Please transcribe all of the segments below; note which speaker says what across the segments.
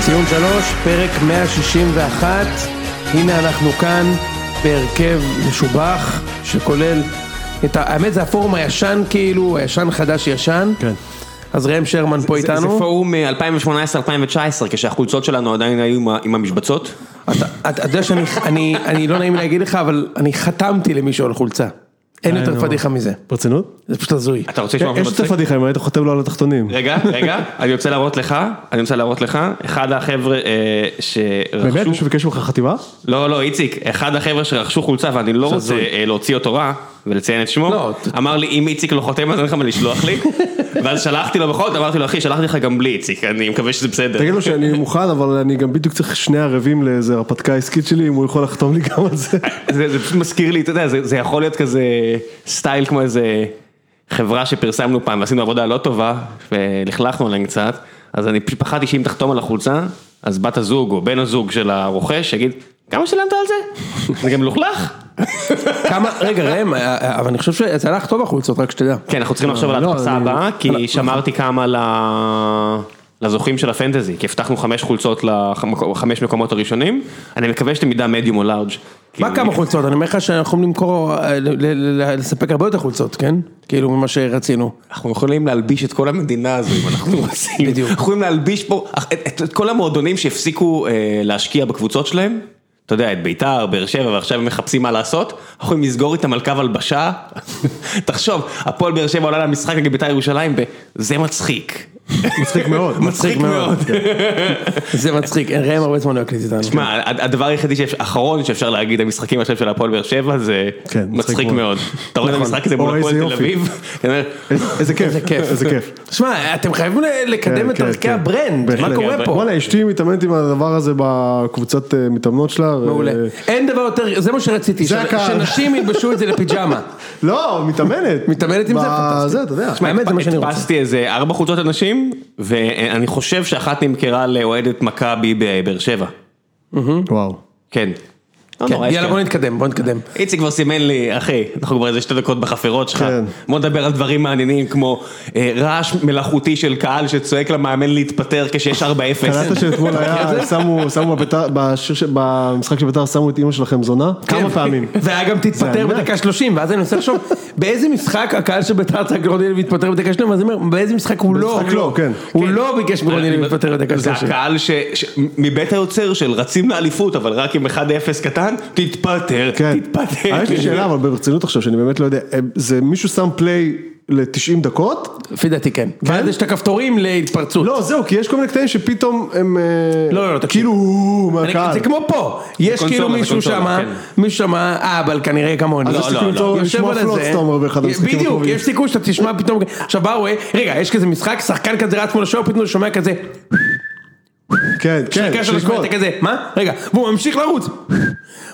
Speaker 1: ציון שלוש, פרק 161, הנה אנחנו כאן בהרכב משובח שכולל את ה... האמת זה הפורום הישן כאילו, הישן חדש ישן.
Speaker 2: כן.
Speaker 1: אז ראם שרמן פה
Speaker 3: זה
Speaker 1: איתנו.
Speaker 3: פורום אה, 2018-2019, כשהחולצות שלנו עדיין היו עם ה- עם המשבצות.
Speaker 1: אתה אתה יודע שאני, אני- אני לא נעים להגיד לך, אבל אני חתמתי למישהו על חולצה. אין יותר
Speaker 2: נו.
Speaker 1: פדיחה מזה.
Speaker 2: ברצינות?
Speaker 1: זה פשוט הזוי.
Speaker 3: אתה רוצה לשמוע
Speaker 2: יש
Speaker 3: משהו
Speaker 2: את
Speaker 3: מצחיק?
Speaker 2: הפדיחה אם היית חותם לו על התחתונים.
Speaker 3: רגע, רגע, אני רוצה להראות לך, אני רוצה להראות לך, אחד החבר'ה אה,
Speaker 2: באמת?
Speaker 3: שרכשו,
Speaker 2: מישהו ביקש ממך חטיבה?
Speaker 3: לא, לא, איציק, אחד החבר'ה שרכשו חולצה ואני לא רוצה
Speaker 1: הזוי.
Speaker 3: אה, להוציא אותו רע ולציין את
Speaker 1: לא,
Speaker 3: שמו,
Speaker 1: ת-
Speaker 3: אמר לי אם איציק לא חותם אז אין לך מה לשלוח לי, ואז שלחתי לו בכל זאת, אמרתי לו אחי, שלחתי לך גם בלי איציק, אני מקווה שזה בסדר.
Speaker 2: תגיד לו שאני מוכן, אבל אני גם בדיוק צריך שני ערבים לאיזה הרפתקה עסקית שלי, אם הוא יכול לחתום לי גם על זה.
Speaker 3: זה, זה פשוט מזכיר לי, אתה יודע, זה, זה יכול להיות כזה סטייל כמו איזה חברה שפרסמנו פעם ועשינו עבודה לא טובה ולכלכנו עליהם קצת, אז אני פשוט פחדתי שאם תחתום על החולצה, אז בת הזוג או בן הזוג של הרוכש יגיד, כמה שילמת על זה? זה גם מלוכלך?
Speaker 1: כמה, רגע ראם, אה, אה, אבל אני חושב שזה הלך טוב החולצות, רק שתדע.
Speaker 3: כן, אנחנו צריכים לחשוב על
Speaker 2: לא,
Speaker 3: ההדפסה
Speaker 2: אני-
Speaker 3: הבאה, כי שמרתי כמה ל... לזוכים של הפנטזי, כי הבטחנו חמש חולצות לחמש מקומות הראשונים, אני מקווה שתמידה מדיום או לארג'.
Speaker 1: מה כמה חולצות? אני אומר לך שאנחנו יכולים למכור, אה, ל- ל- ל- לספק הרבה יותר חולצות, כן? כאילו ממה שרצינו.
Speaker 3: אנחנו יכולים להלביש את כל המדינה הזו אם אנחנו רוצים.
Speaker 1: בדיוק.
Speaker 3: אנחנו יכולים להלביש פה את, את, את כל המועדונים שהפסיקו אה, להשקיע בקבוצות שלהם. אתה יודע, את ביתר, באר שבע, ועכשיו הם מחפשים מה לעשות. אנחנו יכולים לסגור איתם על קו הלבשה. תחשוב, הפועל באר שבע עולה למשחק נגד ביתר ירושלים, וזה מצחיק.
Speaker 2: מצחיק מאוד.
Speaker 3: מצחיק מאוד.
Speaker 1: זה מצחיק, אה, ראם הרבה זמן לא הקליט
Speaker 2: כן.
Speaker 1: איתנו.
Speaker 3: שמע, ה- הדבר היחידי האחרון שאפשר להגיד, המשחקים עכשיו של הפועל באר שבע, זה
Speaker 2: כן, מצחיק
Speaker 3: מצחיק
Speaker 2: מאוד.
Speaker 3: מאוד. אתה רואה את המשחק הזה
Speaker 2: אוי,
Speaker 3: מול
Speaker 2: איזה
Speaker 3: הפועל תל
Speaker 2: יופי.
Speaker 3: אביב? כן, אתה אומר,
Speaker 2: איזה כיף.
Speaker 1: איזה כיף.
Speaker 2: איזה כיף.
Speaker 1: שמע, אתם חייבים ל- לקדם
Speaker 2: כן,
Speaker 1: את
Speaker 2: כן,
Speaker 1: דרכי
Speaker 2: כן.
Speaker 1: הברנד, מה
Speaker 2: בהחלט.
Speaker 1: קורה פה?
Speaker 2: וואלה, אשתי מתאמנת עם הדבר הזה בקבוצת אה, מתאמנות שלה. ו-
Speaker 1: מעולה. אין דבר יותר, זה מה שרציתי,
Speaker 2: זה
Speaker 1: ש-
Speaker 2: הקהל.
Speaker 1: שנשים ילבשו את זה לפיג'מה. כן,
Speaker 2: לא, מתאמנת.
Speaker 1: מתאמנת עם זה?
Speaker 2: ב-
Speaker 1: פנטסטי.
Speaker 2: זה, אתה יודע.
Speaker 1: שמע, האמת זה מה שאני רוצה.
Speaker 3: הדפסתי איזה ארבע חולצות אנשים, ואני חושב שאחת נמכרה לאוהדת מכבי בבאר שבע.
Speaker 2: וואו.
Speaker 3: כן. לא
Speaker 1: כן,
Speaker 3: נורא, יש
Speaker 1: יאללה
Speaker 3: כאן.
Speaker 1: בוא נתקדם, בוא נתקדם.
Speaker 3: איציק כבר סימן לי, אחי, אנחנו כבר איזה שתי דקות בחפירות שלך.
Speaker 2: כן.
Speaker 3: בוא נדבר על דברים מעניינים כמו אה, רעש מלאכותי של קהל שצועק למאמן להתפטר כשיש 4-0.
Speaker 2: קלטת שאתמול היה, שמו, שמו בביתר, בשיר, ש- במשחק של ביתר שמו את אימא שלכם זונה? כמה
Speaker 1: כן.
Speaker 2: פעמים?
Speaker 1: והיה גם תתפטר
Speaker 2: ענק.
Speaker 1: בדקה 30, ואז אני מנסה לחשוב, באיזה משחק הקהל של ביתר צריך גרונדל להתפטר בדקה 30, ואז אני אומר, באיזה משחק הוא לא,
Speaker 2: במשחק לא, כן.
Speaker 1: הוא לא ביקש מגרונדל להתפטר בדקה
Speaker 3: אה, זה
Speaker 1: 30.
Speaker 3: הקהל ש- ש- מבית היוצר של רצים לאליפות, אבל רק עם 1-0 קטן, תתפטר,
Speaker 2: כן.
Speaker 3: תתפטר.
Speaker 2: אבל יש לי שאלה, אבל ברצינות עכשיו, שאני באמת לא יודע, אה, זה מישהו שם פליי ל-90 דקות?
Speaker 1: לפי דעתי כן. ואז יש את הכפתורים להתפרצות.
Speaker 2: לא, זהו, כי יש כל מיני קטעים שפתאום הם... אה,
Speaker 1: לא, לא, לא, תקשיב.
Speaker 2: כאילו, הוא
Speaker 1: אני-
Speaker 2: מהקהל.
Speaker 1: זה כמו פה, יש
Speaker 3: קונסולה,
Speaker 1: כאילו
Speaker 3: זה
Speaker 1: מישהו
Speaker 3: קונסולה,
Speaker 1: שמה,
Speaker 3: כן.
Speaker 1: מישהו שמה, אה, אבל כנראה כמוני.
Speaker 3: לא,
Speaker 1: יש
Speaker 3: לא,
Speaker 1: סיכוי
Speaker 3: לא.
Speaker 1: טוב,
Speaker 2: לשמוע
Speaker 1: יושב על
Speaker 2: פלוץ,
Speaker 1: הזה.
Speaker 2: אתה אומר, באחד המשחקים
Speaker 1: בדיוק,
Speaker 2: הקרובים.
Speaker 1: יש סיכוי שאתה תשמע פתאום, עכשיו בא רואה, רגע, יש כזה משחק, שחקן כזה רץ מול השוער, פתאום הוא שומע כזה,
Speaker 2: כן, כן,
Speaker 1: שהקשר שלו שומע
Speaker 2: שריקות.
Speaker 1: את הכזה, מה? רגע, והוא ממשיך לרוץ.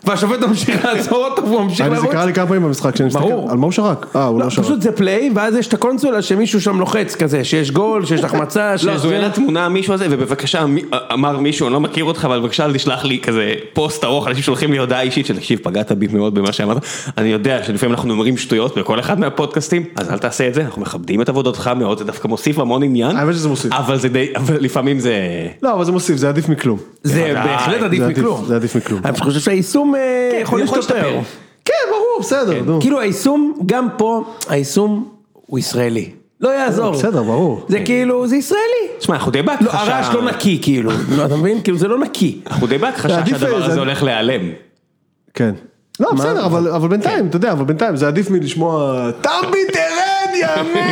Speaker 1: והשופט ממשיך לעצור אותו, והוא ממשיך
Speaker 2: אני זה
Speaker 1: לרוץ.
Speaker 2: קרה לי כמה פעמים במשחק, שאני מסתכל,
Speaker 1: ברור.
Speaker 2: על מה הוא שרק? אה, הוא
Speaker 1: לא,
Speaker 2: לא שרק.
Speaker 1: פשוט זה פליי, ואז יש את הקונסולה שמישהו שם לוחץ כזה, שיש גול, שיש החמצה,
Speaker 3: לא,
Speaker 1: שיש...
Speaker 3: זו
Speaker 1: זה.
Speaker 3: אינה תמונה המישהו הזה, ובבקשה, מי- אמר מישהו, אני לא מכיר אותך, אבל בבקשה אל תשלח לי כזה פוסט ארוך, אנשים שולחים לי הודעה אישית של תקשיב, פגעת בי מאוד במה שאמרת. אני יודע שלפעמים אנחנו אומרים שטויות בכל אחד מהפודקאסטים, אז אל תעשה את זה, אנחנו מכבדים את עבודתך מאוד, זה דווקא מוסיף המון עניין.
Speaker 2: האמת שזה מוסיף.
Speaker 3: אבל זה די, אבל לפעמים זה...
Speaker 2: לא, אבל זה מוסיף, זה עדיף מכלום.
Speaker 1: זה
Speaker 3: בוודאי,
Speaker 1: בהחלט עדיף
Speaker 2: זה עדיף-
Speaker 1: מכלום.
Speaker 2: זה עדיף מכלום.
Speaker 1: אני חושב שהיישום אה, יכול להשתפר.
Speaker 2: כן, ברור, בסדר, נו.
Speaker 1: כאילו היישום, גם פה, היישום הוא ישראלי. לא יעזור.
Speaker 2: בסדר, ברור.
Speaker 1: זה כאילו, זה ישראלי.
Speaker 3: תשמע, אנחנו די
Speaker 1: לא,
Speaker 3: בהכחשה.
Speaker 1: הרעש לא נקי, כאילו. לא, אתה מבין? כאילו, זה לא נקי.
Speaker 3: אנחנו די
Speaker 2: זה
Speaker 3: בהכחשה
Speaker 2: עדיף,
Speaker 3: שהדבר
Speaker 2: זה-
Speaker 3: הזה הולך להיעלם.
Speaker 2: כן. לא, בסדר, אבל, אבל
Speaker 1: כן.
Speaker 2: בינתיים, אתה יודע, אבל בינתיים זה עדיף מלשמוע תמבי תרד, ימין,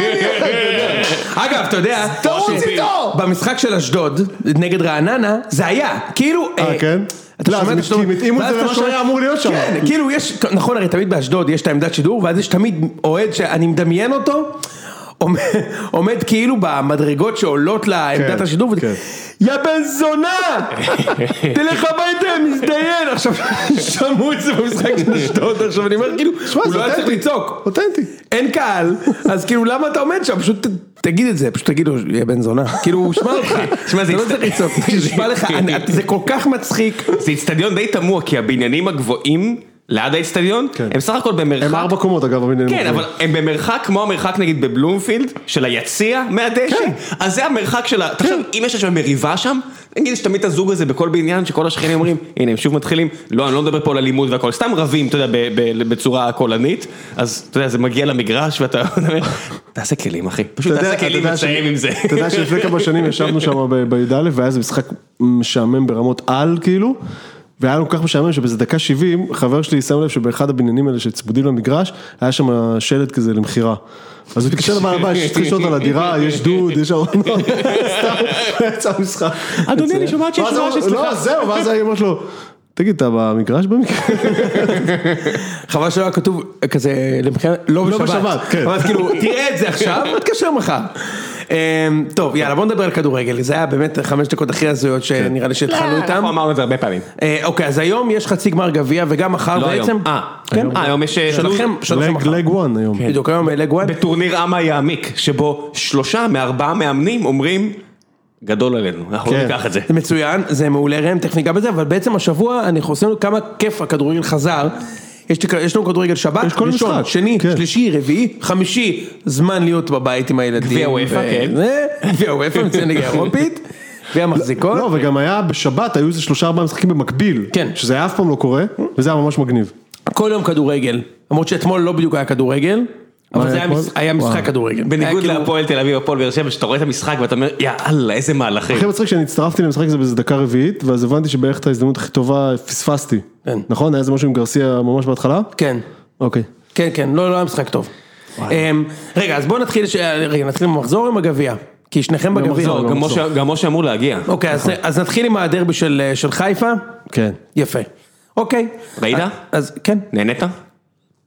Speaker 1: אגב, אתה יודע,
Speaker 2: תרוץ
Speaker 1: ש-
Speaker 2: איתו!
Speaker 1: במשחק של אשדוד, נגד רעננה, זה היה, כאילו... אה,
Speaker 2: כן?
Speaker 1: אתה
Speaker 2: לא,
Speaker 1: שומע
Speaker 2: אז
Speaker 1: את אשדוד,
Speaker 2: הם התאימו את
Speaker 1: ואז
Speaker 2: זה
Speaker 1: אתה
Speaker 2: למה
Speaker 1: שומע-
Speaker 2: שהיה אמור להיות שם.
Speaker 1: כן, כאילו יש, נכון, הרי תמיד באשדוד יש את העמדת שידור, ואז יש תמיד אוהד שאני מדמיין אותו. עומד- עומד כאילו במדרגות שעולות לעמדת
Speaker 2: כן,
Speaker 1: השידור,
Speaker 2: כן.
Speaker 1: יא בן זונה! תלך הביתה, מזדיין! עכשיו, שמעו את זה במשחק של אשדוד, עכשיו אני אומר כאילו,
Speaker 2: שמע,
Speaker 1: הוא
Speaker 2: זה
Speaker 1: לא היה צריך
Speaker 2: אותנטי.
Speaker 1: לצעוק.
Speaker 2: אותנטי.
Speaker 1: אין קהל, אז כאילו למה אתה עומד שם? פשוט ת- תגיד את זה, פשוט תגיד לו, יא בן זונה. כאילו הוא ישמע אותך,
Speaker 3: שמע, זה
Speaker 1: אתה לא
Speaker 3: הצט-
Speaker 1: צריך לצעוק, ישמע לך, אני- זה כל כך מצחיק.
Speaker 3: זה איצטדיון די תמוה, כי הבניינים הגבוהים ליד האיצטדיון,
Speaker 2: כן.
Speaker 3: הם סך הכל במרחק...
Speaker 2: הם ארבע קומות אגב, הבניינים
Speaker 3: כן,
Speaker 2: הגבוהים.
Speaker 3: אבל הם במרחק כמו המרחק נגיד בבלומפילד, של היציע מהדשא,
Speaker 2: כן.
Speaker 3: אז זה המרחק של ה... תחשוב, אם יש עכשיו מריבה שם, נגיד יש תמיד את הזוג הזה בכל בניין, שכל השכנים אומרים, הנה הם שוב מתחילים, לא, אני לא מדבר פה על אלימות והכל, סתם רבים, אתה יודע, ב- ב- בצורה קולנית, אז אתה יודע, זה מגיע למגרש ואתה אומר, תעשה כלים אחי, פשוט
Speaker 2: אתה יודע-
Speaker 3: תעשה
Speaker 2: אתה
Speaker 3: כלים
Speaker 2: יודע
Speaker 3: ותסיים
Speaker 2: ש-
Speaker 3: עם זה.
Speaker 2: אתה יודע שלפני כמה שנים ישבנו שם ב- בי"א, והיה איזה משחק משעמם ברמות על כאילו, והיה לנו כל כך משעמם שבאיזה דקה 70, חבר שלי שם לב שבאחד הבניינים האלה שצמודים למגרש, היה שם שלט כזה למכירה. אז הוא התקשר לבעל הבית, יש דרישות על הדירה, יש דוד, יש ארונות, סתם, יצא משחק.
Speaker 3: אדוני, אני שומעת שיש
Speaker 2: ואז הוא-
Speaker 3: רעש אצלך.
Speaker 2: לא, זהו, ואז היא אומרת לו, תגיד, אתה במגרש במקרה?
Speaker 1: חבל שלא היה כתוב אה, כזה למכירה, לא בשבת.
Speaker 2: בשבת, כן.
Speaker 1: אבל אז כאילו, תראה את זה עכשיו, תתקשר מחר. אה, טוב, יאללה, בוא נדבר על כדורגל, זה היה באמת חמש דקות הכי הזויות שנראה לי שהתחלנו איתם.
Speaker 3: אנחנו אמרנו את זה הרבה פעמים.
Speaker 1: אה, אוקיי, אז היום יש חצי גמר גביע, וגם מחר
Speaker 3: לא היום.
Speaker 1: בעצם.
Speaker 3: אה,
Speaker 1: כן.
Speaker 3: אה, היום יש...
Speaker 1: שלכם, שלכם
Speaker 2: לג
Speaker 1: מחר.
Speaker 2: לג וואן
Speaker 3: כן.
Speaker 2: היום.
Speaker 1: בדיוק, היום לג וואן.
Speaker 3: בטורניר אמה יעמיק, שבו שלושה מארבעה מאמנים אומרים, גדול עלינו, אנחנו לא
Speaker 2: כן.
Speaker 3: ניקח את זה.
Speaker 1: זה מצוין, זה מעולה ראם, תכף ניגע בזה, אבל בעצם השבוע אנחנו עושים לנו כמה כיף הכדורגל חזר. יש, לי- יש לנו כדורגל שבת,
Speaker 2: יש כל
Speaker 1: ראשון,
Speaker 2: משחק,
Speaker 1: שני,
Speaker 2: כן.
Speaker 1: שלישי, רביעי, חמישי, זמן להיות בבית עם הילדים.
Speaker 3: גביע וופא, כן.
Speaker 1: זה, גביע וופא, מצוין ליגה אירופית, גביע מחזיקות.
Speaker 2: לא, וגם היה בשבת, היו איזה שלושה ארבעה משחקים במקביל.
Speaker 1: אוקיי. כן.
Speaker 2: שזה היה אף פעם לא קורה, וזה היה ממש מגניב.
Speaker 1: כל יום כדורגל, למרות שאתמול לא בדיוק היה כדורגל, אבל
Speaker 2: היה
Speaker 1: זה היה,
Speaker 2: אתמול?
Speaker 1: מש, היה משחק
Speaker 2: וואו.
Speaker 1: כדורגל.
Speaker 2: אה,
Speaker 1: היה
Speaker 3: בניגוד
Speaker 1: כאילו-
Speaker 3: להפועל תל אביב, הפועל באר שבע, שאתה רואה את המשחק ואתה אומר, יאללה, איזה מהלכים.
Speaker 2: הכי מצחיק שאני הצטרפתי למשחק הזה באיזה דקה רביעית, ואז הבנתי שבערך את ההזדמנות הכי טובה פספסתי.
Speaker 1: כן.
Speaker 2: נכון? היה איזה משהו עם גרסיה ממש בהתחלה?
Speaker 1: כן.
Speaker 2: אוקיי.
Speaker 1: כן, כן, לא, לא היה משחק טוב. אמ, רגע, אז בואו נתחיל, ש- רגע, נתחיל במחזור או עם הגביע? כי שניכם בגביע.
Speaker 3: לא, גם משה- גם משה אמור להגיע.
Speaker 2: לא.
Speaker 1: אוקיי, אז- אז נתחיל עם הדרבי של אה, של חיפה.
Speaker 2: כן.
Speaker 1: יפה. אוקיי.
Speaker 3: ראית?
Speaker 1: אז כן.
Speaker 3: נהנית?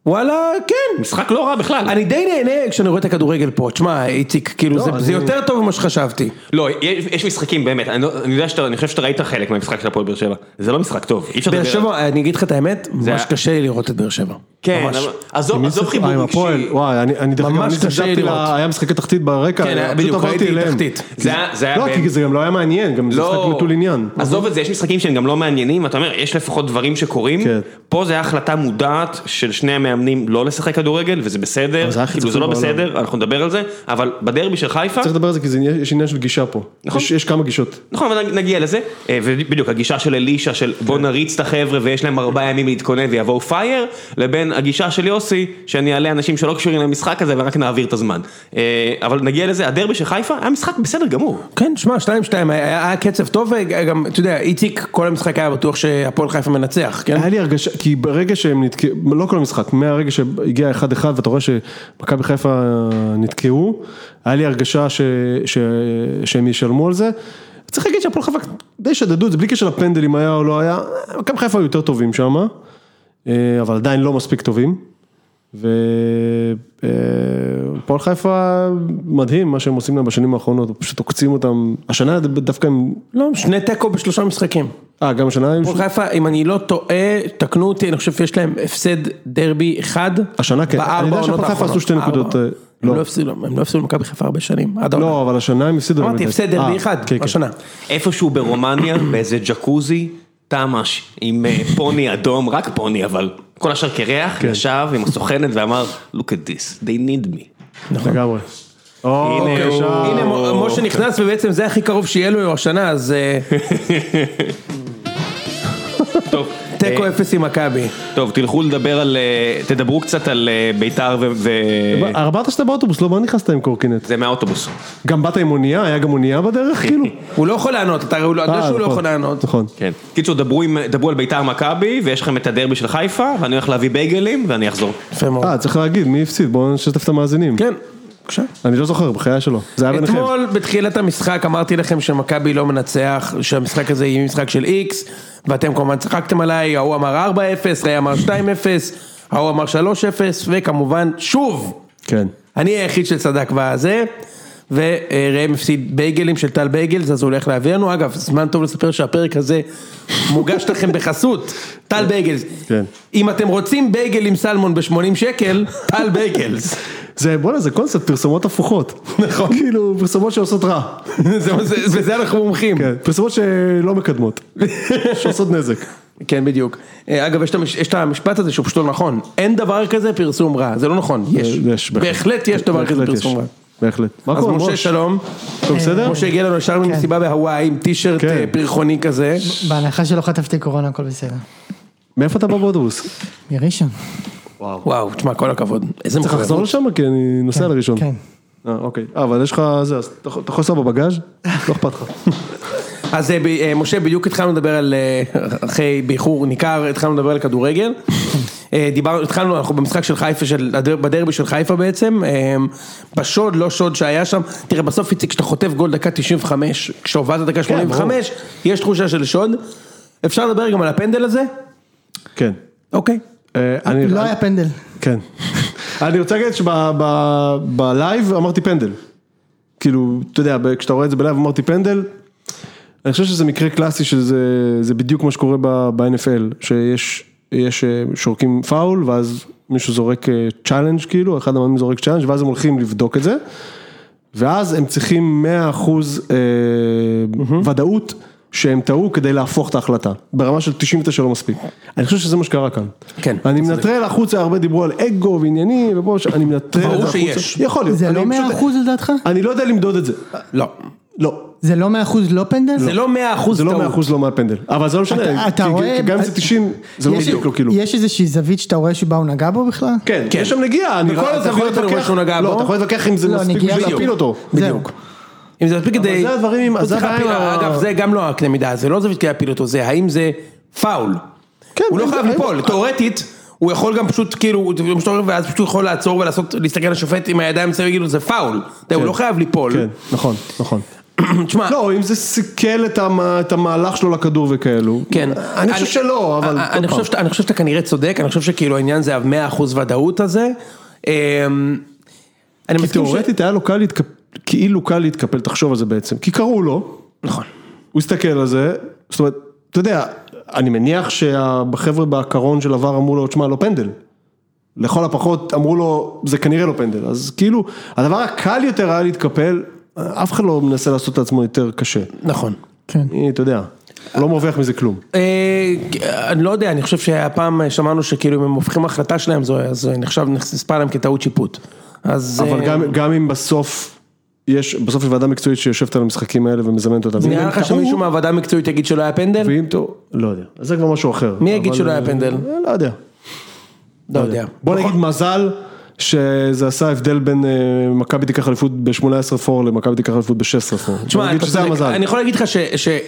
Speaker 1: וואלה, כן.
Speaker 3: משחק לא רע בכלל.
Speaker 1: אני די נהנה כשאני רואה את הכדורגל פה. תשמע, איציק, כאילו, זה- זה יותר טוב ממה שחשבתי.
Speaker 3: לא, יש יש משחקים באמת, אני לא- אני יודע שאתה, אני חושב שאתה ראית חלק מהמשחק של הפועל באר שבע. זה לא משחק טוב, אי אפשר
Speaker 1: באר
Speaker 3: לדבר על זה.
Speaker 1: שבע, אני אגיד לך את האמת, ממש
Speaker 3: היה-
Speaker 1: קשה לי לראות את באר שבע.
Speaker 3: כן,
Speaker 1: ממש.
Speaker 3: אבל- עזוב
Speaker 2: מי
Speaker 3: עזוב
Speaker 2: זה?
Speaker 3: חיבור
Speaker 2: אה, עם הפועל.
Speaker 3: רגשי.
Speaker 2: וואי, אני- אני דרך אגב,
Speaker 1: ממש
Speaker 2: אני
Speaker 1: קשה
Speaker 2: התנגדתי
Speaker 1: לראות.
Speaker 2: לה- היה משחקי תחתית ברקע,
Speaker 1: כן,
Speaker 2: פשוט
Speaker 1: בדיוק,
Speaker 2: עברתי
Speaker 1: ראיתי
Speaker 2: אליהם.
Speaker 1: תחתית.
Speaker 3: זה היה- זה היה
Speaker 2: לא,
Speaker 3: באמת-
Speaker 2: כי זה גם לא היה מעניין, גם זה משחק נטול עניין.
Speaker 3: עזוב את זה, יש משחקים שהם גם לא מעניינים, אתה אומר, יש לפחות דברים שקורים,
Speaker 2: כן.
Speaker 3: פה זה היה החלטה מודעת של שני המאמנים לא לשחק כדורגל, וזה בסדר,
Speaker 2: אבל זה היה הכי
Speaker 3: כאילו זה
Speaker 2: צפוי
Speaker 3: לא
Speaker 2: בעולם.
Speaker 3: בסדר, אנחנו נדבר על זה, אבל בדרבי של חיפה,
Speaker 2: צריך לדבר על זה כי זה עניין- יש עניין של גישה פה.
Speaker 3: נכון.
Speaker 2: יש- יש כמה גישות.
Speaker 3: נכון, אבל נגיע לזה, אה, ובדיוק הגישה של אלישע של בוא נריץ את החבר'ה ויש להם ארבעה ימים להתכונן ויבואו פייר, לבין הגישה של יוסי, שאני אעלה אנשים שלא קשורים למשחק הזה ורק נעביר את הזמן. אה, אבל נגיע לזה, הדרבי של חיפה היה משחק בסדר גמור.
Speaker 1: כן, שמע, שתיים שתיים, היה היה קצב טוב, וגם, אתה יודע, איציק, כל המשחק היה בטוח שהפועל חיפה מנצח, כן?
Speaker 3: אה-
Speaker 2: היה לי הרגשה, כי ברגע שהם נתקעו, לא כל המשחק, מהרגע שהגיע 1-1 ואתה רואה שמכבי חיפה נתקעו, היה לי הרגשה ש, ש, שהם ישלמו על זה. צריך להגיד שהפועל חיפה די שדדו את זה, בלי קשר לפנדל אם היה או לא היה, מכבי חיפה היו יותר טובים שם, אבל עדיין לא מספיק טובים. והפועל חיפה מדהים מה שהם עושים להם בשנים האחרונות, פשוט עוקצים אותם, השנה דווקא הם,
Speaker 1: לא, שני תיקו בשלושה משחקים.
Speaker 2: אה גם השנה, הם-
Speaker 1: הפועל חיפה, אם אני לא טועה, תקנו אותי, אני חושב שיש להם הפסד דרבי אחד.
Speaker 2: השנה כן.
Speaker 1: בארבע
Speaker 2: אני יודע שהפועל
Speaker 1: העונות
Speaker 2: חיפה
Speaker 1: האחרונות.
Speaker 2: עשו שתי
Speaker 1: ארבע.
Speaker 2: נקודות, אה,
Speaker 1: הם
Speaker 2: לא.
Speaker 1: לא הפסידו, הם לא הפסידו למכבי חיפה הרבה שנים, עד העונה.
Speaker 2: לא, אבל השנה הם הפסידו.
Speaker 1: אמרתי,
Speaker 2: למדי.
Speaker 1: הפסד
Speaker 2: אה,
Speaker 1: דרבי אחד,
Speaker 2: כן, כן.
Speaker 1: השנה.
Speaker 3: איפשהו ברומניה, באיזה ג'קוזי, תמ"ש, עם אה, פוני אדום, רק פוני אבל, כל השאר קרח, ישב עם הסוכנת ואמר, look at this, they need me.
Speaker 2: לגמרי. או,
Speaker 3: הנה הוא.
Speaker 2: בבקשה.
Speaker 1: נכון. הנה, מ- משה נכנס, ובעצם זה הכי קרוב שיהיה לו השנה, אז אה,
Speaker 3: טוב,
Speaker 1: תיקו אפס עם מכבי.
Speaker 3: טוב, תלכו לדבר על, אה, תדברו קצת על אה, בית"ר ו... ו-
Speaker 2: אמרת שאתה באוטובוס, לא מה נכנסת עם קורקינט?
Speaker 3: זה מהאוטובוס.
Speaker 2: גם באת עם אונייה? היה גם אונייה בדרך כאילו?
Speaker 1: הוא לא יכול לענות, אתה הרי הוא לא- אתה יודע
Speaker 2: אה,
Speaker 1: שהוא לא
Speaker 2: נכון,
Speaker 1: יכול לענות.
Speaker 2: נכון.
Speaker 3: כן. קיצור, דברו, עם, דברו על ביתר מכבי, ויש לכם את הדרבי של חיפה, ואני הולך להביא בייגלים, ואני אחזור.
Speaker 1: יפה מאוד.
Speaker 2: אה, צריך להגיד, מי הפסיד? בואו נשתף את המאזינים.
Speaker 1: כן, בבקשה.
Speaker 2: אני לא זוכר, בחיי שלו. זה היה ביניכם.
Speaker 1: אתמול בתחילת המשחק אמרתי לכם שמכבי לא מנצח, שהמשחק הזה יהיה משחק של איקס, ואתם כמובן צחקתם עליי, ההוא אמר 4-0, ההוא אמר 2-0, ההוא אמר 3-0, וכמובן, שוב,
Speaker 2: כן.
Speaker 1: אני היחיד שצדק בזה, וראם הפסיד בייגלים של טל בייגלס, אז הוא הולך להביא לנו. אגב, זמן טוב לספר שהפרק הזה מוגש לכם בחסות, טל בייגלס.
Speaker 2: כן.
Speaker 1: אם אתם רוצים בייגל עם סלמון ב-80 שקל, טל בייגלס.
Speaker 2: זה, בוא'נה, זה קונספט, פרסומות הפוכות. נכון. כאילו, פרסומות שעושות רע.
Speaker 1: זה- זה- בזה אנחנו מומחים.
Speaker 2: כן, פרסומות שלא מקדמות. שעושות נזק.
Speaker 1: כן, בדיוק. אה, אגב, יש את המש- יש את המשפט הזה שהוא פשוט לא נכון. אין דבר כזה פרסום רע, זה לא נכון. יש.
Speaker 2: אה, יש, בהחלט.
Speaker 1: בהחלט יש דבר
Speaker 2: בהחלט
Speaker 1: כזה
Speaker 2: יש.
Speaker 1: פרסום רע.
Speaker 2: בהחלט. מה
Speaker 1: אז
Speaker 2: קורה,
Speaker 1: משה
Speaker 2: מוש?
Speaker 1: שלום,
Speaker 2: טוב, בסדר?
Speaker 1: משה הגיע לנו ישר ממסיבה בהוואי עם טישרט
Speaker 2: כן.
Speaker 1: אה, פרחוני כזה,
Speaker 4: בהנחה שלא חטפתי קורונה הכל בסדר.
Speaker 2: מאיפה אתה בא באוטובוס?
Speaker 4: מראשון.
Speaker 1: וואו, תשמע, כל הכבוד, איזה
Speaker 2: צריך לחזור לשם? כי אני נוסע לראשון.
Speaker 4: כן.
Speaker 2: אה, אוקיי. אה, אבל יש לך זה, אז אתה יכול אתה יכול לנסוע בבגאז'? לא אכפת לך.
Speaker 1: אז אה, ב- אה, משה, בדיוק התחלנו לדבר על, אה, אחרי באיחור ניכר, התחלנו לדבר על כדורגל. אה, דיברנו, התחלנו, אנחנו במשחק של חיפה, של, הדר- בדרבי של חיפה בעצם, אה, בשוד, לא שוד שהיה שם. תראה, בסוף, איציק, כשאתה חוטף גול דקה 95, כשהובלת
Speaker 2: כן,
Speaker 1: דקה 85, יש תחושה של שוד. אפשר לדבר גם על הפנדל הזה?
Speaker 2: כן.
Speaker 1: אוקיי.
Speaker 2: אה, אני-
Speaker 4: לא היה פנדל.
Speaker 2: כן. אני רוצה להגיד שבלייב אמרתי פנדל. כאילו, אתה יודע, ב- כשאתה רואה את זה בלייב אמרתי פנדל. אני חושב שזה מקרה קלאסי שזה זה בדיוק מה שקורה ב- ב-NFL, שיש יש, אה, שורקים פאול ואז מישהו זורק אה, צ'אלנג' כאילו, אחד המאמנים זורק צ'אלנג' ואז הם הולכים לבדוק את זה. ואז הם צריכים 100% אחוז, אה, ודאות שהם טעו כדי להפוך את ההחלטה, ברמה של 99 לא מספיק. אני חושב שזה מה שקרה כאן.
Speaker 1: כן,
Speaker 2: אני מנטרל החוצה, הרבה דיברו על אגו ועניינים, ופה, ש- אני מנטרל את זה
Speaker 1: ברור
Speaker 2: החוצה.
Speaker 1: שיש.
Speaker 2: יכול להיות.
Speaker 4: זה
Speaker 2: אני
Speaker 4: לא
Speaker 2: פשוט-
Speaker 4: 100 אחוז לדעתך?
Speaker 2: אני לא יודע למדוד את זה.
Speaker 1: לא.
Speaker 2: לא.
Speaker 4: זה לא 100 אחוז לא פנדל?
Speaker 1: זה לא 100 אחוז
Speaker 2: זה לא
Speaker 1: טעות.
Speaker 2: 100 אחוז לא מהפנדל. אבל זה לא משנה.
Speaker 4: אתה- אתה
Speaker 2: כי-
Speaker 4: רואה-
Speaker 2: כי גם אם זה 90, זה לא
Speaker 4: יש-
Speaker 2: מספיק לו כאילו.
Speaker 4: יש איזושהי זווית שאתה רואה שבה הוא נגע בו בכלל?
Speaker 2: כן,
Speaker 1: כן.
Speaker 2: יש שם נגיעה, אני
Speaker 1: בכל
Speaker 2: אתה
Speaker 1: הזוויות
Speaker 2: יכול
Speaker 1: אתה רואה
Speaker 2: להתווכח-
Speaker 1: שהוא נגע
Speaker 2: לא,
Speaker 1: בו.
Speaker 2: אתה יכול להתווכח אם זה
Speaker 4: לא,
Speaker 2: מספיק
Speaker 4: נגיעה
Speaker 2: בשביל
Speaker 4: בדיוק.
Speaker 2: להפיל אותו.
Speaker 4: זהו.
Speaker 1: אם זה מספיק כדי...
Speaker 2: זה הדברים,
Speaker 1: הוא
Speaker 2: אז זה
Speaker 1: צריך
Speaker 2: הבעיה עם
Speaker 1: להפיל-
Speaker 2: ה-
Speaker 1: אגב, זה גם לא הקנה מידה, זה לא זה כדי להפיל אותו, זה האם זה פאול.
Speaker 2: כן,
Speaker 1: הוא לא
Speaker 2: האם-
Speaker 1: חייב
Speaker 2: האם-
Speaker 1: ליפול, תיאורטית, הוא יכול גם פשוט כאילו, הוא מסתובב ואז פשוט יכול לעצור ולעשות, להסתכל על השופט עם הידיים מסביב ולהגיד לו זה פאול. אתה יודע, הוא לא חייב ליפול.
Speaker 2: כן, נכון, נכון.
Speaker 1: תשמע,
Speaker 2: לא, אם זה סיכל את המ- את המהלך שלו לכדור וכאלו.
Speaker 1: כן.
Speaker 2: אני חושב שלא, אבל...
Speaker 1: אני-
Speaker 2: כל
Speaker 1: אני
Speaker 2: פעם.
Speaker 1: חושב שאתה- אני חושב שאתה כנראה צודק, אני חושב שכאילו העניין זה ה-100% ודאות הזה. אמ, אני
Speaker 2: כי
Speaker 1: מסכים ש...
Speaker 2: תיאורטית היה לו קל להתקפל, כאילו קל להתקפל, תחשוב על זה בעצם, כי קראו לו,
Speaker 1: נכון.
Speaker 2: הוא הסתכל על זה, זאת אומרת, אתה יודע, אני מניח שהחבר'ה בקרון של עבר אמרו לו, תשמע, לא פנדל. לכל הפחות אמרו לו, זה כנראה לא פנדל, אז כאילו, הדבר הקל יותר היה להתקפל, אף אחד לא מנסה לעשות את עצמו יותר קשה.
Speaker 1: נכון.
Speaker 4: כן.
Speaker 2: אה, אתה יודע, לא מרוויח מזה כלום.
Speaker 1: אה, אני לא יודע, אני חושב שהפעם שמענו שכאילו אם הם הופכים החלטה שלהם, זו- אז זה נחשב, נספר להם כטעות שיפוט. אז...
Speaker 2: אבל
Speaker 1: אה,
Speaker 2: גם, גם אם בסוף, יש, בסוף יש ועדה מקצועית שיושבת על המשחקים האלה ומזמנת אותם. ואם
Speaker 1: נראה
Speaker 2: הם
Speaker 1: לך
Speaker 2: טעו,
Speaker 1: שמישהו מהוועדה המקצועית יגיד שלא היה פנדל?
Speaker 2: ואם טוב, לא יודע, אז זה כבר משהו אחר.
Speaker 1: כן. מי יגיד
Speaker 2: אבל,
Speaker 1: שלא היה
Speaker 2: אה,
Speaker 1: פנדל?
Speaker 2: אה, לא יודע.
Speaker 1: לא יודע.
Speaker 2: בוא
Speaker 4: נכון.
Speaker 2: נגיד מזל שזה עשה הבדל בין אה, מכבי תיקח אליפות ב-18 פור למכבי תיקח אליפות ב-16 פור. בוא
Speaker 1: תשמע,
Speaker 2: נגיד
Speaker 1: אתה
Speaker 2: שזה
Speaker 1: צודק.
Speaker 2: המזל.
Speaker 1: אני יכול להגיד לך ש...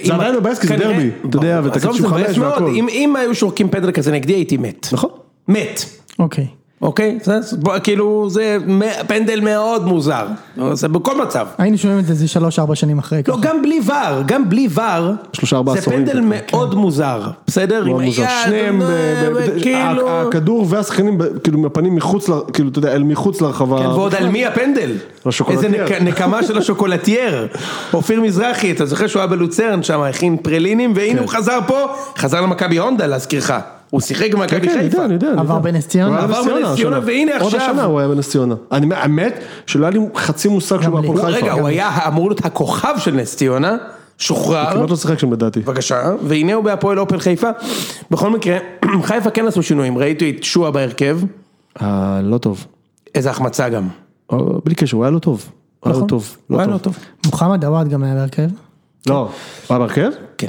Speaker 2: זה עדיין מבאס כי זה דרבי, אתה יודע, ואתה
Speaker 1: עזוב,
Speaker 2: כתוב
Speaker 1: זה מבאס
Speaker 2: 95
Speaker 1: מאוד,
Speaker 2: והכל.
Speaker 1: אם- אם היו שורקים פנדל כזה נגדי הייתי מת.
Speaker 2: נכון.
Speaker 1: מת.
Speaker 4: אוקיי.
Speaker 1: אוקיי? זה- בוא, כאילו זה מ- פנדל מאוד מוזר. זה בכל מצב.
Speaker 4: היינו שומעים את זה איזה שלוש ארבע שנים אחרי.
Speaker 1: לא, גם בלי ור, גם בלי ור,
Speaker 2: שלושה, ארבעה
Speaker 1: זה
Speaker 2: עשורים. כן.
Speaker 1: פנדל מאוד מוזר, בסדר? עם
Speaker 2: מאוד מוזר.
Speaker 1: היד,
Speaker 2: שניהם, ב- ב- ב-
Speaker 1: כאילו...
Speaker 2: ה- הכדור והשחקנים ב- כאילו עם הפנים מחוץ, ל- כאילו אתה יודע, אל מחוץ לרחבה.
Speaker 1: כן, ועוד על מי הפנדל? איזה
Speaker 2: השוקולטייר.
Speaker 1: נק- נקמה של השוקולטייר. אופיר מזרחי, אתה זוכר שהוא היה בלוצרן שם, הכין פרלינים, והנה הוא
Speaker 2: כן.
Speaker 1: חזר פה, חזר למכבי הונדה להזכירך. הוא שיחק במכבי
Speaker 2: כן, אני יודע,
Speaker 1: חיפה.
Speaker 2: אני יודע. אני
Speaker 4: עבר
Speaker 2: יודע.
Speaker 4: בנס ציונה.
Speaker 2: הוא היה
Speaker 1: עבר בנס
Speaker 2: השנה.
Speaker 1: ציונה, והנה
Speaker 2: עוד
Speaker 1: עכשיו.
Speaker 2: השנה הוא היה בנס ציונה. אני- האמת שלא היה לי חצי מושג שהוא
Speaker 4: לי.
Speaker 2: בהפועל
Speaker 1: הוא-
Speaker 2: חיפה. כן.
Speaker 1: רגע, הוא היה אמור להיות הכוכב של נס ציונה, שוחרר.
Speaker 2: כמעט לא שיחק שם לדעתי.
Speaker 1: בבקשה, והנה הוא בהפועל אופל חיפה. בכל מקרה, חיפה כן עשו שינויים, ראיתי את שועה בהרכב,
Speaker 2: אה, לא טוב.
Speaker 1: איזה החמצה גם.
Speaker 2: אה, בלי קשר, הוא היה לא טוב. הוא היה לא טוב.
Speaker 1: הוא היה לא טוב.
Speaker 4: מוחמד עוואד גם היה בהרכב.
Speaker 2: לא. הוא היה בהרכב?
Speaker 1: כן.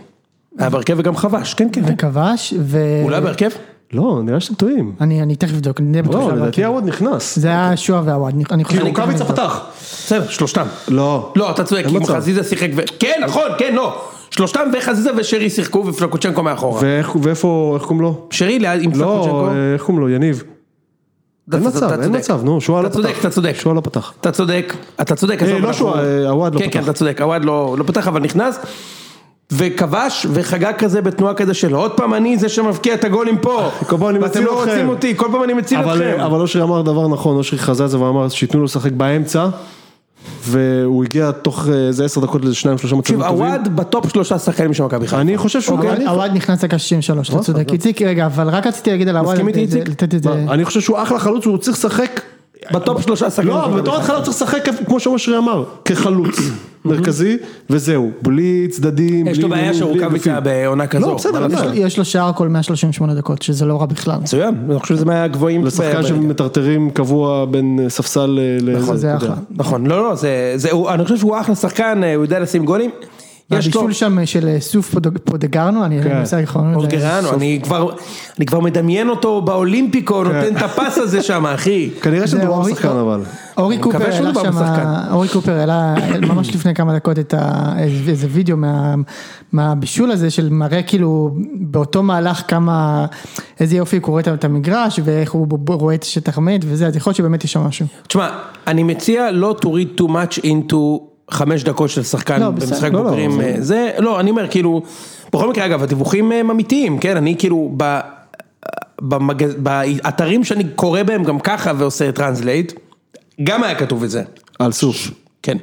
Speaker 1: היה בהרכב וגם חבש, כן, כן. כן.
Speaker 4: וכבש. ו...
Speaker 1: הוא לא היה בהרכב?
Speaker 2: לא, נראה שאתם טועים.
Speaker 4: אני אני תכף אבדוק. אני די בטוח
Speaker 2: לא,
Speaker 4: שהוא היה
Speaker 2: לדעתי
Speaker 4: בהרכב.
Speaker 2: העוד נכנס.
Speaker 4: זה היה שועה ועוואד. אני- אני חושב.
Speaker 2: כי רוקאביצה
Speaker 4: אני-
Speaker 2: פתח.
Speaker 1: בסדר, שלושתם.
Speaker 2: לא.
Speaker 1: לא, אתה צודק,
Speaker 2: אין
Speaker 1: אם
Speaker 2: מצב.
Speaker 1: חזיזה שיחק ו... כן, נכון, כן, לא. שלושתם וחזיזה ושרי שיחקו ופלקוצ'נקו מאחורה.
Speaker 2: ואיך- ואיפה, איך קוראים לו?
Speaker 1: שרי ליד עם פלקוצ'נקו.
Speaker 2: לא, אה, איך קוראים לו? יניב.
Speaker 1: אתה-
Speaker 2: אין
Speaker 1: אתה-
Speaker 2: מצב,
Speaker 1: אתה
Speaker 2: אין
Speaker 1: צודק.
Speaker 2: מצב, נו, שועה לא
Speaker 1: אתה צודק,
Speaker 2: פתח.
Speaker 1: אתה צודק.
Speaker 2: שועה לא פתח.
Speaker 1: אתה צודק, אתה צודק. עזוב,
Speaker 2: לא
Speaker 1: אנחנו-
Speaker 2: שועה, אה, עווד לא
Speaker 1: כן, כן,
Speaker 2: פתח.
Speaker 1: אתה צודק, עווד לא לא פתח, אבל נכנס. וכבש וחגג כזה בתנועה כזה של עוד פעם אני זה שמבקיע את הגולים פה.
Speaker 2: כל פעם אני
Speaker 1: ואתם
Speaker 2: מציל
Speaker 1: לא
Speaker 2: אתכם.
Speaker 1: רוצים אותי, כל פעם אני מציל
Speaker 2: אבל
Speaker 1: אתכם.
Speaker 2: אה, אבל אושרי אמר דבר נכון, אושרי חזה את זה ואמר שייתנו לו לשחק באמצע, והוא הגיע תוך אה, איזה עשר דקות לאיזה שניים שלושה מצבים
Speaker 1: תקשיב,
Speaker 2: טובים.
Speaker 1: עווד בטופ שלושה שחקנים של מכבי חיפה.
Speaker 2: אני חושב שהוא... כן-
Speaker 4: עוואד-
Speaker 2: אני-
Speaker 4: עוואד אוקיי, נכנס דקה 63,
Speaker 2: לא,
Speaker 4: אתה צודק. איציק, רגע, אבל רק רציתי להגיד על עוואד.
Speaker 1: מסכים איתי,
Speaker 4: את זה-
Speaker 1: איציק?
Speaker 4: לתת את זה.
Speaker 2: מה, אני חושב שהוא אחלה חלוץ, הוא צריך לשחק
Speaker 1: בטופ שלושה שחקנים של
Speaker 2: לא, אבל
Speaker 1: מכבי
Speaker 2: בתור
Speaker 1: חיפה.
Speaker 2: התחלה הוא צריך לשחק כמו שאושרי אמר, כחלוץ. מרכזי, וזהו, בלי צדדים,
Speaker 1: יש
Speaker 2: בלי
Speaker 1: לו בעיה
Speaker 2: נאום, בלי אגפים.
Speaker 1: שרוקאביצה בעונה כזו.
Speaker 2: לא, בסדר,
Speaker 1: מה
Speaker 2: אין
Speaker 1: לעשות?
Speaker 2: בעיה.
Speaker 4: יש לו שער כל 138 דקות, שזה לא רע בכלל.
Speaker 1: מצוין, אני חושב שזה מהגבוהים.
Speaker 2: לשחקן
Speaker 1: ב-
Speaker 2: שמטרטרים קבוע בין אה, ספסל ל...
Speaker 4: נכון,
Speaker 2: לזה,
Speaker 4: זה
Speaker 2: אתה יודע.
Speaker 4: אחלה.
Speaker 1: נכון, לא, לא, זה, זה, הוא, אני חושב שהוא אחלה שחקן, אה, הוא יודע לשים גולים. יש לו,
Speaker 4: הבישול שם של אה, סוף פודוג- פודגרנו, אני
Speaker 2: כן.
Speaker 4: אין לי מושג לא איך קוראים לזה.
Speaker 1: אורגרנו, אוקיי, אני כבר, אני כבר מדמיין אותו
Speaker 2: כן.
Speaker 1: באולימפיקו, נותן את הפס הזה שם, אחי.
Speaker 2: כנראה
Speaker 4: זה
Speaker 2: שמדובר
Speaker 4: אורי-
Speaker 2: בשחקן אבל.
Speaker 4: אורי
Speaker 1: אני מקווה
Speaker 4: קופר
Speaker 1: שהוא
Speaker 4: העלה
Speaker 2: לא
Speaker 1: מדובר בשחקן.
Speaker 4: שם, אורי קופר העלה ממש לפני כמה דקות את ה... איזה- איזה וידאו מה- מהבישול הזה של מראה כאילו באותו מהלך כמה, איזה יופי הוא קורא את את המגרש ואיך הוא ב- ב- רואה את השטח מת וזה, אז יכול להיות שבאמת יש שם משהו.
Speaker 1: תשמע, אני מציע לא to read too much into חמש דקות של שחקן
Speaker 4: לא, בסדר.
Speaker 1: במשחק
Speaker 2: לא, לא,
Speaker 1: בוגרים.
Speaker 2: זה-
Speaker 1: אה, זה, לא, אני אומר, כאילו, בכל מקרה, אגב, הדיווחים הם אמיתיים, כן, אני כאילו, ב, במגז, באתרים שאני קורא בהם גם ככה ועושה טרנסלייט, גם היה כתוב את זה,
Speaker 2: על סוף.
Speaker 1: כן.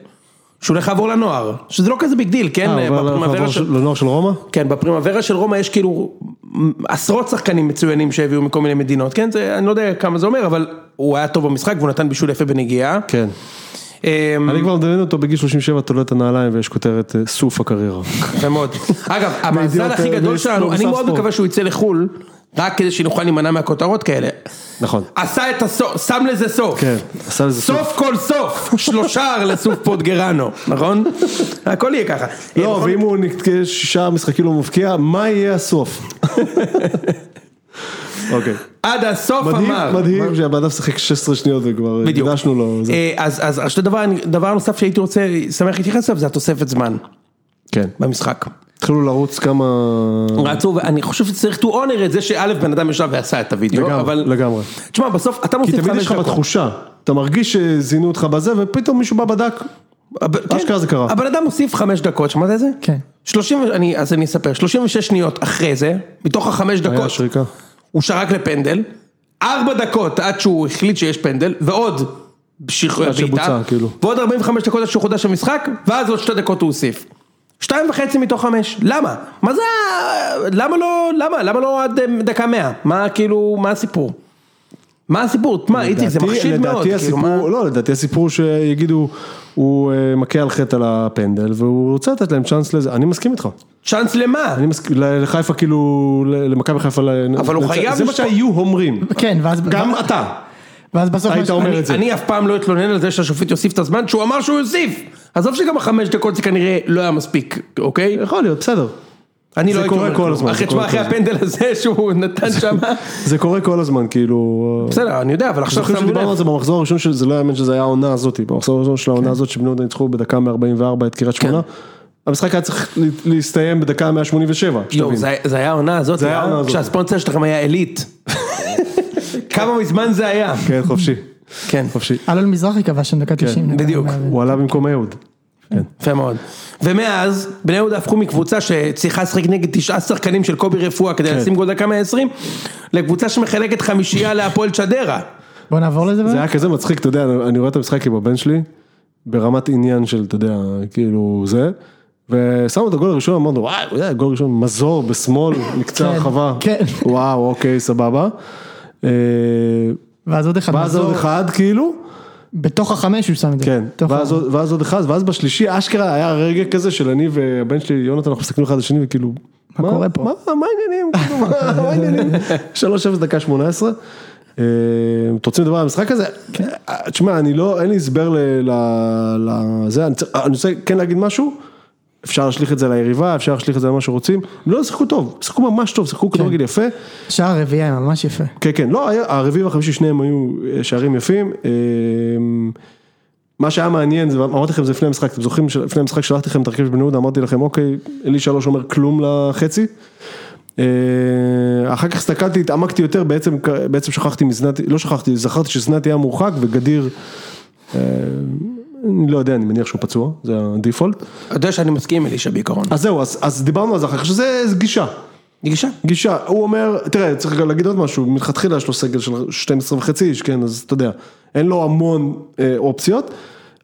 Speaker 1: שהוא הולך לעבור לנוער, שזה לא כזה ביג דיל, כן?
Speaker 2: אה, אבל אנחנו
Speaker 1: בפרימוורה
Speaker 2: נעבור
Speaker 1: של-
Speaker 2: של- לנוער של רומא?
Speaker 1: כן, בפרימוורה של רומא יש כאילו עשרות שחקנים מצוינים שהביאו מכל מיני מדינות, כן? זה, אני לא יודע כמה זה אומר, אבל הוא היה טוב במשחק והוא נתן בישול יפה בנגיעה.
Speaker 2: כן.
Speaker 1: אמ,
Speaker 2: אני כבר מדמיין אותו בגיל 37 תולה את הנעליים ויש כותרת אה, סוף הקריירה.
Speaker 1: יפה מאוד. אגב, המאזן
Speaker 2: בידיעות,
Speaker 1: הכי
Speaker 2: אה,
Speaker 1: גדול
Speaker 2: בידיעות
Speaker 1: שלנו, אני
Speaker 2: במוסף
Speaker 1: מאוד
Speaker 2: ספורט.
Speaker 1: מקווה שהוא יצא לחו"ל, רק כדי שנוכל להימנע מהכותרות כאלה.
Speaker 2: נכון.
Speaker 1: עשה את הסוף, שם לזה סוף.
Speaker 2: כן, עשה לזה סוף.
Speaker 1: סוף כל סוף, שלושה לסוף פוטגרנו, נכון? הכל יהיה ככה. אה,
Speaker 2: לא,
Speaker 1: בכל
Speaker 2: ואם הוא נתקע שישה משחקים לא מבקיע, מה יהיה הסוף? אוקיי.
Speaker 1: עד הסוף
Speaker 2: מדהים,
Speaker 1: אמר.
Speaker 2: מדהים שהבן אדם שיחק 16 שניות וכבר
Speaker 1: בדיוק.
Speaker 2: הקדשנו לו. זה.
Speaker 1: אה, אז אז עכשיו דבר, דבר נוסף שהייתי רוצה, שמח להתייחס אליו, זה התוספת זמן
Speaker 2: כן.
Speaker 1: במשחק.
Speaker 2: התחילו לרוץ כמה...
Speaker 1: רצו, ואני חושב שצריך to honor את זה שא' בן אדם ישב ועשה את הוידאו,
Speaker 2: לגמרי,
Speaker 1: לא, אבל...
Speaker 2: לגמרי.
Speaker 1: תשמע, בסוף אתה
Speaker 2: כי
Speaker 1: מוסיף
Speaker 2: תמיד יש לך בתחושה, אתה מרגיש שזינו אותך בזה ופתאום מישהו בא בדק.
Speaker 1: הב- כן.
Speaker 2: אשכרה זה קרה.
Speaker 1: הבן אדם מוסיף חמש דקות, שמעת את זה?
Speaker 4: כן.
Speaker 1: 30, ו- אני, אז אני אספר, 36 שניות אחרי זה, מתוך החמש
Speaker 2: היה
Speaker 1: דקות,
Speaker 2: שריקה.
Speaker 1: הוא שרק לפנדל, ארבע דקות עד שהוא החליט שיש פנדל, ועוד שח- בעיטה,
Speaker 2: שבוצע, כאילו.
Speaker 1: ועוד 45 דקות עד שהוא חודש המשחק, ואז עוד שתי דקות הוא הוסיף. שתיים וחצי מתוך חמש, למה? מה זה, ה- למה לא, למה, למה לא עד אה, דקה מאה? מה כאילו, מה הסיפור? מה הסיפור? מה, איציק, זה
Speaker 2: לדעתי-
Speaker 1: מחשיד מאוד.
Speaker 2: לדעתי
Speaker 1: כאילו, מה-
Speaker 2: הסיפור, לא, לדעתי הסיפור הוא שיגידו, הוא אה, מכה על חטא על הפנדל והוא רוצה לתת להם צ'אנס לזה, אני מסכים איתך.
Speaker 1: צ'אנס למה?
Speaker 2: אני מסכים, ל- לחיפה כאילו, ל- למכבי חיפה, ל-
Speaker 1: אבל הוא
Speaker 2: לצ-
Speaker 1: חייב
Speaker 2: זה מה
Speaker 1: לשפוט.
Speaker 2: שהיו אומרים.
Speaker 4: כן, ואז,
Speaker 2: גם
Speaker 4: ואז-
Speaker 2: אתה.
Speaker 4: ואז בסוף,
Speaker 2: היית
Speaker 4: מה ש-
Speaker 2: אומר
Speaker 4: אני-
Speaker 2: את זה.
Speaker 1: אני אף פעם לא אתלונן על זה שהשופט יוסיף את הזמן שהוא אמר שהוא יוסיף. עזוב שגם החמש דקות זה כנראה לא היה מספיק, אוקיי?
Speaker 2: יכול להיות, בסדר.
Speaker 1: אני
Speaker 2: זה
Speaker 1: לא הייתי
Speaker 2: קורה
Speaker 1: אומר
Speaker 2: כל
Speaker 1: כלום.
Speaker 2: הזמן,
Speaker 1: אחרי,
Speaker 2: זה קורה
Speaker 1: תשמע, אחרי
Speaker 2: כל הזמן.
Speaker 1: הפנדל הזה שהוא נתן שם,
Speaker 2: זה קורה כל הזמן, כאילו... אה,
Speaker 1: בסדר, אני יודע, אבל עכשיו
Speaker 2: זוכרים
Speaker 1: שמנו
Speaker 2: שדיברנו על
Speaker 1: לב.
Speaker 2: זה במחזור הראשון, שזה לא יאמן שזה היה העונה הזאת, במחזור הראשון
Speaker 1: כן.
Speaker 2: של העונה הזאת שבני יהודה ניצחו בדקה 144 את קריית שמונה. המשחק היה צריך לה- להסתיים בדקה 187,
Speaker 1: יואו,
Speaker 2: שתבין.
Speaker 1: זה זה היה העונה הזאת,
Speaker 2: זה היה
Speaker 1: אה?
Speaker 2: העונה הזאת.
Speaker 1: כשהספונסר שלכם היה עילית. כמה מזמן זה היה.
Speaker 2: כן, חופשי,
Speaker 1: כן,
Speaker 2: חופשי.
Speaker 4: אלון מזרחי כבש שם דקה
Speaker 2: כן,
Speaker 4: 90.
Speaker 1: בדיוק.
Speaker 2: הוא עלה במקום אהוד.
Speaker 1: יפה מאוד. ומאז, בני יהודה הפכו מקבוצה שצריכה לשחק נגד תשעה שחקנים של קובי רפואה כדי לשים גול דקה 120, לקבוצה שמחלקת חמישייה להפועל צ'דרה.
Speaker 4: בוא נעבור לזה.
Speaker 2: זה
Speaker 4: באמת.
Speaker 2: היה כזה מצחיק, אתה יודע, אני רואה את המשחק עם הבן שלי, ברמת עניין של, אתה יודע, כאילו זה, ושמו את הגול הראשון, אמרנו, וואי, הוא יודע, גול ראשון, מזור בשמאל, מקצה
Speaker 4: כן,
Speaker 2: הרחבה,
Speaker 4: כן.
Speaker 2: וואו, אוקיי, סבבה. אה,
Speaker 4: ואז עוד אחד,
Speaker 2: ואז
Speaker 4: מזור,
Speaker 2: עוד אחד, כאילו,
Speaker 4: בתוך החמש הוא שם את זה.
Speaker 2: כן,
Speaker 4: בתוך
Speaker 2: ואז
Speaker 4: ה-
Speaker 2: עוד- ואז עוד אחד, ואז בשלישי, אשכרה היה רגע כזה של אני והבן שלי, יונתן, אנחנו מסתכלים אחד על השני, וכאילו,
Speaker 4: מה קורה פה?"
Speaker 2: מה מה העניינים, כאילו, מה- מה העניינים, 3-0 דקה 18. אה, אתם רוצים לדבר על המשחק הזה?
Speaker 4: כן.
Speaker 2: אה, תשמע, אני לא, אין לי הסבר ל- ל- לזה, אני צריך- אני רוצה כן להגיד משהו, אפשר להשליך את זה ליריבה, אפשר להשליך את זה למה שרוצים, הם לא שיחקו טוב, שיחקו ממש טוב, שיחקו
Speaker 4: כן.
Speaker 2: כדורגל יפה,
Speaker 4: שער רביעי היה ממש יפה.
Speaker 2: כן, כן, לא, היה- הרביעי והחמישי שניהם היו אה, שערים יפים. אה, מה שהיה מעניין, זה- אמרתי לכם את זה לפני המשחק, אתם זוכרים שלפני המשחק שלחתי לכם את הרכב של בני יהודה, אמרתי לכם, אוקיי, אלישע לא שומר כלום לחצי. אה, אחר כך הסתכלתי, התעמקתי יותר, בעצם, בעצם שכחתי מזנתי, לא שכחתי, זכרתי שזנתי היה מורחק וגדיר, אה, אני לא יודע, אני מניח שהוא פצוע, זה הדיפולט.
Speaker 1: אתה יודע שאני מסכים עם אלישע בעיקרון.
Speaker 2: אז זהו, אז, אז דיברנו על זה אחר כך, שזה גישה.
Speaker 1: גישה.
Speaker 2: גישה, הוא אומר, תראה, צריך גם להגיד עוד משהו, מלכתחילה יש לו סגל של 12 וחצי איש, כן, אז אתה יודע, אין לו המון אה, אופציות.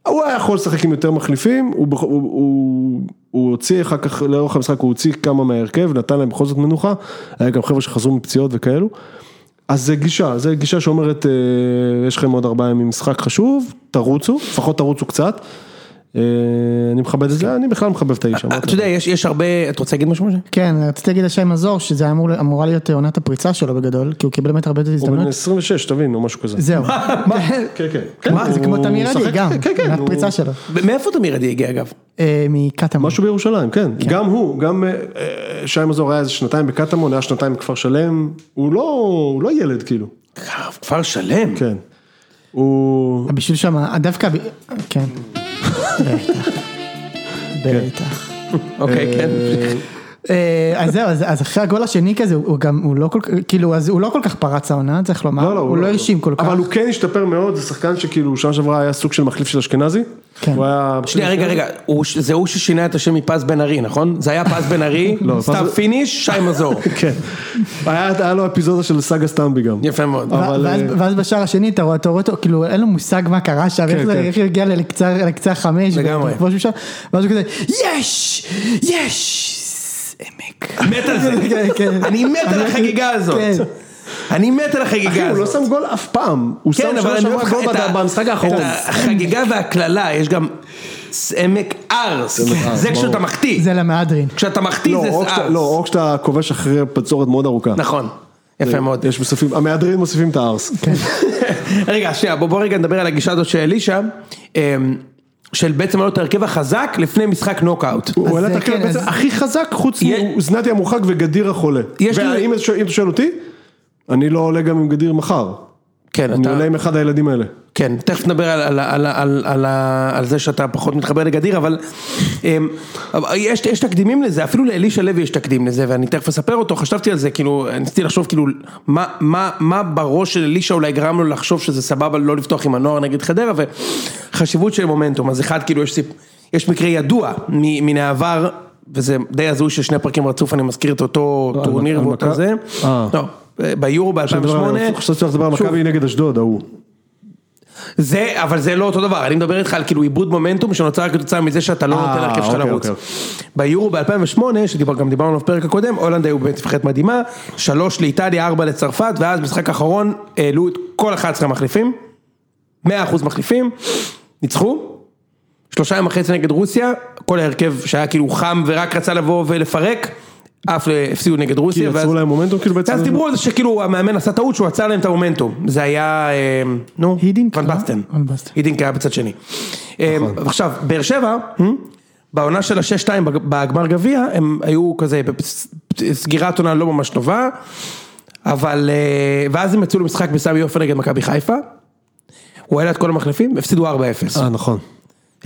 Speaker 2: הוא היה יכול לשחק עם יותר מחליפים, הוא, בכ- הוא, הוא, הוא הוציא אחר כך, לאורך המשחק הוא הוציא כמה מההרכב, נתן להם בכל זאת מנוחה, היה גם חבר'ה שחזרו מפציעות וכאלו. אז זה גישה, זה גישה שאומרת, אה, יש לכם עוד ארבעה ימים משחק חשוב, תרוצו, לפחות תרוצו קצת. אה, אני מכבד את זה, אני בכלל מחבב את האיש. אמרתי.
Speaker 1: אה, אתה יודע, יש יש הרבה, אתה רוצה להגיד משהו משה?
Speaker 4: כן, רציתי להגיד השם מזור, שזה היה אמור- אמורה להיות עונת הפריצה שלו בגדול, כי הוא קיבל באמת הרבה
Speaker 2: הוא בן
Speaker 4: הזדמנויות.
Speaker 2: 26, תבין, או משהו כזה.
Speaker 4: זהו.
Speaker 2: כן, כן. כן,
Speaker 4: מה, זה
Speaker 2: הוא
Speaker 4: כמו תמיר
Speaker 2: משחק-
Speaker 4: עדי גם,
Speaker 2: כן, כן. הוא-
Speaker 4: הפריצה שלו.
Speaker 1: ב- מאיפה תמיר עדי הגיע אגב?
Speaker 4: אה, מקטמון.
Speaker 2: משהו בירושלים, כן. גם הוא, גם אה, אה, שי מזור היה איזה שנתיים בקטמון, היה שנתיים בכפר שלם, הוא לא, הוא לא ילד כאילו,
Speaker 1: כפר שלם.
Speaker 2: כן. הוא...
Speaker 4: הבישול שם, דווקא, הב- כן.
Speaker 2: כן.
Speaker 4: בטח.
Speaker 1: אוקיי, כן.
Speaker 4: אה, אז זהו, אז אז אחרי הגול השני כזה, הוא גם, הוא לא כל כך, כאילו, אז הוא לא כל כך פרץ העונה, צריך לומר, הוא לא הרשים כל כך.
Speaker 2: אבל הוא כן השתפר מאוד, זה שחקן שכאילו, שנה שעברה היה סוג של מחליף של אשכנזי.
Speaker 4: כן.
Speaker 2: הוא היה...
Speaker 1: שנייה, רגע, רגע, הוא ש- זה הוא ששינה את השם מפז בן ארי, נכון? זה היה פז בן ארי,
Speaker 2: לא, פז-
Speaker 1: סתיו פיניש, שי מזור.
Speaker 2: כן. היה היה לו אפיזודה של סאגה סטמבי גם.
Speaker 1: יפה מאוד.
Speaker 4: ו-
Speaker 2: אבל,
Speaker 4: ואז-
Speaker 2: אה,
Speaker 4: ואז בשער השני אתה רואה אתה רואה אותו, כאילו אין לו מושג מה קרה שם, איך
Speaker 2: כן,
Speaker 4: זה-
Speaker 2: כן.
Speaker 4: איך הוא הגיע לקצה לקצה החמש,
Speaker 1: לגמרי.
Speaker 4: וכבוש משם, ואז הוא כזה, יש! יש! עמק.
Speaker 1: מת על
Speaker 4: כן,
Speaker 1: זה.
Speaker 4: כן.
Speaker 1: אני מת על החגיגה הזאת.
Speaker 4: כן.
Speaker 1: אני מת על
Speaker 2: אחי,
Speaker 1: החגיגה
Speaker 2: הוא לא
Speaker 1: הזאת.
Speaker 2: שם גול אף פעם. הוא שם
Speaker 1: כן, אבל
Speaker 2: שנה
Speaker 1: אני
Speaker 2: שעברה
Speaker 1: אומר לך,
Speaker 2: גול
Speaker 1: את ה-
Speaker 2: בד- במשחק האחרון.
Speaker 1: את החגיגה והקללה, יש גם עמק ארס.
Speaker 2: ארס,
Speaker 1: זה כשאתה
Speaker 2: ברור.
Speaker 1: מחטיא.
Speaker 4: זה למהדרין.
Speaker 1: כשאתה מחטיא
Speaker 2: לא,
Speaker 1: זה
Speaker 2: או כשאתה-
Speaker 1: ארס.
Speaker 2: לא, או כשאתה כובש אחרי בצורת מאוד ארוכה.
Speaker 1: נכון. יפה מאוד.
Speaker 2: יש מוסיפים, המהדרין מוסיפים את הארס.
Speaker 1: רגע, שנייה, בוא, בוא רגע נדבר על הגישה הזאת של אלישע, אמ, של בעצם להיות ההרכב החזק לפני משחק נוקאוט.
Speaker 2: הוא העלה את
Speaker 4: אה,
Speaker 2: הרכב
Speaker 4: כן,
Speaker 2: בעצם
Speaker 4: אז-
Speaker 2: הכי חזק חוץ
Speaker 1: יש-
Speaker 2: מזנתי המורחק וגדיר החולה.
Speaker 1: יש לי-
Speaker 2: ואם אתה שואל- אם אתה שואל אותי, אני לא עולה גם עם גדיר מחר.
Speaker 1: כן,
Speaker 2: אני
Speaker 1: אתה...
Speaker 2: עולה עם אחד הילדים האלה.
Speaker 1: כן, תכף נדבר על, על, על, על, על, ה- על זה שאתה פחות מתחבר לגדיר, אבל אמ, אבל יש, יש תקדימים לזה, אפילו לאלישע לוי יש תקדים לזה, ואני תכף אספר אותו, חשבתי על זה, כאילו, ניסיתי לחשוב, כאילו, מה, מה, מה בראש של אלישע אולי גרם לו לחשוב שזה סבבה לא לפתוח עם הנוער נגד חדרה, וחשיבות של מומנטום, אז אחד, כאילו, יש, סיפ... יש מקרה ידוע מ- מן העבר, וזה די הזוי ששני פרקים רצוף, אני מזכיר את אותו
Speaker 2: לא, על
Speaker 1: טורניר ואותו
Speaker 2: מכבי?
Speaker 1: זה,
Speaker 2: אה.
Speaker 1: לא, ביורו ב-2008,
Speaker 2: חשבתי שאתה מדבר על מכבי נגד אשדוד, ההוא.
Speaker 1: כן, זה, אבל זה לא אותו דבר, אני מדבר איתך על כאילו עיבוד מומנטום שנוצר כתוצאה מזה שאתה לא
Speaker 2: אה,
Speaker 1: נותן להרכב שלך
Speaker 2: אוקיי,
Speaker 1: לרוץ.
Speaker 2: אוקיי,
Speaker 1: ביורו ב-2008, שדיבר, גם דיברנו עליו בפרק הקודם, הולנד היו בנבחרת מדהימה, שלוש לאיטליה, ארבע לצרפת, ואז משחק אחרון העלו את כל 11 המחליפים, 100% מחליפים, ניצחו, שלושה ימים וחצי נגד רוסיה, כל ההרכב שהיה כאילו חם ורק רצה לבוא ולפרק, אף לא הפסידו נגד רוסיה,
Speaker 2: כי יצרו
Speaker 1: ואז-
Speaker 2: להם מומנטום כאילו בעצם.
Speaker 1: אז דיברו על זה שכאילו המאמן עשה טעות שהוא עצר להם את המומנטום, זה היה, אה, נו,
Speaker 4: הידינק,
Speaker 1: ון
Speaker 4: לא?
Speaker 1: בסטן,
Speaker 4: ון בסטן.
Speaker 1: הידינק היה בצד שני. אה, עכשיו, באר שבע, אה? בעונה של ה-6-2 בג- בגמר גביע, הם היו כזה בסגירת עונה לא ממש טובה, אבל, אה, ואז הם יצאו למשחק בסמי עופר נגד מכבי חיפה, הוא העלה את כל המחליפים, הפסידו 4-0,
Speaker 2: אה, נכון.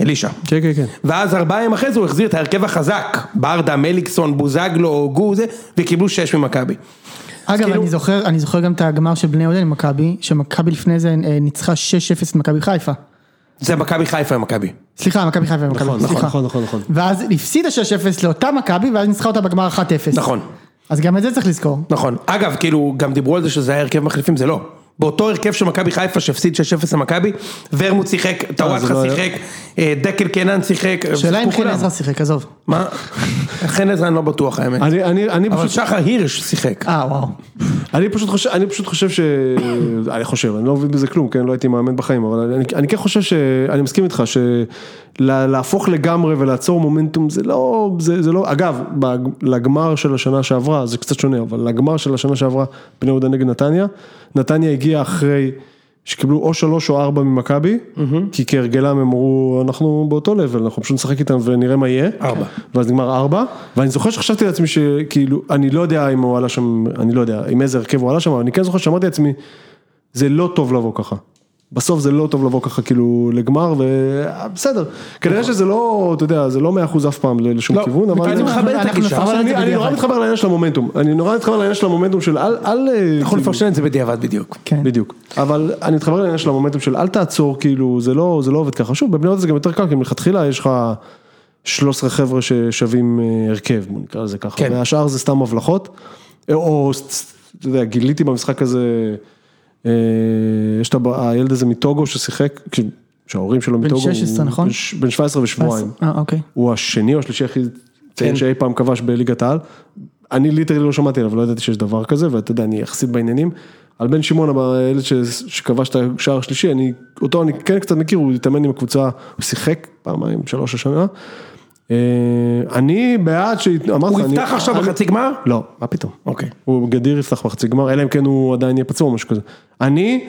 Speaker 1: אלישע.
Speaker 2: כן, כן, כן.
Speaker 1: ואז ארבעה ימים אחרי זה הוא החזיר את ההרכב החזק, ברדה, מליקסון, בוזגלו, גו, זה, וקיבלו שש ממכבי.
Speaker 4: אגב,
Speaker 1: כאילו-
Speaker 4: אני זוכר, אני זוכר גם את הגמר של בני יהודה עם מכבי, שמכבי לפני זה אה, ניצחה 6-0 את מכבי חיפה.
Speaker 1: זה מכבי חיפה עם מכבי.
Speaker 4: סליחה, מכבי חיפה עם מכבי,
Speaker 2: נכון,
Speaker 4: סליחה.
Speaker 2: נכון, נכון, נכון.
Speaker 4: ואז הפסידה 6-0 לאותה מכבי, ואז ניצחה אותה בגמר 1-0.
Speaker 1: נכון.
Speaker 4: אז גם את זה צריך לזכור.
Speaker 1: נכון. אגב, כאילו, גם דיברו על זה שזה היה הרכב מחליפים, זה לא. באותו הרכב של מכבי חיפה שהפסיד 6-0 למכבי, ורמוט שיחק, טוואטחה
Speaker 2: לא היה.
Speaker 1: שיחק, אה, דקל קנן שיחק.
Speaker 4: שאלה אם
Speaker 1: שיחקו
Speaker 4: חן
Speaker 1: כולם.
Speaker 4: עזרא שיחק, עזוב.
Speaker 1: מה? חן עזרא אני לא בטוח האמת.
Speaker 2: אני, אני, אני
Speaker 1: אבל
Speaker 2: פשוט,
Speaker 1: שחר הירש שיחק.
Speaker 4: אה, וואו.
Speaker 2: אני פשוט חושב, אני פשוט חושב ש... אני חושב, אני לא מבין בזה כלום, כן? לא הייתי מאמן בחיים, אבל אני, אני כן חושב ש... אני מסכים איתך, שלהפוך לגמרי ולעצור מומנטום זה לא... זה, זה לא... אגב, בג- לגמר של השנה שעברה, זה קצת שונה, אבל לגמר של השנה שעברה, בני יהודה נגד נתניה, נתניה הגיעה אחרי... שקיבלו או שלוש או ארבע ממכבי, כי כהרגלם הם אמרו, אנחנו באותו לבל, אנחנו פשוט נשחק איתם ונראה מה יהיה.
Speaker 1: ארבע.
Speaker 2: ואז נגמר ארבע, ואני זוכר שחשבתי לעצמי שכאילו, אני לא יודע אם הוא עלה שם, אני לא יודע עם איזה הרכב הוא עלה שם, אבל אני כן זוכר שאמרתי לעצמי, זה לא טוב לבוא ככה. בסוף זה לא טוב לבוא ככה כאילו לגמר, ובסדר. כנראה שזה לא, אתה יודע, זה לא מאה אחוז אף פעם ל- לשום כיוון, אבל...
Speaker 1: אני מכבד את
Speaker 4: אנחנו
Speaker 1: הגישה.
Speaker 4: נפרש
Speaker 2: אבל
Speaker 4: את
Speaker 2: אני,
Speaker 4: זה
Speaker 2: לא- אני נורא
Speaker 4: בדיעבד.
Speaker 2: מתחבר לעניין של המומנטום, אני נורא מתחבר לעניין של המומנטום של אל, אל, אה,
Speaker 1: אנחנו נפרשן את זה בדיעבד בדיוק.
Speaker 4: כן.
Speaker 2: בדיוק. אבל אני מתחבר לעניין של המומנטום של אל תעצור, כאילו, זה לא, זה לא עובד ככה. שוב, בבני יהודה זה גם יותר קל, כי מלכתחילה יש לך 13 חבר'ה ששווים אה, הרכב, בוא נקרא לזה ככה.
Speaker 1: כן.
Speaker 2: והשאר זה סתם הבלחות. אה, או, ס- ס- אתה יודע, גיליתי במשחק הזה, אה, יש את הב- הילד הזה מטוגו ששיחק, כש- שההורים שלו מטוגו, הוא
Speaker 4: 16, נכון?
Speaker 2: בן ש- בן 17 ושבועיים.
Speaker 4: אה, אוקיי.
Speaker 2: הוא השני או השלישי הכי צעיר
Speaker 1: כן.
Speaker 2: שאי פעם כבש בליגת העל. אני ליטרלי לא שמעתי עליו, לא ידעתי שיש דבר כזה, ואתה יודע, אני יחסית בעניינים, על בן שמעון, אבל הילד ש- שכבש את השער השלישי, אני, אותו אני כן קצת מכיר, הוא התאמן עם הקבוצה, הוא שיחק פעמיים, שלוש השנה. אה, אני בעד ש... אמרתי
Speaker 1: הוא
Speaker 2: לך, אני-
Speaker 1: יפתח עכשיו
Speaker 2: אני-
Speaker 1: בחצי גמר?
Speaker 2: לא, מה פתאום.
Speaker 1: אוקיי.
Speaker 2: הוא גדיר יפתח מחצי גמר, אלא אם כן הוא עדיין יהיה פצוע או משהו כזה. אני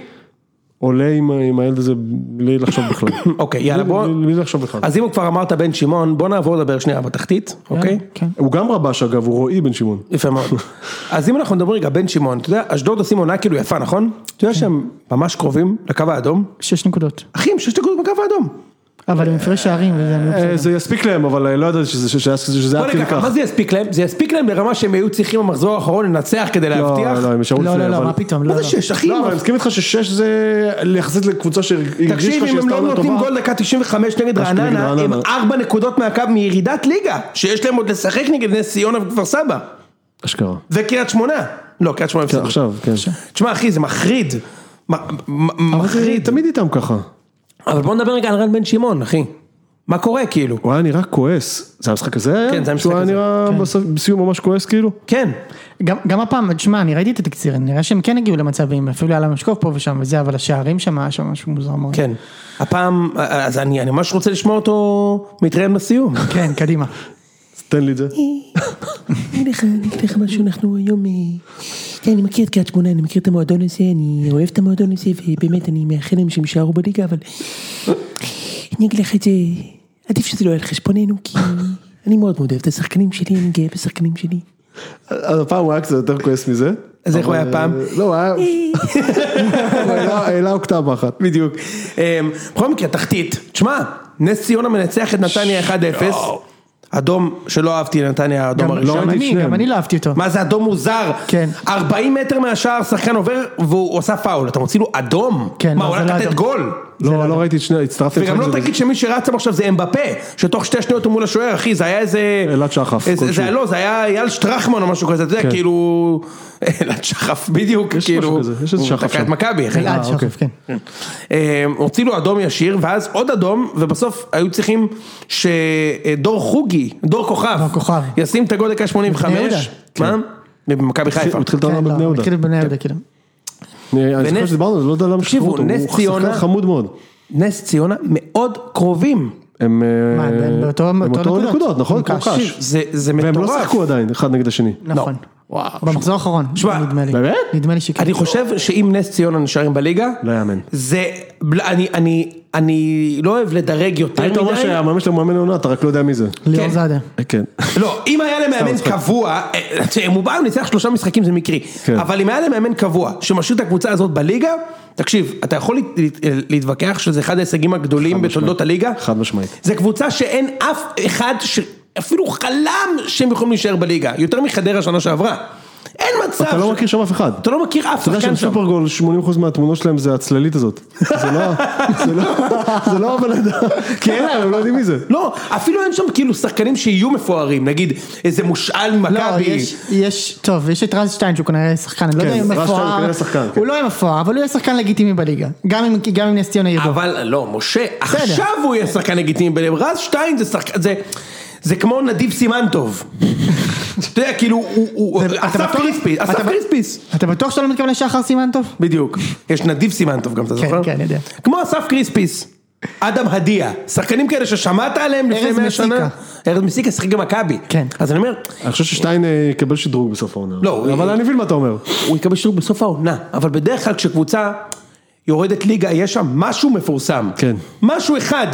Speaker 2: עולה עם, ה- עם הילד הזה בלי לחשוב בכלל.
Speaker 1: אוקיי, יאללה,
Speaker 2: בלי-
Speaker 1: בוא-
Speaker 2: בלי, בלי לחשוב בכלל.
Speaker 1: אז אם הוא כבר אמרת בן שמעון, בוא נעבור לדבר שנייה בתחתית, אוקיי?
Speaker 4: כן.
Speaker 2: הוא גם רבש אגב, הוא רועי בן שמעון.
Speaker 1: יפה מאוד. אז אם אנחנו מדברים רגע בן שמעון, אתה יודע, אשדוד עושים עונה כאילו יפה, נכון? אתה יודע שהם ממש קרובים לקו האדום?
Speaker 4: שש נקודות.
Speaker 1: אחי, הם שש נקודות בקו האדום.
Speaker 4: אבל הם הפרש שערים וזה... הם לא
Speaker 2: אה,
Speaker 4: בסדר.
Speaker 2: זה יספיק להם, אבל אה, לא ידעתי שזה- שזה שזה
Speaker 1: בוא
Speaker 2: עד כדי
Speaker 1: נגיד ככה, מה
Speaker 2: כך.
Speaker 1: זה יספיק להם? זה יספיק להם לרמה שהם היו צריכים במחזור האחרון לנצח כדי להבטיח?
Speaker 2: לא, לא, הם ישארו
Speaker 4: לא,
Speaker 2: לפני,
Speaker 4: לא, לא,
Speaker 2: אבל-
Speaker 4: מה פתאום, לא,
Speaker 1: מה
Speaker 4: לא.
Speaker 1: זה שש, אחי?
Speaker 2: לא, אבל
Speaker 1: מה-
Speaker 2: אני מסכים איתך ששש זה יחסית לקבוצה שהרגיש לך
Speaker 1: תקשיב,
Speaker 2: שהיא
Speaker 1: אם הם
Speaker 2: עשתה
Speaker 1: לא
Speaker 2: עונה
Speaker 1: נותנים
Speaker 2: טובה.
Speaker 1: גול דקה 95 נגד
Speaker 2: אשכרה
Speaker 1: רעננה,
Speaker 2: נגד
Speaker 1: הם
Speaker 2: רעננה.
Speaker 1: ארבע נקודות מהקו מירידת ליגה, שיש להם עוד לשחק נגד נס ציונה וכפר סבא.
Speaker 2: אשכרה.
Speaker 1: וקריית שמונה. לא, קריית שמונה
Speaker 2: כן,
Speaker 1: הפסידו.
Speaker 2: עכשיו, כן.
Speaker 1: תשמע, אחי, זה מחריד. מ- מ-
Speaker 2: אבל זה
Speaker 1: מחריד.
Speaker 2: תמיד איתם ככה.
Speaker 1: אבל בוא נדבר רגע על רן בן שמעון, אחי. מה קורה, כאילו?
Speaker 2: הוא היה נראה כועס. זה המשחק הזה היה?
Speaker 1: כן, זה המשחק הזה.
Speaker 2: שהוא היה נראה בסוף- בסיום ממש כועס כאילו?
Speaker 1: כן.
Speaker 4: גם, גם הפעם, תשמע, אני ראיתי את התקציר, נראה שהם כן הגיעו למצבים, אפילו היה להם משקוף פה ושם וזה, אבל השערים שם היה שם משהו מוזר מאוד.
Speaker 1: כן. הפעם, אז אני אני ממש רוצה לשמוע אותו מתראיין בסיום.
Speaker 4: כן, קדימה.
Speaker 2: אז תן לי את זה.
Speaker 5: אני לך, אני אגיד לך משהו, אנחנו היום, אה, כן, אני מכיר את קריית שמונה, אני מכיר את המועדון הזה, אני אוהב את המועדון הזה, ובאמת, אני מאחל להם שהם יישארו בליגה, אבל אני אגיד לך את זה, עדיף שזה לא יהיה על חשבוננו, כי אני מאוד מאוד אוהב את השחקנים שלי, אני גאה בשחקנים שלי.
Speaker 2: אז הפעם הוא היה קצת יותר כועס מזה.
Speaker 1: אז איך הוא היה
Speaker 2: אבל,
Speaker 1: הפעם?
Speaker 2: אה, לא, הוא היה... הוא העלה- העלה אוקטבה אחת.
Speaker 1: בדיוק. אמ, בכל מקרה, תחתית. תשמע, נס ציונה מנצח את נתניה 1-0. אדום שלא אהבתי לנתניה, האדום
Speaker 4: גם,
Speaker 1: הראשון.
Speaker 4: גם
Speaker 2: ראיתי את
Speaker 4: אני,
Speaker 2: שניהם.
Speaker 4: גם אני לא אהבתי אותו.
Speaker 1: מה זה אדום מוזר?
Speaker 4: כן.
Speaker 1: 40 מטר מהשער שחקן עובר והוא עושה פאול, אתה מוציא לו אדום?
Speaker 4: כן,
Speaker 1: מה,
Speaker 4: לא,
Speaker 1: הוא
Speaker 4: זה
Speaker 1: הולך
Speaker 4: לא
Speaker 1: לתת
Speaker 4: אדום.
Speaker 1: גול?
Speaker 2: לא, לא ראיתי את שני, הצטרפתי.
Speaker 1: וגם
Speaker 2: לחלק
Speaker 1: לא
Speaker 2: הזה.
Speaker 1: תגיד שמי שרץ שם עכשיו זה אמבפה, שתוך שתי שניות הוא מול השוער, אחי, זה היה איזה...
Speaker 2: אלעד שחף,
Speaker 1: איזה-
Speaker 2: כלשהו.
Speaker 1: זה היה לא, זה היה אייל שטרחמן או משהו כזה, אתה יודע,
Speaker 2: כן.
Speaker 1: כאילו... אלעד שחף, בדיוק,
Speaker 2: יש
Speaker 1: כאילו...
Speaker 2: משהו כזה, יש איזה
Speaker 1: הוא
Speaker 2: שחף
Speaker 1: תקע
Speaker 2: שם. אה, אוקיי.
Speaker 1: את מכבי, אחי.
Speaker 4: אלעד שחף, כן.
Speaker 1: אה, הוציא לו אדום ישיר, ואז עוד אדום, ובסוף היו צריכים שדור חוגי, דור כוכב, כן.
Speaker 4: דור כוכב.
Speaker 1: ישים את הגול דקה
Speaker 4: בבני יהודה.
Speaker 1: 85. מה? במכבי חיפה.
Speaker 2: הוא התחיל את
Speaker 4: כן,
Speaker 2: העונה
Speaker 4: לא,
Speaker 2: בבני יהודה. כן.
Speaker 4: התחיל בבני יהודה, כאילו.
Speaker 2: אני אני זוכר
Speaker 1: ונס-
Speaker 2: שדיברנו, על זה, לא יודע למה
Speaker 1: תקשיבו,
Speaker 2: שחררו אותו.
Speaker 1: נס
Speaker 2: הוא
Speaker 1: ציונה-
Speaker 2: שחקן חמוד מאוד.
Speaker 1: נס ציונה מאוד קרובים.
Speaker 2: הם
Speaker 4: מה,
Speaker 2: אה,
Speaker 4: הם באותו-
Speaker 2: הם
Speaker 4: באותו
Speaker 2: אותו
Speaker 4: נקודות?
Speaker 2: נקודות, נכון?
Speaker 4: הם
Speaker 2: כמו
Speaker 4: קש.
Speaker 2: קש.
Speaker 1: זה זה מטורף. לא.
Speaker 2: והם לא שיחקו עדיין אחד נגד השני.
Speaker 4: נכון.
Speaker 1: וואו.
Speaker 4: במחזור האחרון,
Speaker 1: שמע,
Speaker 4: נדמה לי.
Speaker 2: אה, באמת?
Speaker 4: נדמה לי שכן.
Speaker 1: אני חושב שאם נס ציונה נשארים בליגה,
Speaker 2: לא יאמן.
Speaker 1: זה, בל- אני, אני, אני לא אוהב לדרג יותר
Speaker 2: היית
Speaker 1: מדי.
Speaker 2: אומר שהמאמן שלהם הוא מאמן עונה, אתה רק לא יודע מי זה.
Speaker 4: ליאור
Speaker 1: כן.
Speaker 4: זאדה.
Speaker 2: כן.
Speaker 1: לא, אם היה למאמן
Speaker 2: מצחיק.
Speaker 1: קבוע, אה, תראה, אם הוא בא, הוא ניצח שלושה משחקים זה מקרי,
Speaker 2: כן.
Speaker 1: אבל אם היה למאמן קבוע שמשאיר את הקבוצה הזאת בליגה, תקשיב, אתה יכול להת- להת- להתווכח שזה אחד ההישגים הגדולים בתולדות הליגה?
Speaker 2: חד משמעית.
Speaker 1: זה קבוצה שאין אף אחד שאפילו חלם שהם יכולים להישאר בליגה, יותר מחדרה שנה שעברה. אין מצב,
Speaker 2: אתה לא
Speaker 1: ש-
Speaker 2: מכיר שם אף אחד.
Speaker 1: אתה לא מכיר אף
Speaker 2: אתה יודע
Speaker 1: שחקן
Speaker 2: שהם
Speaker 1: שם.
Speaker 2: סופרגול, 80% מהתמונות שלהם זה הצללית הזאת. זה לא, זה לא, זה לא הבן אדם, כי אין להם, הם לא יודעים מי זה.
Speaker 1: לא, אפילו אין שם כאילו שחקנים שיהיו מפוארים, נגיד איזה מושאל
Speaker 4: לא,
Speaker 1: ממכבי.
Speaker 4: יש, יש, טוב, יש את רז שטיין שהוא כנראה שחקן, אני לא יודע
Speaker 2: כן,
Speaker 4: אם
Speaker 2: רז
Speaker 4: הוא
Speaker 2: שטיין הוא
Speaker 4: מפואר,
Speaker 2: כנראה שחקן, כן.
Speaker 4: הוא לא יהיה מפואר, אבל הוא יהיה שחקן לגיטימי בליגה, גם אם, גם אם נס ציונה ירדו.
Speaker 1: אבל לא, משה, עכשיו הוא יהיה שחקן לגיטימי בלב, רז שטיין זה שחקן, זה... זה כמו נדיב סימנטוב. אתה יודע, כאילו, הוא- הוא...
Speaker 4: זה- אתה
Speaker 1: אסף
Speaker 4: בטוח-
Speaker 1: קריספיס, אסף
Speaker 4: אתה-
Speaker 1: קריספיס.
Speaker 2: אה.
Speaker 4: אתה בטוח שאתה לא מתכוון לשחר סימן טוב?
Speaker 1: בדיוק. יש נדיב סימנטוב גם, אתה
Speaker 4: כן,
Speaker 1: זוכר?
Speaker 4: כן, אני יודע.
Speaker 1: כמו אסף קריספיס. אדם הדיה, שחקנים כאלה ששמעת עליהם לפני
Speaker 4: ארז
Speaker 1: 100 שנה.
Speaker 4: מסיקה.
Speaker 1: ארז מסיקה שיחק במכבי.
Speaker 4: כן.
Speaker 1: אז אני אומר,
Speaker 2: אני חושב ששטיין אה, יקבל שדרוג בסוף העונה.
Speaker 1: לא,
Speaker 2: אבל
Speaker 1: אה,
Speaker 2: אני מבין מה אתה אומר.
Speaker 1: הוא יקבל שידור בסוף העונה, אבל בדרך כלל כשקבוצה יורדת ליגה, יש שם משהו מפורסם.
Speaker 2: כן.
Speaker 1: משהו אחד.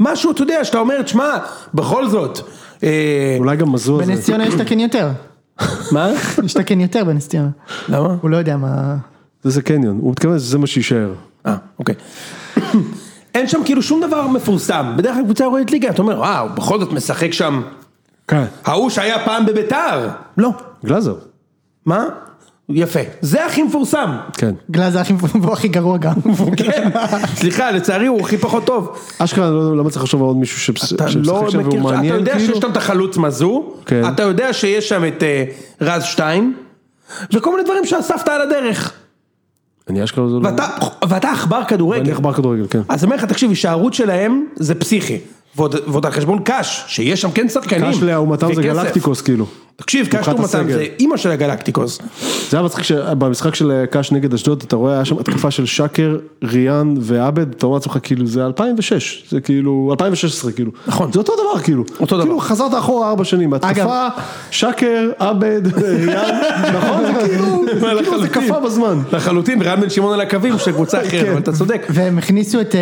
Speaker 1: משהו, אתה יודע, שאתה אומר, תשמע, בכל זאת. אה,
Speaker 2: אולי גם מזו על
Speaker 4: בנס
Speaker 2: זה.
Speaker 4: ציונה יש תקן יותר,
Speaker 1: מה?
Speaker 4: יש תקן יותר בנס ציונה.
Speaker 1: למה?
Speaker 4: הוא לא יודע מה...
Speaker 2: אה, זה זה קניון, הוא מתכוון שזה מה שיישאר.
Speaker 1: אה, אוקיי. אין שם כאילו שום דבר מפורסם. בדרך כלל קבוצה יורדת ליגה, אתה אומר, וואו, בכל זאת משחק שם.
Speaker 2: כן.
Speaker 1: ההוא שהיה פעם בביתר. לא.
Speaker 2: גלאזר.
Speaker 1: מה? יפה. זה הכי מפורסם.
Speaker 2: כן.
Speaker 4: גלאז הכי והוא הכי גרוע גם.
Speaker 1: כן. סליחה, לצערי הוא הכי פחות טוב.
Speaker 2: אשכרה, לא יודע למה צריך לחשוב על עוד מישהו שפס-
Speaker 1: אתה לא
Speaker 2: שמשחק שם
Speaker 1: מכיר,
Speaker 2: והוא
Speaker 1: אתה
Speaker 2: מעניין,
Speaker 1: יודע שיש
Speaker 2: כאילו?
Speaker 1: שם את החלוץ מזו,
Speaker 2: כן.
Speaker 1: אתה יודע שיש שם את אה, רז שטיין, וכל מיני דברים שאספת על הדרך,
Speaker 2: אני אשכרה זה לא...
Speaker 1: ואתה ואתה עכבר
Speaker 2: אני
Speaker 1: כדורגל.
Speaker 2: עכבר כדורגל, כן.
Speaker 1: אז אני אומר לך, תקשיב, הישארות שלהם זה פסיכי, ועוד ועוד על חשבון קאש, שיש שם כן שחקנים.
Speaker 2: קש לעומתם זה
Speaker 1: וכסף.
Speaker 2: גלקטיקוס כאילו.
Speaker 1: תקשיב,
Speaker 2: מבחינת
Speaker 1: קשטום מתן
Speaker 2: הסגל.
Speaker 1: זה אימא של הגלקטיקוס.
Speaker 2: זה היה מצחיק שבמשחק של אה, קאש נגד אשדוד, אתה רואה, היה שם התקפה של שקר, ריאן ועבד, אתה אומר לעצמך, כאילו, זה 2006, זה כאילו, 2016, כאילו.
Speaker 1: נכון.
Speaker 2: זה אותו דבר, כאילו.
Speaker 1: אותו דבר.
Speaker 2: כאילו, חזרת אחורה ארבע שנים, בהתקפה, שקר, עבד, ריאן, נכון? זה כאילו, זה כאילו, זה
Speaker 1: לחלוטין.
Speaker 2: קפא בזמן.
Speaker 1: לחלוטין, ורן בן שמעון על הקווים של קבוצה אחרת,
Speaker 2: כן.
Speaker 1: אבל אתה צודק.
Speaker 4: והם הכניסו את אה,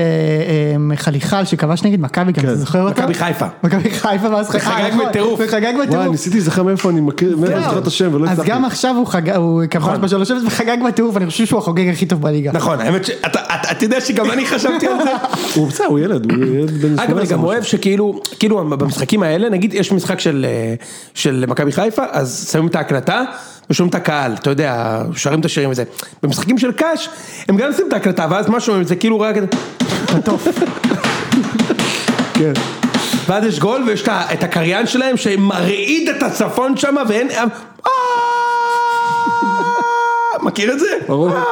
Speaker 4: אה, חליחל שכבש נגד מכבי, גם אתה זוכר אותה?
Speaker 1: מכבי חיפה.
Speaker 4: מכבי חיפה, ואז חגג
Speaker 1: וחגג בטירוף.
Speaker 4: וחגג
Speaker 2: וואי,
Speaker 4: בטירוף.
Speaker 2: ניסיתי להיזכר מאיפה אני מכיר, מאיפה אני זוכר את השם ולא
Speaker 4: אז
Speaker 2: הצלחתי.
Speaker 4: גם עכשיו הוא חגג, הוא כבש בשלוש אפס וחגג בטירוף, אני חושב שהוא החוגג הכי טוב בליגה.
Speaker 1: נכון, האמת שאתה אתה- אתה יודע שגם אני חשבתי על זה.
Speaker 2: הוא בסדר, הוא ילד, הוא ילד בן 18.
Speaker 1: אגב, אני גם
Speaker 2: משהו.
Speaker 1: אוהב שכאילו, כאילו במשחקים האלה, נגיד יש משחק של, אה, של מכבי חיפה, אז שמים את ההקלטה ושומעים את הקהל, אתה יודע, שרים את השירים וזה. במשחקים של קאש, הם גם שמים את ההקלטה, ואז מה שומעים זה כאילו רק...
Speaker 2: כן.
Speaker 1: ואז יש גול ויש את ה- את הקריין שלהם שמרעיד את הצפון שם ואין... אה, מכיר את זה?
Speaker 2: ברור.
Speaker 1: אה,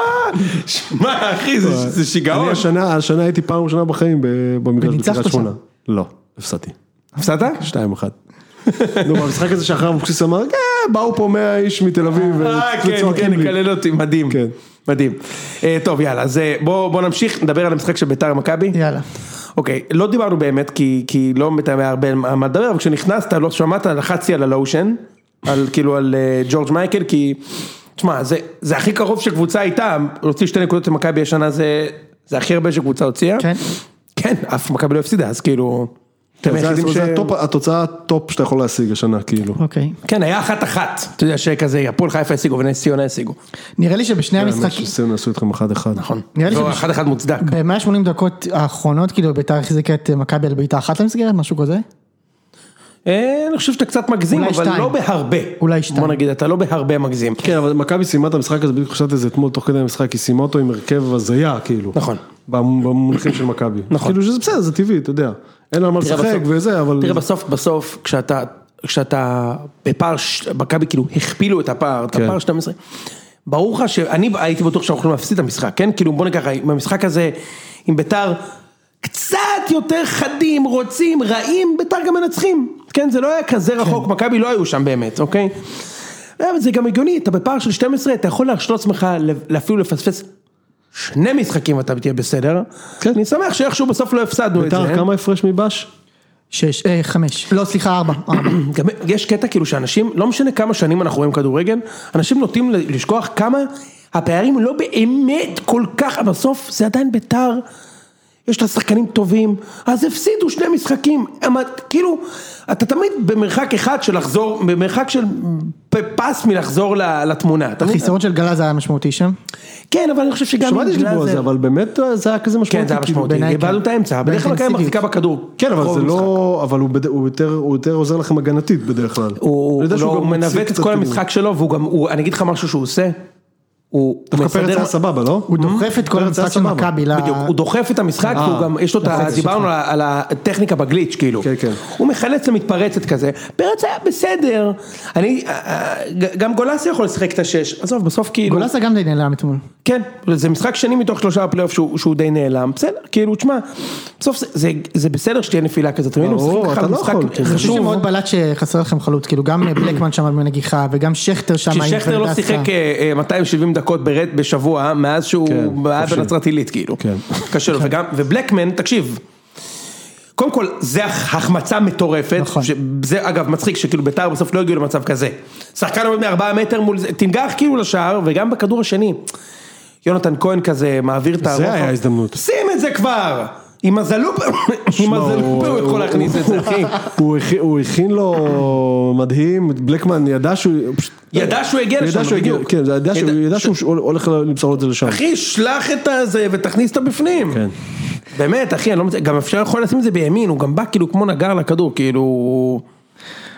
Speaker 1: שמע אחי זה- זה שיגעון.
Speaker 2: אני השנה, השנה הייתי פעם ראשונה בחיים ב- במגרש
Speaker 4: וניצחת
Speaker 2: בקריית
Speaker 4: שם.
Speaker 2: שמונה. לא, הפסדתי.
Speaker 1: הפסדת?
Speaker 2: 2-1. נו, במשחק הזה שאחריו אבוקסיס אמר, "אה, באו פה 100 איש מתל אביב
Speaker 1: אה, כן,
Speaker 2: וצועקים
Speaker 1: כן,
Speaker 2: לי.
Speaker 1: מקלל אותי, מדהים.
Speaker 2: כן.
Speaker 1: מדהים. אה, טוב, יאללה, אז אה, בוא בוא נמשיך, נדבר על המשחק של ביתר מכבי.
Speaker 4: יאללה.
Speaker 1: אוקיי, לא דיברנו באמת, כי כי לא באמת היה הרבה על מה מה לדבר, אבל כשנכנסת, לא שמעת, לחצתי על הלושן, על כאילו על אה, ג'ורג' מייקל, כי, תשמע, זה- זה הכי קרוב שקבוצה הייתה, להוציא שתי נקודות למכבי השנה, זה זה הכי הרבה שקבוצה הוציאה.
Speaker 4: כן.
Speaker 1: כן, אף מכבי לא הפסידה, אז כאילו... אתם
Speaker 2: כן, זה
Speaker 1: היחידים
Speaker 2: ה-
Speaker 1: ש-
Speaker 2: זה הטופ- התוצאה הטופ שאתה יכול להשיג השנה, כאילו.
Speaker 4: אוקיי.
Speaker 1: כן, היה אחת אחת, אתה יודע שכזה, הפועל חיפה השיגו ונס ציונה השיגו.
Speaker 4: נראה לי שבשני המשחקים,
Speaker 2: המשחקים. עשו איתכם אחד אחד. נכון.
Speaker 4: נראה לי
Speaker 1: לא,
Speaker 4: שבש-
Speaker 1: אחד אחד מוצדק.
Speaker 4: ב-180 דקות האחרונות, כאילו, ביתר החזיקה את אה, מכבי על בעיטה אחת למסגרת, משהו כזה?
Speaker 1: אה, אני חושב שאתה קצת מגזים,
Speaker 4: אולי
Speaker 1: אבל
Speaker 4: שתיים.
Speaker 1: לא בהרבה.
Speaker 4: אולי שתיים.
Speaker 1: בוא נגיד, אתה לא בהרבה מגזים.
Speaker 2: כן, אבל מכבי סיימה את המשחק הזה, בדיוק חשבתי על זה אתמול תוך כדי המשחק, היא סיימה אותו עם הרכב הזיה, כאילו.
Speaker 1: נכון.
Speaker 2: במ- במונחים של מכבי.
Speaker 1: נכון.
Speaker 2: כאילו שזה בסדר, זה טבעי, אתה יודע. אין על מה
Speaker 1: תראה
Speaker 2: לשחק
Speaker 1: בסוף-
Speaker 2: וזה, אבל...
Speaker 1: תראה, בסוף, בסוף, כשאתה, כשאתה בפער, ש- מכבי כאילו הכפילו את הפער, את
Speaker 2: כן.
Speaker 1: הפער 12. ברור לך שאני הייתי בטוח שאנחנו יכולים להפסיד את המשחק, כן? כאילו בוא ניקח, עם המשחק הזה, עם ביתר, קצת יותר חדים, רוצים, רעים, ביתר גם מנצחים. כן, זה לא היה כזה רחוק, מכבי לא היו שם באמת, אוקיי? לא, אבל זה גם הגיוני, אתה בפער של 12, אתה יכול להרשות לעצמך ל- אפילו לפספס שני משחקים ואתה תהיה בסדר.
Speaker 2: כן.
Speaker 1: אני שמח שאיכשהו בסוף לא הפסדנו את זה.
Speaker 2: ביתר, כמה הפרש מבש?
Speaker 4: שש, אה, חמש. לא, סליחה, ארבע. ארבע.
Speaker 1: גם יש קטע כאילו שאנשים, לא משנה כמה שנים אנחנו רואים כדורגל, אנשים נוטים ל- לשכוח כמה הפערים לא באמת כל כך, אבל בסוף זה עדיין ביתר, יש לה שחקנים טובים, אז הפסידו שני משחקים, אבל כאילו, אתה תמיד במרחק אחד של לחזור, במרחק של פ- פס מלחזור ל- לתמונה, אתה מבין?
Speaker 4: החיסרון של גלאז היה משמעותי שם.
Speaker 1: כן, אבל אני חושב שגם...
Speaker 2: שמעתי
Speaker 1: בגלל
Speaker 2: שדיברו על
Speaker 1: זה-
Speaker 2: זה, אבל באמת זה היה כזה משמעותי.
Speaker 1: כן, זה היה
Speaker 2: כאילו.
Speaker 1: משמעותי,
Speaker 4: בעיניי
Speaker 1: איבדנו
Speaker 4: כן.
Speaker 1: את האמצע, בדרך כלל מכבי
Speaker 4: באינטנסיביות.
Speaker 1: מחזיקה בכדור.
Speaker 2: כן, אבל
Speaker 1: רוב
Speaker 2: זה
Speaker 1: המשחק.
Speaker 2: לא, אבל הוא בד- הוא יותר- הוא יותר עוזר לכם הגנתית בדרך כלל.
Speaker 1: הוא,
Speaker 2: אני
Speaker 1: הוא,
Speaker 2: יודע
Speaker 1: לא,
Speaker 2: שהוא
Speaker 1: הוא
Speaker 2: גם מוציא
Speaker 1: מנווט את
Speaker 2: קצת כאילו.
Speaker 1: כל
Speaker 2: כיוון.
Speaker 1: המשחק שלו, והוא גם, הוא, אני אגיד לך משהו שהוא עושה, הוא, הוא
Speaker 2: דווקא פרץ היה סבבה, לא?
Speaker 4: הוא דוחף את כל
Speaker 2: פרץ
Speaker 4: המשחק
Speaker 2: היה
Speaker 4: של
Speaker 2: סבבה.
Speaker 4: מכבי. ל-
Speaker 1: בדיוק, הוא דוחף את המשחק,
Speaker 2: אה,
Speaker 1: והוא גם, יש לו את ה...
Speaker 4: יפה,
Speaker 1: דיברנו על ה- על הטכניקה בגליץ', כאילו.
Speaker 2: כן, כן.
Speaker 1: הוא מחלץ למתפרצת כזה, פרץ היה בסדר, אני, אה, אה, ג- גם גולסי יכול לשחק את השש, עזוב, בסוף כאילו,
Speaker 4: גולסה גם די נעלם אתמול.
Speaker 1: כן, זה משחק שני מתוך שלושה בפלייאוף שהוא שהוא די נעלם, בסדר, כאילו, תשמע, בסוף זה- זה- זה בסדר שתהיה נפילה כזאת, אתה מבין? הוא
Speaker 2: ברור,
Speaker 1: משחק
Speaker 2: אתה
Speaker 1: לך
Speaker 2: לא
Speaker 1: משחק
Speaker 2: יכול, כן.
Speaker 4: אני חושב
Speaker 1: חשוב.
Speaker 4: שמאוד בלט שחסר לכם חלוץ, כאילו גם אה, בלקמן שם בנגיחה, וגם שכטר שם. עם
Speaker 1: ששכטר לא
Speaker 4: ורדסה.
Speaker 1: שיחק אה, אה, 270 דקות ברד בשבוע מאז שהוא
Speaker 2: כן,
Speaker 1: היה
Speaker 2: קשה.
Speaker 1: בנצרת עילית כאילו.
Speaker 2: כן.
Speaker 1: קשה לו, וגם, ובלקמן, תקשיב. קודם כל, זה הח- החמצה מטורפת,
Speaker 4: נכון.
Speaker 1: ש- זה אגב מצחיק שכאילו בית"ר בסוף לא הגיעו למצב כזה. שחקן עומד מארבעה מטר מול זה, תנגח כאילו לשער, וגם בכדור השני. יונתן כהן כזה מעביר את הרוחב.
Speaker 2: היה הזדמנות.
Speaker 1: שים את זה כבר! עם הזלופה, עם
Speaker 2: שמע,
Speaker 1: הזלופה הוא יכול להכניס את זה, אחי.
Speaker 2: הוא הכי- הוא הכין לו מדהים, בלקמן ידע שהוא... הוא פשוט-
Speaker 1: ידע שהוא יגיע
Speaker 2: הוא ידע
Speaker 1: לשם,
Speaker 2: שהוא יגיע-
Speaker 1: בדיוק.
Speaker 2: כן, זה ידע
Speaker 1: ידע-
Speaker 2: שהוא- ידע שהוא הולך למסור את זה לשם.
Speaker 1: אחי, שלח את הזה ותכניס אותה בפנים.
Speaker 2: כן.
Speaker 1: באמת, אחי, אני לא מצליח, גם אפשר יכול לשים את זה בימין, הוא גם בא כאילו כמו נגר לכדור, כאילו... הוא-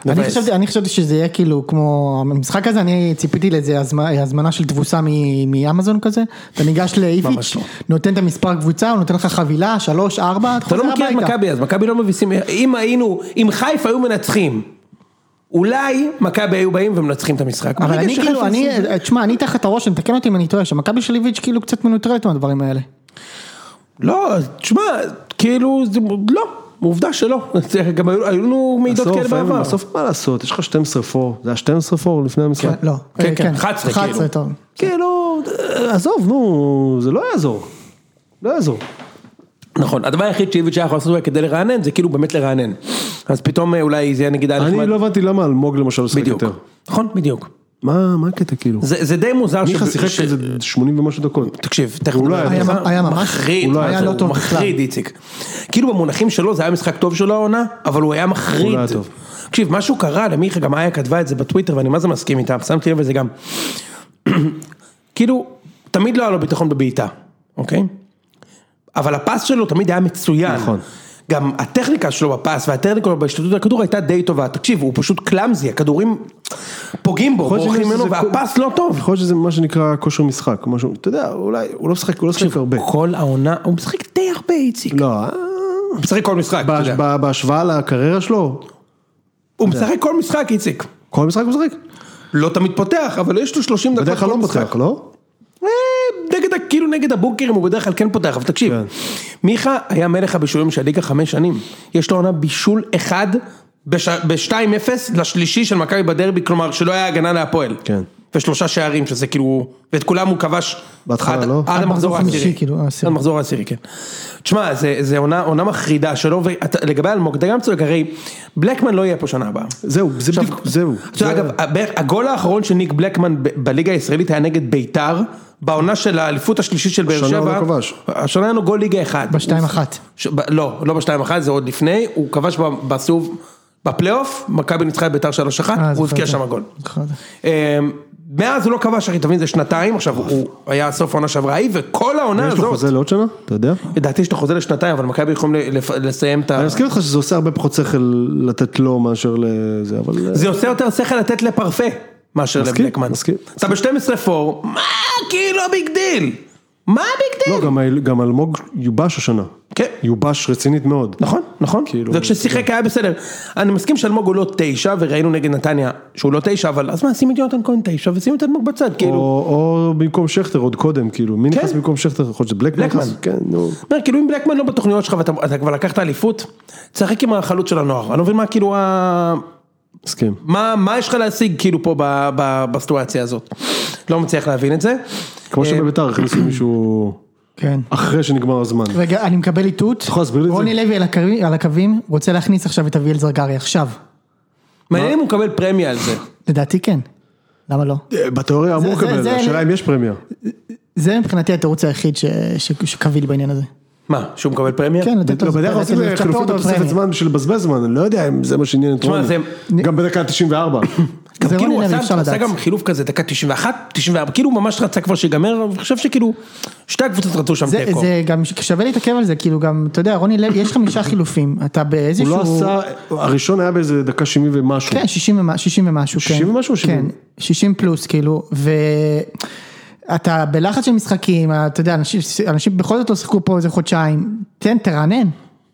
Speaker 4: אני
Speaker 1: מבאס.
Speaker 4: חשבתי, אני חשבתי שזה יהיה כאילו כמו, המשחק הזה, אני ציפיתי לאיזה הזמ- הזמנה של תבוסה מ- מאמזון כזה, אתה ניגש לאיביץ',
Speaker 1: לא.
Speaker 4: נותן את המספר קבוצה, הוא נותן לך חבילה, שלוש, ארבע, אתה
Speaker 1: אתה
Speaker 4: חוזר
Speaker 1: לא מכיר את
Speaker 4: הביתה.
Speaker 1: מכבי, אז מכבי לא מביסים, אם היינו, אם חיפה היו מנצחים, אולי מכבי היו באים ומנצחים את המשחק.
Speaker 4: אבל
Speaker 1: ברגע
Speaker 4: אני
Speaker 1: שחיפה
Speaker 4: כאילו, אני,
Speaker 1: עשו את זה-
Speaker 4: תשמע, אני תחת הרושם, תקן אותי אם אני טועה, שמכבי של איביץ' כאילו קצת מנוטרלת מהדברים האלה.
Speaker 1: לא, תשמע, כאילו, זה- לא. עובדה שלא, זה גם היו היו לנו מעידות
Speaker 2: בסוף,
Speaker 1: כאלה
Speaker 2: אין-
Speaker 1: בעבר.
Speaker 2: בסוף מה לעשות, יש לך 12 פור, זה היה 12 פור לפני המשחק?
Speaker 4: לא.
Speaker 1: כן,
Speaker 4: אה,
Speaker 1: כן, 11, כאילו.
Speaker 4: 11 טוב.
Speaker 2: כאילו, אה, עזוב, נו, זה לא יעזור. לא יעזור.
Speaker 1: נכון, הדבר היחיד שאיביץ' היה יכול לעשות אולי כדי לרענן, זה כאילו באמת לרענן. אז פתאום אה, אולי זה היה נגיד היה נחמד.
Speaker 2: אני לא הבנתי למה אלמוג למשל משחק
Speaker 1: בדיוק.
Speaker 2: יותר.
Speaker 1: נכון, בדיוק.
Speaker 2: מה מה הקטע כאילו?
Speaker 1: זה זה די מוזר.
Speaker 2: מיכה
Speaker 1: שב-
Speaker 2: שיחק
Speaker 1: ש-
Speaker 2: איזה 80 ומשהו דקות.
Speaker 1: תקשיב, תכף
Speaker 2: הוא לא
Speaker 1: נדבר
Speaker 2: היה
Speaker 1: על
Speaker 2: טוב.
Speaker 1: זה.
Speaker 4: היה- היה ממש-
Speaker 1: מחריד,
Speaker 2: הוא לא היה
Speaker 1: היה
Speaker 2: טוב.
Speaker 1: לא טוב
Speaker 4: הוא בכלל.
Speaker 1: מחריד איציק. כאילו במונחים שלו זה היה משחק טוב שלו העונה, אבל הוא היה מחריד.
Speaker 2: הוא לא היה טוב.
Speaker 1: תקשיב, משהו קרה למיכה, גם איה כתבה את זה בטוויטר ואני מה זה מסכים איתה, שמתי לב לזה גם. כאילו, תמיד לא היה לו ביטחון בבעיטה, אוקיי? אבל הפס שלו תמיד היה מצוין.
Speaker 2: נכון.
Speaker 1: גם הטכניקה שלו בפס והטכניקה שלו בהשתתפות הכדור הייתה די טובה. תקשיב, הוא פשוט קלאמזי, הכדורים פוגעים בו,
Speaker 2: יכול להיות
Speaker 1: בורחים
Speaker 2: שזה-
Speaker 1: ממנו,
Speaker 2: זה-
Speaker 1: והפס לא טוב.
Speaker 2: יכול להיות שזה מה שנקרא כושר משחק, משהו, אתה יודע, אולי, הוא לא משחק, הוא לא משחק הרבה.
Speaker 1: כל העונה, הוא משחק די הרבה איציק.
Speaker 2: לא, אה,
Speaker 1: הוא משחק כל משחק, אתה יודע.
Speaker 2: בה- בה- בהשוואה לקריירה שלו,
Speaker 1: הוא משחק כל משחק איציק.
Speaker 2: כל משחק הוא משחק.
Speaker 1: לא תמיד פותח, אבל יש לו 30 דקות
Speaker 2: בדרך כלל
Speaker 1: כל
Speaker 2: לא
Speaker 1: משחק.
Speaker 2: פותח, לא?
Speaker 1: אה, נגד, ה- כאילו נגד הבוקרים הוא בדרך כלל כן פותח, אבל תקשיב,
Speaker 2: כן.
Speaker 1: מיכה היה מלך הבישולים של הליגה חמש שנים, יש לו עונה בישול אחד ב-2-0 לשלישי של מכבי בדרבי, כלומר שלא היה הגנה להפועל.
Speaker 2: כן.
Speaker 1: ושלושה שערים שזה כאילו, ואת כולם הוא כבש.
Speaker 2: בהתחלה,
Speaker 1: עד-
Speaker 2: לא?
Speaker 1: עד
Speaker 4: עד
Speaker 1: המחזור
Speaker 4: מחזור אה, חמישי,
Speaker 1: העשירי.
Speaker 4: כאילו, העשירי.
Speaker 1: עד המחזור העשירי, כן. תשמע, זה- זה עונה עונה מחרידה שלו, ולגבי אלמוג, אתה גם צודק, הרי בלקמן לא יהיה פה שנה הבאה.
Speaker 2: זהו, זה
Speaker 1: עכשיו,
Speaker 2: בדיוק, זהו.
Speaker 1: אתה יודע, אגב, הבערך- הגול האחרון של ניק בלקמן ב- בליגה הישראלית היה נגד ביתר, בעונה של האליפות השלישית של באר שבע.
Speaker 2: השנה הוא לא כבש.
Speaker 1: השנה היה לו גול ליגה אחד.
Speaker 4: בשתיים אחת.
Speaker 1: ש- ב- לא, לא בשתיים אחת, זה עוד לפני, הוא כבש ב- בסיבוב, בפלייאוף, מכבי ניצחה את ביתר שלוש אחת,
Speaker 4: אה,
Speaker 1: הוא
Speaker 4: זוכר
Speaker 1: הבקיע
Speaker 4: את זה.
Speaker 1: שם גול.
Speaker 4: זוכר את זה.
Speaker 1: אמ, מאז הוא לא כבש, אחי, תבין, זה שנתיים, עכשיו הוא היה סוף העונה שעברה ההיא, וכל העונה
Speaker 2: יש לו
Speaker 1: הזאת,
Speaker 2: חוזה לעוד שנה? אתה יודע?
Speaker 1: לדעתי יש לו חוזה לשנתיים, אבל מכבי יכולים ל- לפ- לסיים את ה...
Speaker 2: אני מסכים איתך שזה עושה הרבה פחות שכל לתת לו מאשר לזה, אבל... אה,
Speaker 1: זה עושה יותר שכל לתת לפרפה מאשר
Speaker 2: מסכים,
Speaker 1: לבלקמן.
Speaker 2: מסכים.
Speaker 1: אתה ב-12 פור, מה כאילו הביג דיל? מה הביג דיל?
Speaker 2: לא, גם האל- גם אלמוג יובש השנה.
Speaker 1: כן.
Speaker 2: יובש רצינית מאוד.
Speaker 1: נכון, נכון,
Speaker 2: כאילו-
Speaker 1: וכששיחק היה בסדר. אני מסכים שאלמוג הוא לא תשע, וראינו נגד נתניה שהוא לא תשע, אבל אז מה, שים את יונתן כהן תשע ושים את אלמוג בצד,
Speaker 2: או,
Speaker 1: כאילו.
Speaker 2: או במקום שכטר עוד קודם, כאילו, מי נכנס
Speaker 1: כן.
Speaker 2: במקום שכטר? יכול להיות שבלקמן
Speaker 1: בלקמן.
Speaker 2: נכנס? כן, נו.
Speaker 1: אומר, כאילו אם בלקמן לא בתוכניות שלך ואתה אתה כבר לקחת אליפות, תשחק עם החלוץ של הנוער. אני לא מבין מה כאילו ה...
Speaker 2: מסכים.
Speaker 1: מה, מה יש לך להשיג כאילו פה ב, ב, בסיטואציה הזאת? לא מצליח להבין את זה.
Speaker 2: כמו
Speaker 1: אה,
Speaker 2: שבביתר הכניסו מישהו
Speaker 4: כן.
Speaker 2: אחרי שנגמר הזמן.
Speaker 4: רגע, אני מקבל איתות.
Speaker 2: יכול להסביר לי את זה?
Speaker 4: רוני לוי על הקווי- על הקווים רוצה להכניס עכשיו את אביאל זרגרי, עכשיו.
Speaker 1: מעניין אם הוא מקבל פרמיה על זה.
Speaker 4: לדעתי כן. למה לא?
Speaker 2: אה, בתיאוריה אמור
Speaker 4: זה-
Speaker 2: לקבל,
Speaker 4: זה-
Speaker 2: השאלה אם יש פרמיה.
Speaker 4: זה מבחינתי התירוץ היחיד ש- ש- שקביל בעניין הזה.
Speaker 1: מה, שהוא מקבל פרמיה?
Speaker 4: כן, לתת
Speaker 2: לא,
Speaker 4: לו...
Speaker 2: בדרך כלל עושים
Speaker 4: לצ'פר
Speaker 2: חילופים
Speaker 4: אותו
Speaker 2: בתוספת
Speaker 4: בפרמיה.
Speaker 2: זמן בשביל לבזבז זמן, אני לא יודע אם זה מה שעניין את
Speaker 1: תשמע,
Speaker 2: רוני.
Speaker 1: זה-
Speaker 2: גם בדקה 94.
Speaker 1: גם
Speaker 4: זה
Speaker 1: כאילו
Speaker 4: רוני
Speaker 1: הוא
Speaker 4: לוי,
Speaker 1: עשה,
Speaker 4: אפשר
Speaker 1: עשה
Speaker 4: לדעת.
Speaker 1: גם חילוף כזה, דקה 91, 94, כאילו הוא ממש רצה כבר שיגמר, אני חושב שכאילו, שתי הקבוצות רצו שם
Speaker 4: זה,
Speaker 1: תיקו.
Speaker 4: זה גם שווה להתעכב על זה, כאילו גם, אתה יודע, רוני לוי, יש חמישה חילופים, אתה
Speaker 2: הוא
Speaker 4: באיזשהו...
Speaker 2: לא עשה, הראשון היה באיזה דקה 70 ומשהו.
Speaker 4: כן, 60 ומה- 60 ומשהו, כן.
Speaker 2: 60 ומשהו או 70?
Speaker 4: כן, 60 פלוס, כאילו, ואתה בלחץ של משחקים, אתה יודע, אנשים, אנשים בכל זאת לא שיחקו פה איזה חודשיים, תן, תרענן.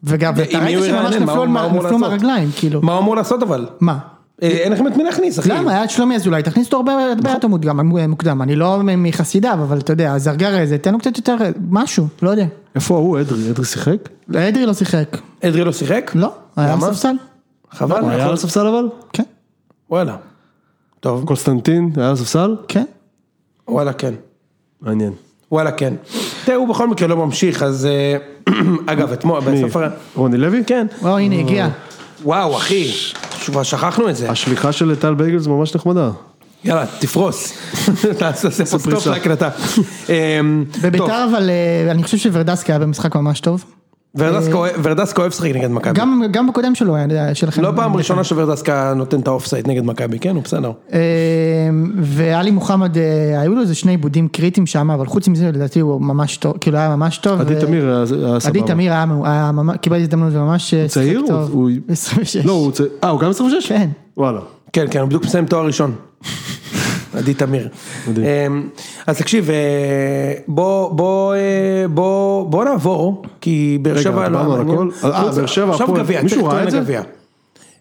Speaker 4: וגם,
Speaker 1: ואם
Speaker 4: ואתה
Speaker 1: הוא
Speaker 4: ראית
Speaker 1: ירענן,
Speaker 4: שממש
Speaker 1: מה הוא-
Speaker 4: נפלו על-
Speaker 1: מה הוא אמור
Speaker 4: נפלו
Speaker 1: לעשות?
Speaker 4: מהרגליים, כאילו.
Speaker 1: מה הוא אמור לעשות אבל?
Speaker 4: מה?
Speaker 1: אה, אין לכם את מי להכניס, אחי.
Speaker 4: למה? היה את שלומי אזולאי, תכניס אותו הרבה
Speaker 1: נכון.
Speaker 4: הרבה יותר מוקדם, מוקדם, אני לא מחסידיו, אבל אתה יודע, זרגרי זה, תן לו קצת יותר, משהו, לא יודע.
Speaker 2: איפה ההוא, אדרי? אדרי שיחק?
Speaker 4: אדרי לא שיחק.
Speaker 1: אדרי לא שיחק?
Speaker 4: לא, היה על
Speaker 1: למה?
Speaker 4: ספסל.
Speaker 1: חבל,
Speaker 2: הוא היה על
Speaker 1: יכול-
Speaker 2: הספסל אבל?
Speaker 4: כן,
Speaker 1: וואלה. טוב,
Speaker 2: קונסטנטין היה על הספסל?
Speaker 4: כן.
Speaker 1: וואלה כן.
Speaker 2: מעניין.
Speaker 1: וואלה כן. תראה, הוא בכל מקרה לא ממשיך, אז אה, אגב, אתמול,
Speaker 2: מי?
Speaker 1: בסוף ה...
Speaker 2: רוני לוי?
Speaker 1: כן.
Speaker 4: וואו, הנה, הגיע.
Speaker 1: וואו, אחי, כבר שכחנו את זה.
Speaker 2: השליחה של טל בייגלס ממש נחמדה.
Speaker 1: יאללה, תפרוס. תעשה תעשה פה סטופ
Speaker 2: פריסה.
Speaker 1: להקלטה. אמ, טוב,
Speaker 4: בביתר, אבל אה, אני חושב שוורדסקי היה במשחק ממש טוב.
Speaker 1: ורדסקה אוהב- ורדסקה אוהב לשחק נגד מכבי.
Speaker 4: גם,
Speaker 2: כן.
Speaker 4: גם בקודם שלו היה שלכם.
Speaker 1: לא פעם ראשונה שוורדסקה נותן את האופסייד נגד מכבי, כן, הוא בסדר.
Speaker 4: אה, ואלי מוחמד, אה, היו לו איזה שני עיבודים קריטיים שם, אבל חוץ מזה לדעתי הוא ממש טוב, כאילו היה ממש טוב.
Speaker 2: עדי
Speaker 4: ו-
Speaker 2: תמיר היה היה סבבה.
Speaker 4: עדי תמיר היה, מעו- היה ממש- קיבל הזדמנות וממש אה, שיחק
Speaker 2: צעיר?
Speaker 4: טוב.
Speaker 2: הוא-
Speaker 4: 26.
Speaker 2: לא, הוא צעיר. אה, הוא גם 26?
Speaker 4: כן.
Speaker 2: וואלה.
Speaker 1: כן, כן, הוא בדיוק מסיים תואר ראשון. עדי תמיר.
Speaker 2: מדהים.
Speaker 1: אמ, אז תקשיב, אה, בוא, בוא, אה, בוא, בוא נעבור, כי באר
Speaker 2: רגע,
Speaker 1: שבע
Speaker 2: דיברנו על
Speaker 1: מעניין.
Speaker 2: הכל? אה, באר שבע,
Speaker 1: עכשיו
Speaker 2: הפועל.
Speaker 1: גביע,
Speaker 2: מישהו
Speaker 1: תכף
Speaker 2: ראה את
Speaker 1: טוען
Speaker 2: זה?
Speaker 1: לגביע.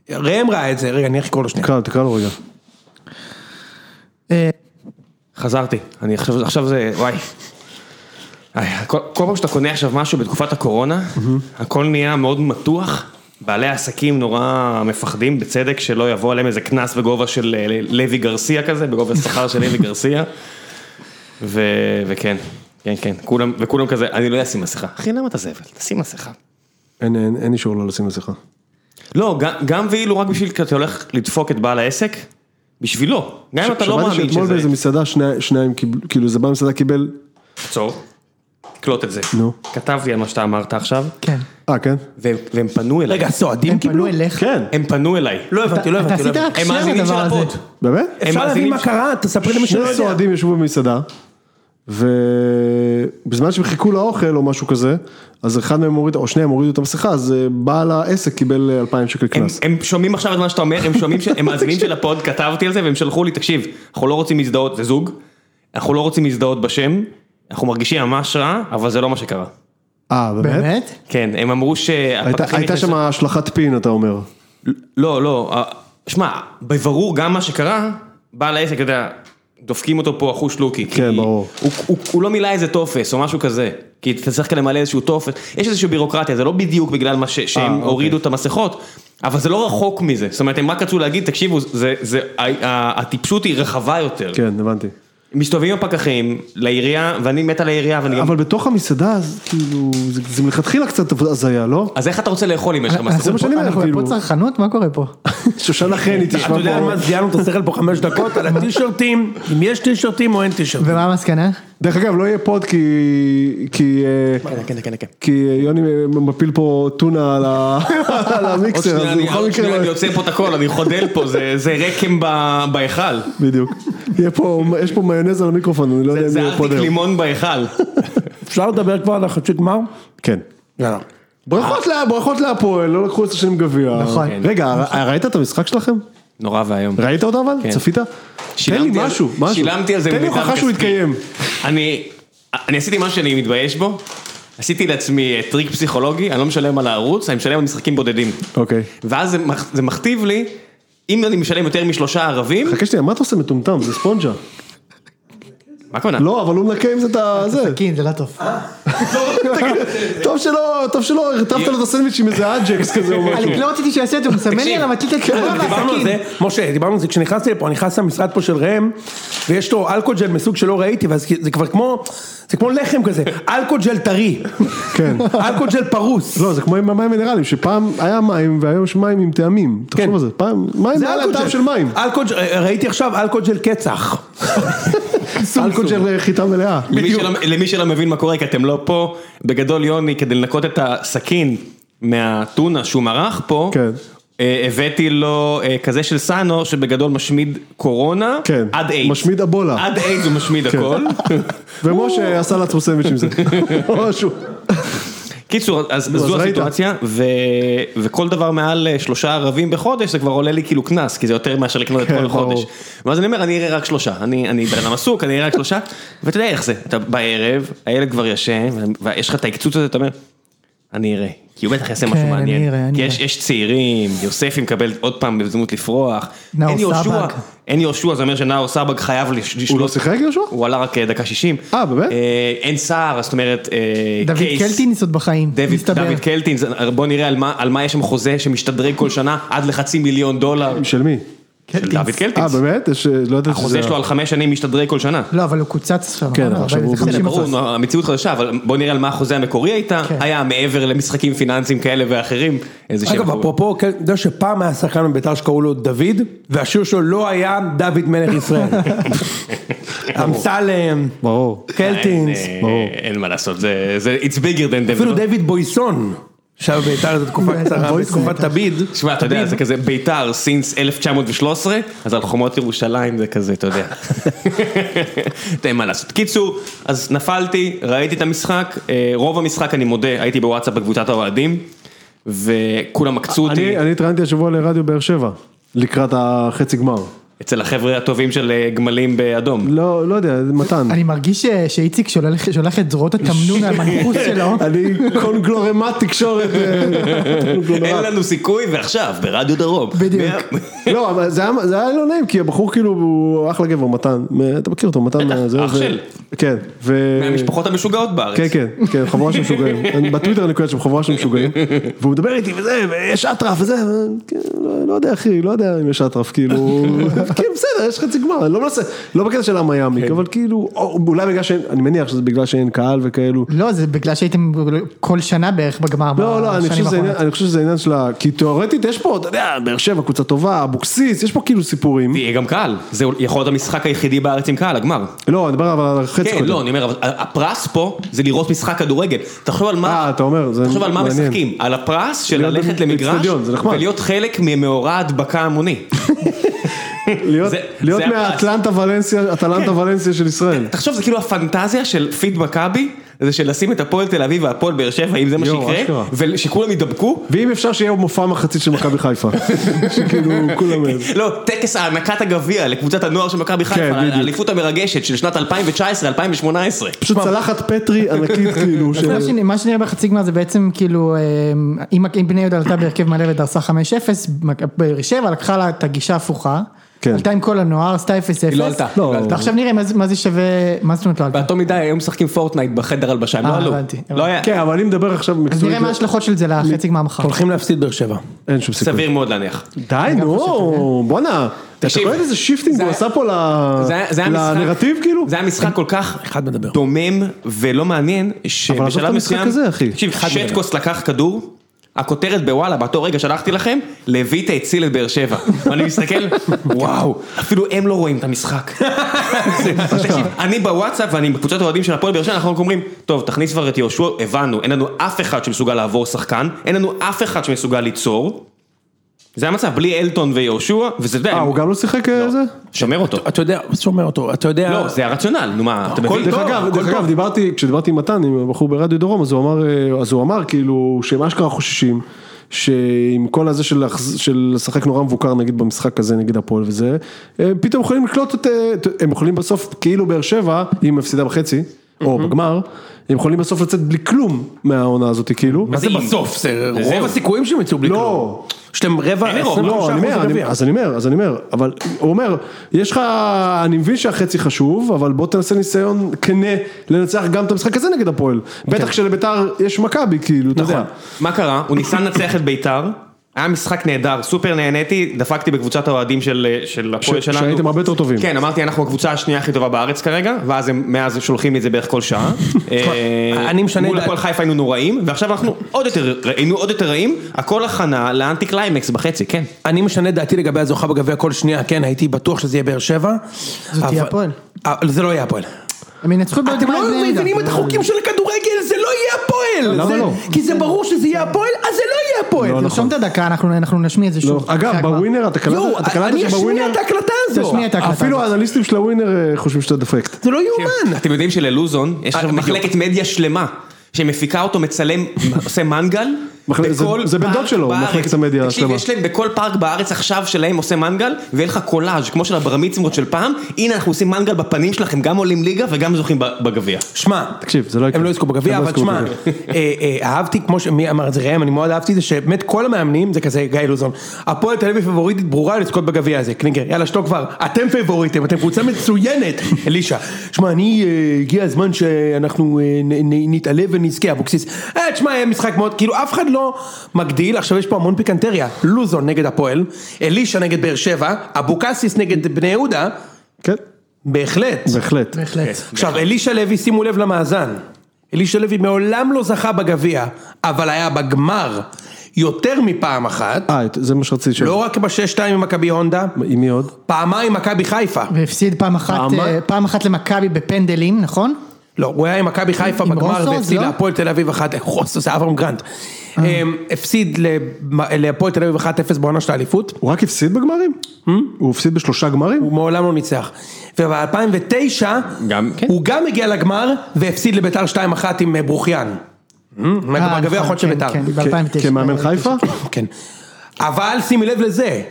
Speaker 1: ראם ראה את זה, רגע, אני איך לקרוא לו שנייה.
Speaker 2: תקרא לו, תקרא לו רגע.
Speaker 4: אה,
Speaker 3: חזרתי, אני עכשיו, עכשיו זה, וואי. איי, כל, כל פעם שאתה קונה עכשיו משהו בתקופת הקורונה, הכל נהיה מאוד מתוח, בעלי העסקים נורא מפחדים, בצדק, שלא יבוא עליהם איזה קנס בגובה של אה, לוי גרסיה כזה, בגובה השכר של לוי גרסיה. ו... וכן, כן, כן, כולם, וכולם כזה, אני לא אשים מסכה. אחי, למה אתה זבל? תשים מסכה.
Speaker 2: אין, אין, אין אישור לא לשים מסכה.
Speaker 3: לא, גם, גם ואילו רק בשביל, כי אתה הולך לדפוק את בעל העסק, בשבילו. גם אם אתה לא מאמין שזה...
Speaker 2: שמעתי שאתמול באיזה מסעדה שני- שניים קיבלו, כאילו זה בא במסעדה קיבל,
Speaker 3: עצור, קלוט את זה.
Speaker 2: נו.
Speaker 3: כתבתי על מה שאתה אמרת עכשיו,
Speaker 4: כן.
Speaker 2: אה כן?
Speaker 3: והם, והם פנו אליי.
Speaker 1: רגע, כאילו? הסועדים
Speaker 4: הם
Speaker 1: קיבלו?
Speaker 4: פנו אליך?
Speaker 2: כן,
Speaker 3: הם פנו אליי.
Speaker 1: לא הבנתי, לא
Speaker 4: אתה
Speaker 1: הבנתי. לא
Speaker 4: עשית
Speaker 1: הבנתי.
Speaker 4: רק
Speaker 3: הם
Speaker 4: שנייה
Speaker 3: מאזינים של
Speaker 4: לדבר הזה.
Speaker 3: הפוד.
Speaker 2: באמת?
Speaker 1: אפשר להבין
Speaker 3: מאזינים
Speaker 1: מה
Speaker 3: ש-
Speaker 1: קרה? תספרי למי שלא
Speaker 2: שני
Speaker 1: יודע.
Speaker 2: סועדים ישבו במסעדה, ובזמן שהם חיכו לאוכל או משהו כזה, אז אחד מהם הוריד, או שניהם הורידו את המסכה, אז אה, בעל העסק קיבל אה, 2,000 שקל
Speaker 3: הם,
Speaker 2: קנס.
Speaker 3: הם שומעים עכשיו את מה שאתה אומר, הם שומעים, ש... הם מאזינים של הפוד, כתבתי על זה, והם שלחו לי, תקשיב, אנחנו לא רוצים להזדהות, זה זוג, אנחנו לא רוצים להזדהות בשם, אנחנו מרגישים ממש רע, אבל זה לא מה שקרה.
Speaker 2: אה, באמת?
Speaker 4: באמת?
Speaker 3: כן, הם אמרו
Speaker 2: הייתה-
Speaker 3: שהפקחים...
Speaker 2: הייתה
Speaker 3: נכנסו-
Speaker 2: שם השלכת פין, אתה אומר.
Speaker 3: לא, לא, אה, שמע, בברור גם מה שקרה, בעל העסק, אתה יודע, דופקים אותו פה אחוש לוקי. כי
Speaker 2: כן, ברור.
Speaker 3: הוא, הוא, הוא לא מילא איזה טופס או משהו כזה, כי אתה צריך כאן למלא איזשהו טופס, יש איזושהי בירוקרטיה, זה לא בדיוק בגלל מה ש, שהם
Speaker 2: אוקיי.
Speaker 3: הורידו את המסכות, אבל זה לא רחוק מזה, זאת אומרת, הם רק רצו להגיד, תקשיבו, זה, זה, ה- ה- הטיפשות היא רחבה יותר.
Speaker 2: כן, הבנתי.
Speaker 3: מסתובבים הפקחים לעירייה, ואני מת על העירייה, ואני גם...
Speaker 2: אבל בתוך המסעדה, אז כאילו, זה זה מלכתחילה קצת הזיה, לא?
Speaker 3: אז איך אתה רוצה לאכול אם יש
Speaker 2: אה,
Speaker 3: לך
Speaker 4: אנחנו
Speaker 3: מסכות?
Speaker 2: מה שאני
Speaker 4: פה-
Speaker 2: אומר,
Speaker 4: אנחנו
Speaker 2: כאילו.
Speaker 4: פה צרכנות? מה קורה פה?
Speaker 2: שושנה חני תשמע
Speaker 1: אתה
Speaker 2: פה.
Speaker 1: יודע מה, זיינו את השכל פה חמש דקות על הטישרטים, אם יש טישרטים או אין טישרטים.
Speaker 4: ומה המסקנה?
Speaker 2: דרך אגב, לא יהיה פוד כי... כי... אה,
Speaker 3: כן, כן, כן.
Speaker 2: כי אה, יוני מפיל פה טונה על ה- על
Speaker 3: עוד
Speaker 2: המיקסר,
Speaker 3: שנייה
Speaker 2: אז
Speaker 3: אני-
Speaker 2: בכל
Speaker 3: עוד שנייה
Speaker 2: מקרה...
Speaker 3: אני
Speaker 2: לא-
Speaker 3: יוצא פה את הכל, אני חודל פה, זה- זה רקם ב- בהיכל.
Speaker 2: בדיוק. יהיה פה, יש פה מיונז על המיקרופון, אני לא יודע אם
Speaker 3: זה
Speaker 2: יהיה
Speaker 3: ארטיק
Speaker 2: פוד היום.
Speaker 3: לימון בהיכל.
Speaker 1: אפשר לדבר כבר על החצי גמר?
Speaker 2: כן.
Speaker 1: יאללה.
Speaker 2: ברכות לה- ברכות להפועל, לא לקחו עשר שנים גביע. כן.
Speaker 4: נכון.
Speaker 2: רגע, ר- ראית את המשחק שלכם?
Speaker 3: נורא ואיום.
Speaker 2: ראית אותו אבל?
Speaker 3: כן.
Speaker 2: צפית? תן לי
Speaker 3: שילמתי על-
Speaker 2: משהו, משהו.
Speaker 3: שילמתי על זה
Speaker 2: תן לי
Speaker 3: במיטב
Speaker 2: הוכחה שהוא
Speaker 3: כספי.
Speaker 2: התקיים.
Speaker 3: אני אני עשיתי משהו שאני מתבייש בו. עשיתי לעצמי אה, טריק פסיכולוגי, אני לא משלם על הערוץ, אני משלם על משחקים בודדים.
Speaker 2: אוקיי.
Speaker 3: ואז זה מח- זה מכתיב לי, אם אני משלם יותר משלושה ערבים,
Speaker 2: חכה שנייה, מה אתה עושה מטומטם? זה ספונג'ה.
Speaker 3: מה הכוונה?
Speaker 2: לא, אבל הוא מנקה עם זה את ה... זה.
Speaker 4: סכין, זה לא טוב.
Speaker 2: טוב שלא, טוב שלא הרטבת לו את הסנדוויץ' עם איזה אג'קס כזה או משהו.
Speaker 4: אני לא רציתי שיעשה את זה, הוא מסמן לי
Speaker 3: תקשיב,
Speaker 4: על המטלית את התשובה
Speaker 1: דיברנו על
Speaker 4: והסכין.
Speaker 1: זה, משה, דיברנו על זה, כשנכנסתי לפה, נכנס למשרד פה של ראם, ויש לו אלכוג'ל מסוג שלא ראיתי, ואז זה כבר כמו, זה כמו לחם כזה, אלכוג'ל טרי,
Speaker 2: כן.
Speaker 1: אלכוג'ל פרוס.
Speaker 2: לא, זה כמו עם המים מינרלים, שפעם היה מים והיום יש מים עם טעמים. תחשוב על זה, פעם, מים
Speaker 1: זה
Speaker 2: היה להם טעם
Speaker 1: אלכוג'ל.
Speaker 2: של מים.
Speaker 1: אלכוג'ל, ראיתי עכשיו אלכוג'ל קצח.
Speaker 2: אלכוהול של חיטה מלאה.
Speaker 3: למי שלא, למי שלא מבין מה קורה, כי אתם לא פה, בגדול יוני, כדי לנקות את הסכין מהטונה שהוא מרח פה,
Speaker 2: כן.
Speaker 3: אה, הבאתי לו אה, כזה של סאנו, שבגדול משמיד קורונה,
Speaker 2: כן.
Speaker 3: עד איידס.
Speaker 2: משמיד אבולה.
Speaker 3: עד איידס הוא משמיד
Speaker 2: כן.
Speaker 3: הכל.
Speaker 2: ומשה עשה לעצמו סנדוויץ' עם זה. או משהו.
Speaker 3: קיצור, אז
Speaker 2: אז
Speaker 3: זו
Speaker 2: ראית.
Speaker 3: הסיטואציה, ו... וכל דבר מעל אה, שלושה ערבים בחודש, זה כבר עולה לי כאילו קנס, כי זה יותר מאשר לקנות את
Speaker 2: כן,
Speaker 3: כל החודש.
Speaker 2: ברור.
Speaker 3: ואז אני אומר, אני אראה רק שלושה, אני אני בן אדם עסוק, אני אראה רק שלושה, ואתה יודע איך זה, אתה בערב, הילד כבר ישן, ו- ויש לך את ההקצוץ הזה, אתה אומר, אני אראה, כי הוא בטח יעשה
Speaker 4: כן,
Speaker 3: משהו
Speaker 4: אני
Speaker 3: מעניין.
Speaker 4: אראה, אני
Speaker 3: כי יש-
Speaker 4: אראה.
Speaker 3: יש צעירים, יוספי מקבל עוד פעם בהזדמנות לפרוח,
Speaker 4: נאור
Speaker 3: אין יהושע,
Speaker 4: סבג.
Speaker 3: אין יהושע, זה אומר שנאור סבג חייב לש- לשלוט.
Speaker 2: הוא לא שיחק יהושע?
Speaker 3: הוא עלה רק אה, דקה 60.
Speaker 2: אה, באמת?
Speaker 3: אה, אין סער, זאת אומרת, אה,
Speaker 4: דוד
Speaker 3: קייס.
Speaker 4: קלטינס עוד בחיים,
Speaker 3: דוד,
Speaker 4: מסתבר.
Speaker 3: דוד קלטין, זה- בוא נראה על מה, על מה יש שם חוזה שמשתדרג כל שנה עד לחצי מיליון דולר.
Speaker 2: של מי?
Speaker 3: של דוד
Speaker 2: אה,
Speaker 3: קלטינס.
Speaker 2: באמת? יש- לא ידעתי שזה...
Speaker 3: החוזה שלו על חמש שנים משתדרג כל שנה.
Speaker 4: לא, אבל הוא קוצץ עכשיו.
Speaker 2: כן,
Speaker 4: נכון?
Speaker 2: אבל עכשיו
Speaker 4: אבל
Speaker 2: הוא-
Speaker 4: זה 50%.
Speaker 3: ברור, נו, המציאות חדשה, אבל בוא נראה על מה החוזה המקורי הייתה,
Speaker 4: כן.
Speaker 3: היה מעבר למשחקים פיננסיים כאלה ואחרים. איזה שם
Speaker 1: אגב,
Speaker 3: חוזה.
Speaker 1: אפרופו, כן, אתה יודע שפעם היה שחקן בבית"ר שקראו לו דוד, והשיר שלו לא היה דוד מלך ישראל. אמסלם,
Speaker 2: ברור.
Speaker 1: קלטינס,
Speaker 3: אין, אה,
Speaker 2: ברור.
Speaker 3: אין מה לעשות, זה זה- it's bigger than
Speaker 1: אפילו
Speaker 3: Denver.
Speaker 1: דיוויד בויסון, שהיה בבית"ר זו תקופה קצרה, בתקופת תביד.
Speaker 3: תשמע, אתה יודע, זה כזה בית"ר, סינס 1913, אז על חומות ירושלים זה כזה, אתה יודע. אין מה לעשות. קיצור, אז נפלתי, ראיתי את המשחק, אה, רוב המשחק, אני מודה, הייתי בוואטסאפ בקבוצת האוהדים, וכולם עקצו אותי.
Speaker 2: אני אני התראיינתי השבוע לרדיו באר שבע, לקראת החצי גמר.
Speaker 3: אצל החבר'ה הטובים של אה, גמלים באדום.
Speaker 2: לא, לא יודע, זה מתן.
Speaker 4: אני מרגיש ש- שאיציק שולח שולח את זרועות התמנון למנחוס שלו.
Speaker 2: אני קונגלורמט תקשורת. אה,
Speaker 3: אין לנו סיכוי ועכשיו ברדיו דרום.
Speaker 4: בדיוק.
Speaker 3: מאה-
Speaker 2: לא, אבל זה היה- זה היה לא נעים, כי הבחור כאילו הוא אחלה גבר, מתן. אתה מכיר אותו, מתן. אה,
Speaker 3: בטח,
Speaker 2: זה-
Speaker 3: אח
Speaker 2: זה-
Speaker 3: של.
Speaker 2: כן. ו-
Speaker 3: מהמשפחות המשוגעות בארץ.
Speaker 2: כן, כן, כן, חבורה של משוגעים. אני- בטוויטר אני קורא שם חבורה של משוגעים. והוא מדבר איתי וזה, ויש אטרף וזה, ו- כן, לא- לא יודע אחי, לא יודע אם יש אטרף, כאילו, כאילו בסדר, יש חצי גמר, אני לא מנסה, לא בקטע של עם
Speaker 3: כן.
Speaker 2: הימניק, אבל כאילו, או- אולי בגלל שאין, אני מניח שזה בגלל שאין קהל וכאלו.
Speaker 4: לא, זה בגלל שהייתם כל שנה בערך בגמר.
Speaker 2: לא, לא, אני
Speaker 4: בשנים
Speaker 2: חושב שזה
Speaker 4: האחרונות.
Speaker 2: עניין- אני חושב שזה עניין של ה... כי תיאורטית יש פה, אתה יודע, באר שבע, קבוצה טובה, אבוקסיס, יש פה כאילו סיפורים.
Speaker 3: יהיה גם קהל, זה יכול להיות המשחק היחידי בארץ עם קהל, הגמר.
Speaker 2: לא, אני מדבר אבל על חצי
Speaker 3: כן,
Speaker 2: קודם.
Speaker 3: לא, אני אומר, אבל הפרס פה זה לראות משחק כדורגל. תחשוב על מה,
Speaker 2: אה, אתה אומר, זה
Speaker 3: תחשוב על מה
Speaker 2: מעניין.
Speaker 3: משחקים, על הפרס של
Speaker 2: להיות
Speaker 3: ללכת
Speaker 2: במ-
Speaker 3: למגרש,
Speaker 2: באצטדיון, זה נחמד.
Speaker 3: ולהיות חלק ממאורע ההדבקה ההמוני.
Speaker 2: להיות-
Speaker 3: זה-
Speaker 2: להיות
Speaker 3: זה כן. הפרס.
Speaker 2: מהאטלנטה ולנסיה, אטלנטה ולנסיה של ישראל.
Speaker 3: תחשוב, זה כאילו הפנטזיה של פיד מכבי, זה של לשים את הפועל תל אביב והפועל באר שבע, אם זה מה
Speaker 2: יואו,
Speaker 3: שיקרה,
Speaker 2: אשכרה.
Speaker 3: ושכולם ידבקו.
Speaker 2: ואם אפשר שיהיה מופע מחצית של מכבי חיפה. שכאילו כולם...
Speaker 3: לא, טקס הענקת הגביע לקבוצת הנוער של מכבי חיפה,
Speaker 2: כן, בדיוק.
Speaker 3: האליפות המרגשת של שנת 2019-2018.
Speaker 2: פשוט צלחת פטרי ענקית כאילו. של-
Speaker 4: מה שנראה- מה שנראה בחצי גמר זה בעצם כאילו, אה, אם אם בני יהודה עלתה בהרכב מלא ודרסה 5-0, מק- באר שבע לקחה לה את הגישה ההפוכה.
Speaker 2: כן.
Speaker 4: עלתה עם כל הנוער, עשתה 0-0.
Speaker 3: היא לא עלתה,
Speaker 2: לא. לא עלתה.
Speaker 4: ועכשיו נראה מה זה- מה זה שווה, מה זאת אומרת לא עלתה?
Speaker 3: באותו מידה היו משחקים פורטנייט בחדר הלבשה, הם לא
Speaker 4: אה,
Speaker 3: עלו.
Speaker 4: הבנתי,
Speaker 3: לא היה,
Speaker 2: כן, אבל אני מדבר עכשיו
Speaker 4: אז
Speaker 2: מקצועית,
Speaker 4: נראה מה ההשלכות של זה לחצי גמר מחר.
Speaker 1: הולכים להפסיד באר שבע.
Speaker 2: אין שום סיכוי.
Speaker 3: סביר מאוד להניח.
Speaker 2: די, נו, בואנה. אתה
Speaker 3: תקשיב,
Speaker 2: קורא איזה שיפטינג
Speaker 3: זה
Speaker 2: הוא
Speaker 3: היה-
Speaker 2: עשה פה ל-
Speaker 3: זה היה- זה היה משחק-
Speaker 2: לנרטיב כאילו?
Speaker 3: זה היה משחק כל כך
Speaker 1: אחד מדבר.
Speaker 3: דומם ולא מעניין, שבשלב מסוים...
Speaker 2: עזוב את המשחק הזה, אחי.
Speaker 3: תקשיב, שטקוס לקח כדור, הכותרת בוואלה, באותו רגע שלחתי לכם, לויטה הציל את באר שבע. ואני מסתכל, וואו, אפילו הם לא רואים את המשחק. זה- תקשיב, אני בוואטסאפ ואני בקבוצת אוהדים של הפועל באר שבע, אנחנו רק אומרים, טוב, תכניס כבר את יהושע, הבנו, אין לנו אף אחד שמסוגל לעבור שחקן, אין לנו אף אחד שמסוגל ליצור. זה המצב, בלי אלטון ויהושע, וזה, אתה יודע,
Speaker 2: אה, הוא גם לא שיחק אה, זה?
Speaker 3: שומר אותו.
Speaker 1: אתה יודע, שומע אותו, אתה יודע...
Speaker 3: לא, זה הרציונל, נו מה, אתה מבין? לא,
Speaker 2: דרך אגב, דרך אגב, דיברתי, כשדיברתי עם מתן, עם הבחור ברדיו דרום, אז הוא אמר, אה, אז הוא אמר כאילו, שהם אשכרה חוששים, שעם כל הזה של להחז- של לשחק נורא מבוקר, נגיד במשחק הזה, נגיד הפועל וזה, הם פתאום יכולים לקלוט את, אה, את- הם יכולים בסוף, כאילו באר שבע, אם מפסידה בחצי, או בגמר, הם יכולים בסוף לצאת בלי כלום מהעונה הזאת, כאילו.
Speaker 1: מה זה
Speaker 3: מדהים.
Speaker 1: בסוף? זה
Speaker 3: זהו.
Speaker 1: רוב הסיכויים שהם יצאו בלי
Speaker 2: לא.
Speaker 1: כלום. יש להם רבע,
Speaker 3: אין לי רוב,
Speaker 1: 25%
Speaker 2: לא, אני אומר, אני,
Speaker 1: גביע.
Speaker 2: אז אני אומר, אז אני אומר, אבל הוא אומר, יש לך, אני מבין שהחצי חשוב, אבל בוא תנסה ניסיון כנה לנצח גם את המשחק הזה נגד הפועל.
Speaker 1: כן.
Speaker 2: בטח שלביתר יש מכבי, כאילו,
Speaker 1: נכון.
Speaker 2: אתה יודע.
Speaker 3: מה קרה? הוא ניסה לנצח את ביתר, היה משחק נהדר, סופר נהניתי, דפקתי בקבוצת האוהדים של, אה, של הפועל
Speaker 2: ש-
Speaker 3: שלנו.
Speaker 2: שהייתם הרבה יותר טובים.
Speaker 3: כן, אמרתי, אנחנו הקבוצה השנייה הכי טובה בארץ כרגע, ואז הם מאז שולחים לי את זה בערך כל שעה. אה,
Speaker 1: אני משנה
Speaker 3: מול
Speaker 1: דעת.
Speaker 3: הפועל חיפה היינו נוראים, ועכשיו אנחנו עוד יותר, היינו עוד יותר רעים, הכל הכנה לאנטי קליימקס בחצי, כן.
Speaker 1: אני משנה דעתי לגבי הזוכה בגביע כל שנייה, כן, הייתי בטוח שזה יהיה באר שבע.
Speaker 4: זאת תהיה
Speaker 1: אבל-
Speaker 4: הפועל.
Speaker 1: אבל זה לא יהיה הפועל.
Speaker 4: הם ינצחו את בני
Speaker 1: אתם לא
Speaker 4: יהודה.
Speaker 1: מבינים את החוקים של הכדורגל, זה לא יהיה הפועל!
Speaker 2: למה
Speaker 1: זה-
Speaker 2: לא?
Speaker 1: כי זה ברור שזה יהיה הפועל, אז זה לא יהיה הפועל!
Speaker 4: תרשום את הדקה, אנחנו אנחנו נשמיע את זה
Speaker 2: נכון. לא.
Speaker 4: שוב.
Speaker 2: אגב, בווינר, אתה קלטת
Speaker 1: יואו,
Speaker 2: אתה קלטת
Speaker 1: אני אשמיע
Speaker 2: שבווינר,
Speaker 1: את ההקלטה הזו!
Speaker 4: תשמיע את ההקלטה.
Speaker 2: אפילו האנליסטים של הווינר אה, חושבים שאתה דפקט.
Speaker 1: זה לא יאומן!
Speaker 3: אתם יודעים שללוזון יש עכשיו
Speaker 1: בדיוק.
Speaker 3: מחלקת מדיה שלמה. שמפיקה אותו, מצלם, עושה מנגל.
Speaker 2: מחלק- זה-
Speaker 3: בכל
Speaker 2: זה בן דוד
Speaker 3: פארק
Speaker 2: שלו,
Speaker 3: בארץ.
Speaker 2: מחלקת המדיה
Speaker 3: תקשיב,
Speaker 2: השלמה.
Speaker 3: יש להם בכל פארק בארץ עכשיו שלהם עושה מנגל, ויהיה לך קולאז' כמו של הבר מצוות של פעם, הנה אנחנו עושים מנגל בפנים שלכם, גם עולים ליגה וגם זוכים ב- בגביע.
Speaker 1: שמע,
Speaker 2: תקשיב, זה לא יקרה.
Speaker 1: הם לא יזכו בגביע,
Speaker 2: הם לא
Speaker 1: אבל
Speaker 2: יזכו
Speaker 1: שמע,
Speaker 2: בגביע.
Speaker 1: אה, אה, אהבתי, כמו שמי אמר את זה ראם, אני מאוד אהבתי את זה, שבאמת כל המאמנים, זה כזה גיא לוזון, הפועל תל אביב פבוריטית ברורה לזכות בגביע הזה, קלינגר, יאללה שתוק כבר, אתם פבוריטים, אתם קבוצה מצוינת, אלישע, שמע, אני, אה, הגיע הזמן שאנחנו אה, נ- נ- נתעלה ונזכה, אבוקסיס, אה, תשמע, היה משחק מאוד, כאילו אף אחד לא מגדיל, עכשיו יש פה המון פיקנטריה, לוזון נגד הפועל, אלישע נגד באר שבע, אבוקסיס נגד בני יהודה,
Speaker 2: כן,
Speaker 1: בהחלט.
Speaker 2: בהחלט.
Speaker 4: בהחלט.
Speaker 3: אוקיי,
Speaker 1: עכשיו, אלישע לוי, שימו לב למאזן. אלישע לוי מעולם לא זכה בגביע, אבל היה בגמר יותר מפעם אחת,
Speaker 2: אה, זה מה שרציתי לשאול.
Speaker 1: לא רק בשש שתיים עם מכבי הונדה,
Speaker 2: עם מי עוד?
Speaker 1: פעמיים עם מכבי חיפה.
Speaker 4: והפסיד פעם אחת,
Speaker 2: פעמיים?
Speaker 4: אה, פעם אחת למכבי בפנדלים, נכון?
Speaker 1: לא, הוא היה עם מכבי חיפה
Speaker 4: עם
Speaker 1: בגמר
Speaker 4: רוסו,
Speaker 1: והפסיד
Speaker 4: לא? אה.
Speaker 1: להפועל תל אביב 1-0, רוסו זה אברהם גרנט. אמ, הפסיד למ- להפועל תל אביב 1-0 בעונה של האליפות,
Speaker 2: הוא רק הפסיד בגמרים?
Speaker 1: Hmm?
Speaker 2: הוא הפסיד בשלושה גמרים?
Speaker 1: הוא מעולם לא ניצח. וב-2009,
Speaker 3: גם, כן.
Speaker 1: הוא גם הגיע לגמר והפסיד לביתר 2-1 עם אה, ברוכיאן.
Speaker 4: אה,
Speaker 1: מהגביע
Speaker 4: נכון,
Speaker 1: האחרון של
Speaker 4: כן,
Speaker 1: ביתר.
Speaker 4: כן, ב- 2009.
Speaker 2: כמאמן חיפה?
Speaker 1: כן. אבל שימי לב לזה,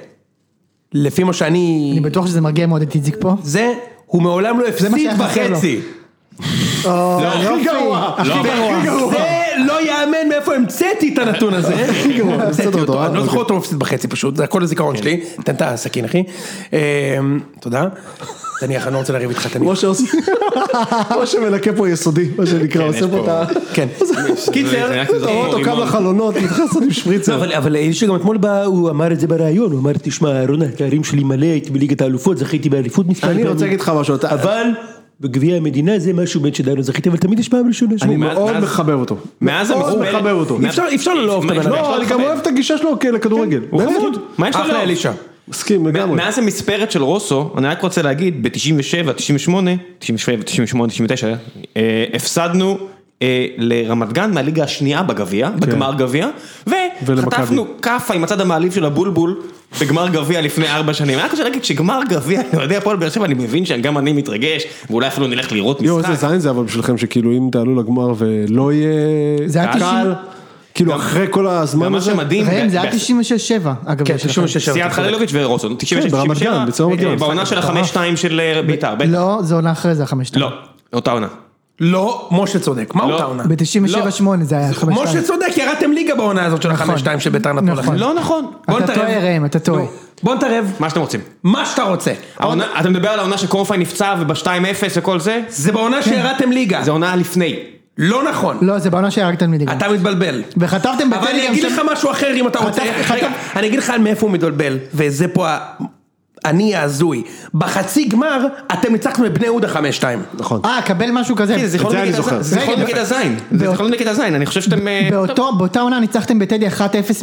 Speaker 1: לפי מה שאני...
Speaker 4: אני בטוח שזה מרגיע מאוד את איציק פה.
Speaker 1: זה, הוא מעולם לא
Speaker 4: מה
Speaker 1: הפסיד
Speaker 4: שהיה חסר
Speaker 1: בחצי.
Speaker 4: לא,
Speaker 1: הכי גרוע,
Speaker 4: הכי
Speaker 1: לא,
Speaker 4: גרוע.
Speaker 1: זה לא יאמן מאיפה המצאתי את הנתון הזה. הכי גרוע,
Speaker 2: בסדר,
Speaker 1: אותו,
Speaker 2: אתה-
Speaker 4: אוקיי.
Speaker 1: אני לא זוכר אותו מפסיד בחצי פשוט, זה הכל הזיכרון שלי. תן את הסכין אחי. אמ, תודה. תניח, אני לא רוצה לריב איתך, תניח.
Speaker 2: משה עושה- משה מנקה פה יסודי, מה שנקרא, עושה פה את ה...
Speaker 1: כן. קיצר,
Speaker 3: זה רק
Speaker 2: אתה רואה אותו קם
Speaker 3: רימון.
Speaker 2: לחלונות, נכנס עוד עם
Speaker 1: לא,
Speaker 2: שפריצר.
Speaker 5: אבל, אבל האיש שגם אתמול בא, הוא אמר את זה בריאיון, הוא אמר, תשמע, רונה, התארים שלי מלא, הייתי בליגת האלופות, זכיתי באליפות מספר
Speaker 2: אני רוצה להגיד לך משהו, אתה-
Speaker 5: אבל בגביע המדינה זה משהו באמת שעדיין לא זכיתי, אבל תמיד יש פעם ראשונה
Speaker 2: אני
Speaker 5: שהוא...
Speaker 3: מאז-
Speaker 2: מאוד
Speaker 3: מאז-
Speaker 2: מחבב אותו.
Speaker 3: מאז
Speaker 2: מאוד
Speaker 3: המחבר-
Speaker 2: מחבב אותו.
Speaker 1: אי אפשר- אי אפשר לא לאהוב את הבן אדם.
Speaker 2: לא, אני גם אוהב את הגישה שלו כ- לכדורגל.
Speaker 3: הוא
Speaker 2: באמת.
Speaker 3: חמוד. מה יש לו
Speaker 1: אחלה
Speaker 3: לאהוב?
Speaker 1: אלישע.
Speaker 2: מסכים לגמרי.
Speaker 3: מאז המספרת של רוסו, אני רק רוצה להגיד, ב-97, 98, 97, 98, 99, אה, הפסדנו אה, לרמת גן מהליגה השנייה בגביע,
Speaker 2: כן.
Speaker 3: בגמר גביע, וחטפנו כאפה עם הצד המעליב של הבולבול בגמר גביע לפני ארבע שנים. אני רק רוצה להגיד שגמר גביע, אני יודע, הפועל באר שבע, אני מבין שגם אני מתרגש, ואולי אפילו נלך לראות
Speaker 2: יואו, איזה
Speaker 3: משחק.
Speaker 2: זין זה אבל בשבילכם, שכאילו אם תעלו לגמר ולא יהיה
Speaker 4: זה היה
Speaker 2: קהל,
Speaker 4: 90.
Speaker 2: כאילו אחרי כל הזמן
Speaker 3: גם מה
Speaker 2: הזה,
Speaker 3: שמדהים,
Speaker 4: ראם, זה היה
Speaker 3: ב-
Speaker 4: 96-7, אגב.
Speaker 1: כן,
Speaker 4: שלכם.
Speaker 1: 96.
Speaker 3: סיעת חלילוביץ' ורוסו, 96,
Speaker 2: כן, ברמת
Speaker 3: 97,
Speaker 2: גן, בצהוב
Speaker 3: אה,
Speaker 2: גן.
Speaker 3: בעונה של החמש שתיים של אה, בית"ר, בטח.
Speaker 4: לא, זה עונה אחרי זה, החמש שתיים.
Speaker 3: לא, אותה עונה.
Speaker 1: לא, משה צודק, מה
Speaker 3: לא.
Speaker 1: אותה עונה?
Speaker 4: ב-97-8 זה היה חמש
Speaker 1: לא. משה
Speaker 4: שתיים.
Speaker 1: צודק, ירדתם ליגה בעונה הזאת של
Speaker 4: נכון.
Speaker 1: החמש שתיים שביתר נתנו
Speaker 4: נכון.
Speaker 1: לכם. לא.
Speaker 3: לא נכון.
Speaker 1: בוא
Speaker 4: אתה
Speaker 1: נתערב.
Speaker 4: טועה, ראם, אתה טועה.
Speaker 1: נו, בוא נתערב,
Speaker 3: מה שאתם רוצים.
Speaker 1: מה שאתה רוצה.
Speaker 3: העונה- אתה מדבר על העונה שקורפיי נפצע וב-2-0 וכל זה?
Speaker 1: זה בעונה שירדתם ליגה.
Speaker 3: כן. זה עונה לפני.
Speaker 1: לא נכון.
Speaker 4: לא, זה בעונה שהרגתם מליגה.
Speaker 1: אתה מתבלבל.
Speaker 4: וחטפתם
Speaker 1: אבל אני
Speaker 4: בטלגרם
Speaker 1: אגיד
Speaker 4: שם-
Speaker 1: לך משהו אחר אם אתה רוצה.
Speaker 4: חטף-
Speaker 1: רגע, אני אגיד לך על מאיפה הוא מתבלבל, וזה פה ה... אני ההזוי. בחצי גמר, אתם ניצחנו את בני יהודה חמש-שתיים.
Speaker 2: נכון,
Speaker 4: אה, קבל משהו כזה.
Speaker 3: זה
Speaker 2: את זה אני זוכר.
Speaker 3: יכול נגד הזין. זה
Speaker 4: בא-
Speaker 3: יכול נגד הזין, אני חושב שאתם... אה,
Speaker 4: באותו, באותה עונה ניצחתם בטדי 1-0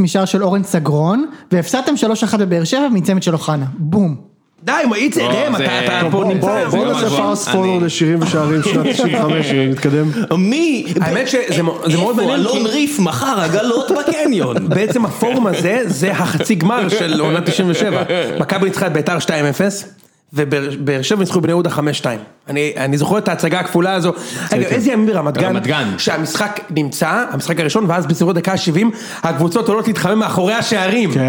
Speaker 4: משער של אורן סגרון, והפסדתם 3-1 בבאר שבע מצמד של אוחנה. בום.
Speaker 1: די, מה, איציק,
Speaker 3: לא,
Speaker 1: ראם,
Speaker 3: זה-
Speaker 1: אתה אתה
Speaker 3: טוב,
Speaker 1: פה
Speaker 3: בוא-
Speaker 1: נמצא.
Speaker 3: בוא-
Speaker 1: זה
Speaker 2: בואו
Speaker 1: לא
Speaker 2: נעשה
Speaker 1: משהו.
Speaker 3: משהו.
Speaker 2: פארס פולו
Speaker 3: אני-
Speaker 2: לשירים ושערים שנת 95, נתקדם.
Speaker 3: מי?
Speaker 1: האמת שזה מ- זה מאוד מעניין,
Speaker 3: אה, איפה
Speaker 1: כי-
Speaker 3: אלון ריף מכר עגלות בקניון?
Speaker 1: בעצם הפורום הזה, זה החצי גמר של עונה 97. מכבי ניצחה את ביתר 2-0, ובאר שבע ניצחו בני יהודה 5-2. אני, אני זוכר את ההצגה הכפולה הזו. אני,
Speaker 2: כן.
Speaker 1: איזה ימים ברמת גן,
Speaker 3: ברמת גן.
Speaker 1: שהמשחק נמצא, המשחק הראשון, ואז בסביבות דקה ה-70, הקבוצות עולות להתחמם מאחורי השערים.
Speaker 2: כן.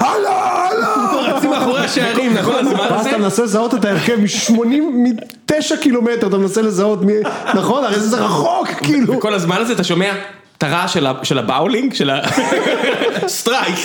Speaker 1: הלו, הלו, רצים מאחורי השערים, נכון? הזמן
Speaker 2: ואז
Speaker 1: הזה?
Speaker 2: אתה מנסה לזהות את ההרכב מ-89 קילומטר, אתה מנסה לזהות מי... נכון, הרי זה רחוק, כאילו.
Speaker 3: כל הזמן הזה אתה שומע את הרעש של ה- של הבאולינג? של ה... סטרייק.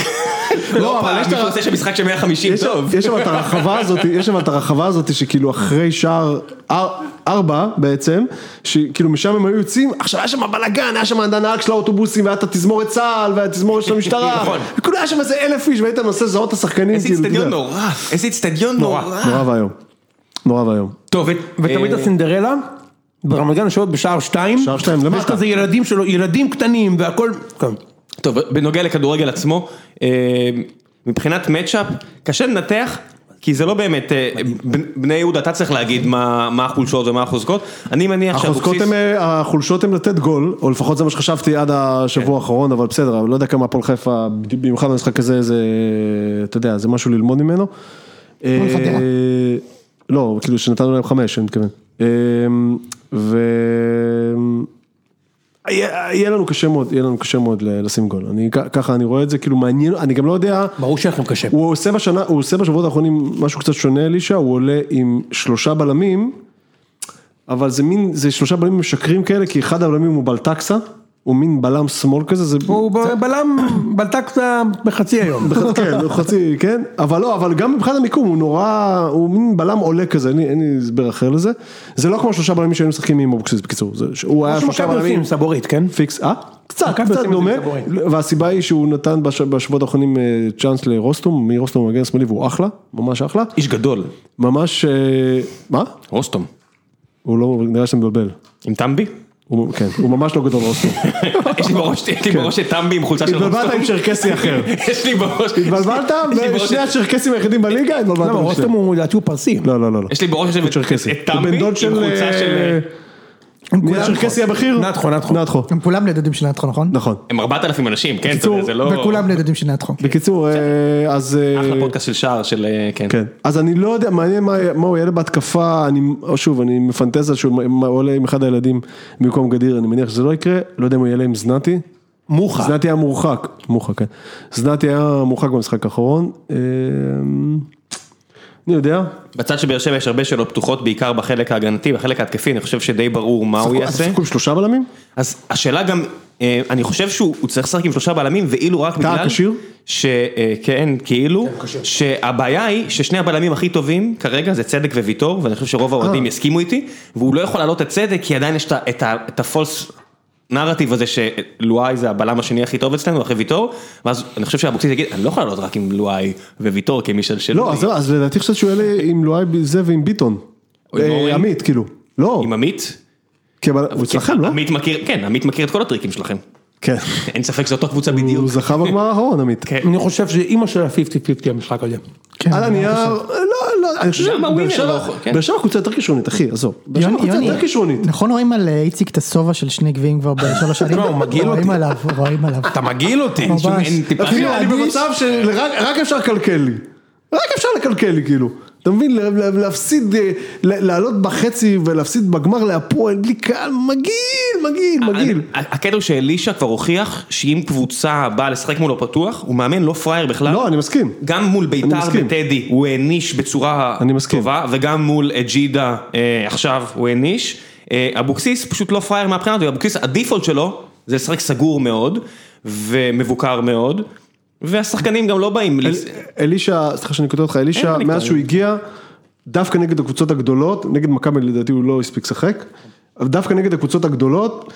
Speaker 3: לא,
Speaker 2: אבל
Speaker 3: אבל
Speaker 2: יש
Speaker 3: יש
Speaker 2: את ה-
Speaker 3: מישהו עושה שם משחק של 150
Speaker 2: יש-
Speaker 3: טוב.
Speaker 2: יש שם את הרחבה הזאת, יש שם את הרחבה הזאת שכאילו אחרי שער אר- ארבע בעצם, שכאילו משם הם היו יוצאים, עכשיו היה שם בלאגן, היה שם הנהג של האוטובוסים, והיה את התזמורת צה"ל, והיה התזמורת של המשטרה,
Speaker 1: נכון.
Speaker 2: וכאילו היה שם איזה אלף איש, והיית מנסה לזהות את השחקנים,
Speaker 3: איזה
Speaker 2: כאילו, אתה
Speaker 3: איצטדיון
Speaker 2: יודע.
Speaker 3: נורא. איזה איצטדיון נורא. אה,
Speaker 2: נורא ואיום, נורא ואיום.
Speaker 1: טוב, ו- ותמיד הסינדרלה, ברמת גן יושבת בשער 2.
Speaker 2: שער שתיים למטה.
Speaker 1: ויש כזה ילדים שלו, ילדים קטנים והכל. כן.
Speaker 3: טוב, בנוגע לכדורגל עצמו, אה, מבחינת מצ'אפ, קשה לנתח, כי זה לא באמת, אה, בנ- בני יהודה, אתה צריך להגיד מה מה החולשות ומה החוזקות, אני מניח
Speaker 2: החוזקות הם, אה, החולשות הן לתת גול, או לפחות זה מה שחשבתי עד השבוע האחרון, אבל בסדר, אבל לא יודע כמה הפועל חיפה, במיוחד במשחק הזה, זה, אתה יודע, זה משהו ללמוד ממנו. אה,
Speaker 4: חדרה.
Speaker 2: לא, כאילו שנתנו להם חמש, אני מתכוון. אה, ו... אה, יהיה יהיה לנו קשה מאוד, יהיה לנו קשה מאוד ל- לשים גול, אני כ- ככה אני רואה את זה, כאילו מעניין, אני גם לא יודע,
Speaker 1: ברור שיהיה לכם קשה.
Speaker 2: הוא עושה בשנה, הוא עושה בשבועות האחרונים משהו קצת שונה אלישע, הוא עולה עם שלושה בלמים, אבל זה מין, זה שלושה בלמים משקרים כאלה, כי אחד הבלמים הוא בלטקסה, הוא מין בלם שמאל כזה, זה...
Speaker 1: הוא ב- בלם, בלטק בחצי היום.
Speaker 2: כן, הוא חצי, כן, אבל לא, אבל גם מבחינת המיקום, הוא נורא, הוא מין בלם עולה כזה, אין לי- אין לי הסבר אחר לזה. זה לא כמו שלושה בלמים שהיו משחקים עם אבוקסיס, בקיצור, זה- הוא היה
Speaker 1: משהו
Speaker 2: שלושה
Speaker 1: מכבי
Speaker 2: בלמים,
Speaker 1: עושים, סבורית, כן?
Speaker 2: פיקס, אה? קצת,
Speaker 1: מכבי
Speaker 2: קצת
Speaker 1: עושים את
Speaker 2: דומה,
Speaker 1: זה בגבוהים.
Speaker 2: והסיבה היא שהוא נתן בש- בשבועות האחרונים אה, צ'אנס לרוסטום, מרוסטום הוא מגן שמאלי והוא אחלה, ממש אחלה,
Speaker 3: איש גדול,
Speaker 2: ממש, אה, מה?
Speaker 3: רוסטום.
Speaker 2: הוא לא, נראה שאתה מבלבל,
Speaker 3: עם טמבי?
Speaker 2: הוא- כן, הוא ממש לא גדול רוסטום,
Speaker 3: יש לי בראש- יש לי בראש את טמבי עם חולצה של
Speaker 2: התבלבלת
Speaker 3: רוסטום.
Speaker 2: עם צ'רקסי אחר,
Speaker 3: יש לי בראש...
Speaker 2: התבלבלת,
Speaker 3: יש לי בראש-
Speaker 2: ושני הצ'רקסים היחידים בליגה, התבלבלת,
Speaker 1: למה,
Speaker 2: עם
Speaker 1: רוסטם
Speaker 2: שניהם.
Speaker 1: הוא לדעתי הוא פרסי.
Speaker 2: לא, לא, לא, לא,
Speaker 3: יש לי בראש את-
Speaker 2: צ'רקסי,
Speaker 3: את
Speaker 2: הוא
Speaker 3: טמבי
Speaker 2: בן
Speaker 3: עם
Speaker 2: דוד של,
Speaker 3: חולצה
Speaker 2: אה,
Speaker 3: של...
Speaker 2: מי הצ'רקסי הבכיר?
Speaker 1: נתחו, נתחו.
Speaker 2: נתחו,
Speaker 4: הם כולם בני דודים של נתחו, נכון?
Speaker 2: נכון,
Speaker 3: הם 4,000 אנשים, כן, אתה
Speaker 2: בקיצור,
Speaker 3: יודע, זה לא...
Speaker 4: וכולם בני דודים של נתחו.
Speaker 2: בקיצור, אה, אז, אה,
Speaker 3: אחלה פודקאסט של שער, של... אה, כן.
Speaker 2: כן, אז אני לא יודע, מעניין מה, מה הוא יעלה בהתקפה, אני, או שוב, אני מפנטז על שהוא מ- עולה עם אחד הילדים במקום גדיר, אני מניח שזה לא יקרה, לא יודע אם הוא יעלה עם זנתי.
Speaker 1: מוחה.
Speaker 2: זנתי היה מורחק, מורחק, כן. זנתי היה מורחק במשחק האחרון. אה, אני יודע.
Speaker 3: בצד של באר שבע יש הרבה שאלות פתוחות, בעיקר בחלק ההגנתי, בחלק ההתקפי, אני חושב שדי ברור מה הוא
Speaker 2: אז
Speaker 3: יעשה.
Speaker 2: שיחקו עם שלושה בלמים?
Speaker 3: אז השאלה גם, אה, אני חושב שהוא הוא צריך לשחק עם שלושה בלמים, ואילו רק בגלל...
Speaker 2: כשיר?
Speaker 3: ש- אה, כן, כאילו, שהבעיה היא ששני הבלמים הכי טובים כרגע זה צדק וויטור, ואני חושב שרוב
Speaker 2: אה.
Speaker 3: האוהדים יסכימו איתי, והוא לא יכול לעלות את צדק, כי עדיין יש את ה- את ה- את הפולס נרטיב הזה שלואי זה הבלם השני הכי טוב אצלנו, אחרי ויטור, ואז אני חושב שאבוקסיס יגיד, אני לא יכול לעלות רק עם לואי וויטור, כי הם ישלשלו
Speaker 2: לא,
Speaker 3: לי."
Speaker 2: אז זהו, אז לדעתי חשבתי שהוא יעלה עם לואי זה ועם ביטון.
Speaker 3: או עם
Speaker 2: אה,
Speaker 3: אורן.
Speaker 2: עמית, כאילו. לא,
Speaker 3: עם עמית?
Speaker 2: כי אבל- הוא אצלכם, לא?
Speaker 3: עמית מכיר, כן, עמית מכיר את כל הטריקים שלכם.
Speaker 2: כן.
Speaker 3: אין ספק שזו אותה קבוצה בדיוק.
Speaker 2: הוא זכה בגמר האחרון, עמית.
Speaker 3: כן.
Speaker 1: אני חושב שאימא שלה 50-50 המשחק הזה.
Speaker 4: כן,
Speaker 2: על הנייר, לא, לא, אני חושב
Speaker 3: למה ווינר
Speaker 2: שבאר
Speaker 3: לא
Speaker 2: שבע,
Speaker 3: יכול? כן.
Speaker 2: באר שבע קבוצה יותר כישרונית, אחי, עזוב. באר שבע
Speaker 4: יוני,
Speaker 2: קבוצה
Speaker 4: יוני,
Speaker 2: לא, יותר כישרונית.
Speaker 4: נכון רואים על אה, איציק את הסובה של שני גביעים כבר בשלוש שנים?
Speaker 1: הוא מגעיל
Speaker 4: רואים
Speaker 1: אותי.
Speaker 4: עליו, רואים עליו.
Speaker 1: אתה מגעיל אותי.
Speaker 4: ממש.
Speaker 3: אין טיפה-
Speaker 2: כאילו, אני
Speaker 4: אדיש.
Speaker 2: במצב שרק רק אפשר לקלקל לי. רק אפשר לקלקל לי, כאילו. אתה מבין, לה- לה- להפסיד, אה, לה- לעלות בחצי ולהפסיד בגמר להפועל בלי קהל, מגעיל,
Speaker 3: אה,
Speaker 2: מגעיל, מגעיל.
Speaker 3: הקטע הוא שאלישע כבר הוכיח שאם קבוצה באה לשחק מולו פתוח, הוא מאמן לא פראייר בכלל.
Speaker 2: לא, אני מסכים.
Speaker 3: גם מול ביתר
Speaker 2: מסכים.
Speaker 3: וטדי הוא העניש בצורה
Speaker 2: אני מסכים.
Speaker 3: טובה, וגם מול ג'ידה אה, עכשיו הוא העניש. אה, אבוקסיס פשוט לא פראייר מהבחינה הזאת, אבוקסיס הדיפולט שלו זה לשחק סגור מאוד ומבוקר מאוד, והשחקנים גם לא באים. לס-
Speaker 2: אל- אלישע, סליחה שאני קוטע אותך, אלישע,
Speaker 3: אין לי
Speaker 2: מאז
Speaker 3: כבר.
Speaker 2: שהוא הגיע, דווקא נגד הקבוצות הגדולות, נגד מכבי לדעתי הוא לא הספיק לשחק, אבל דווקא נגד הקבוצות הגדולות,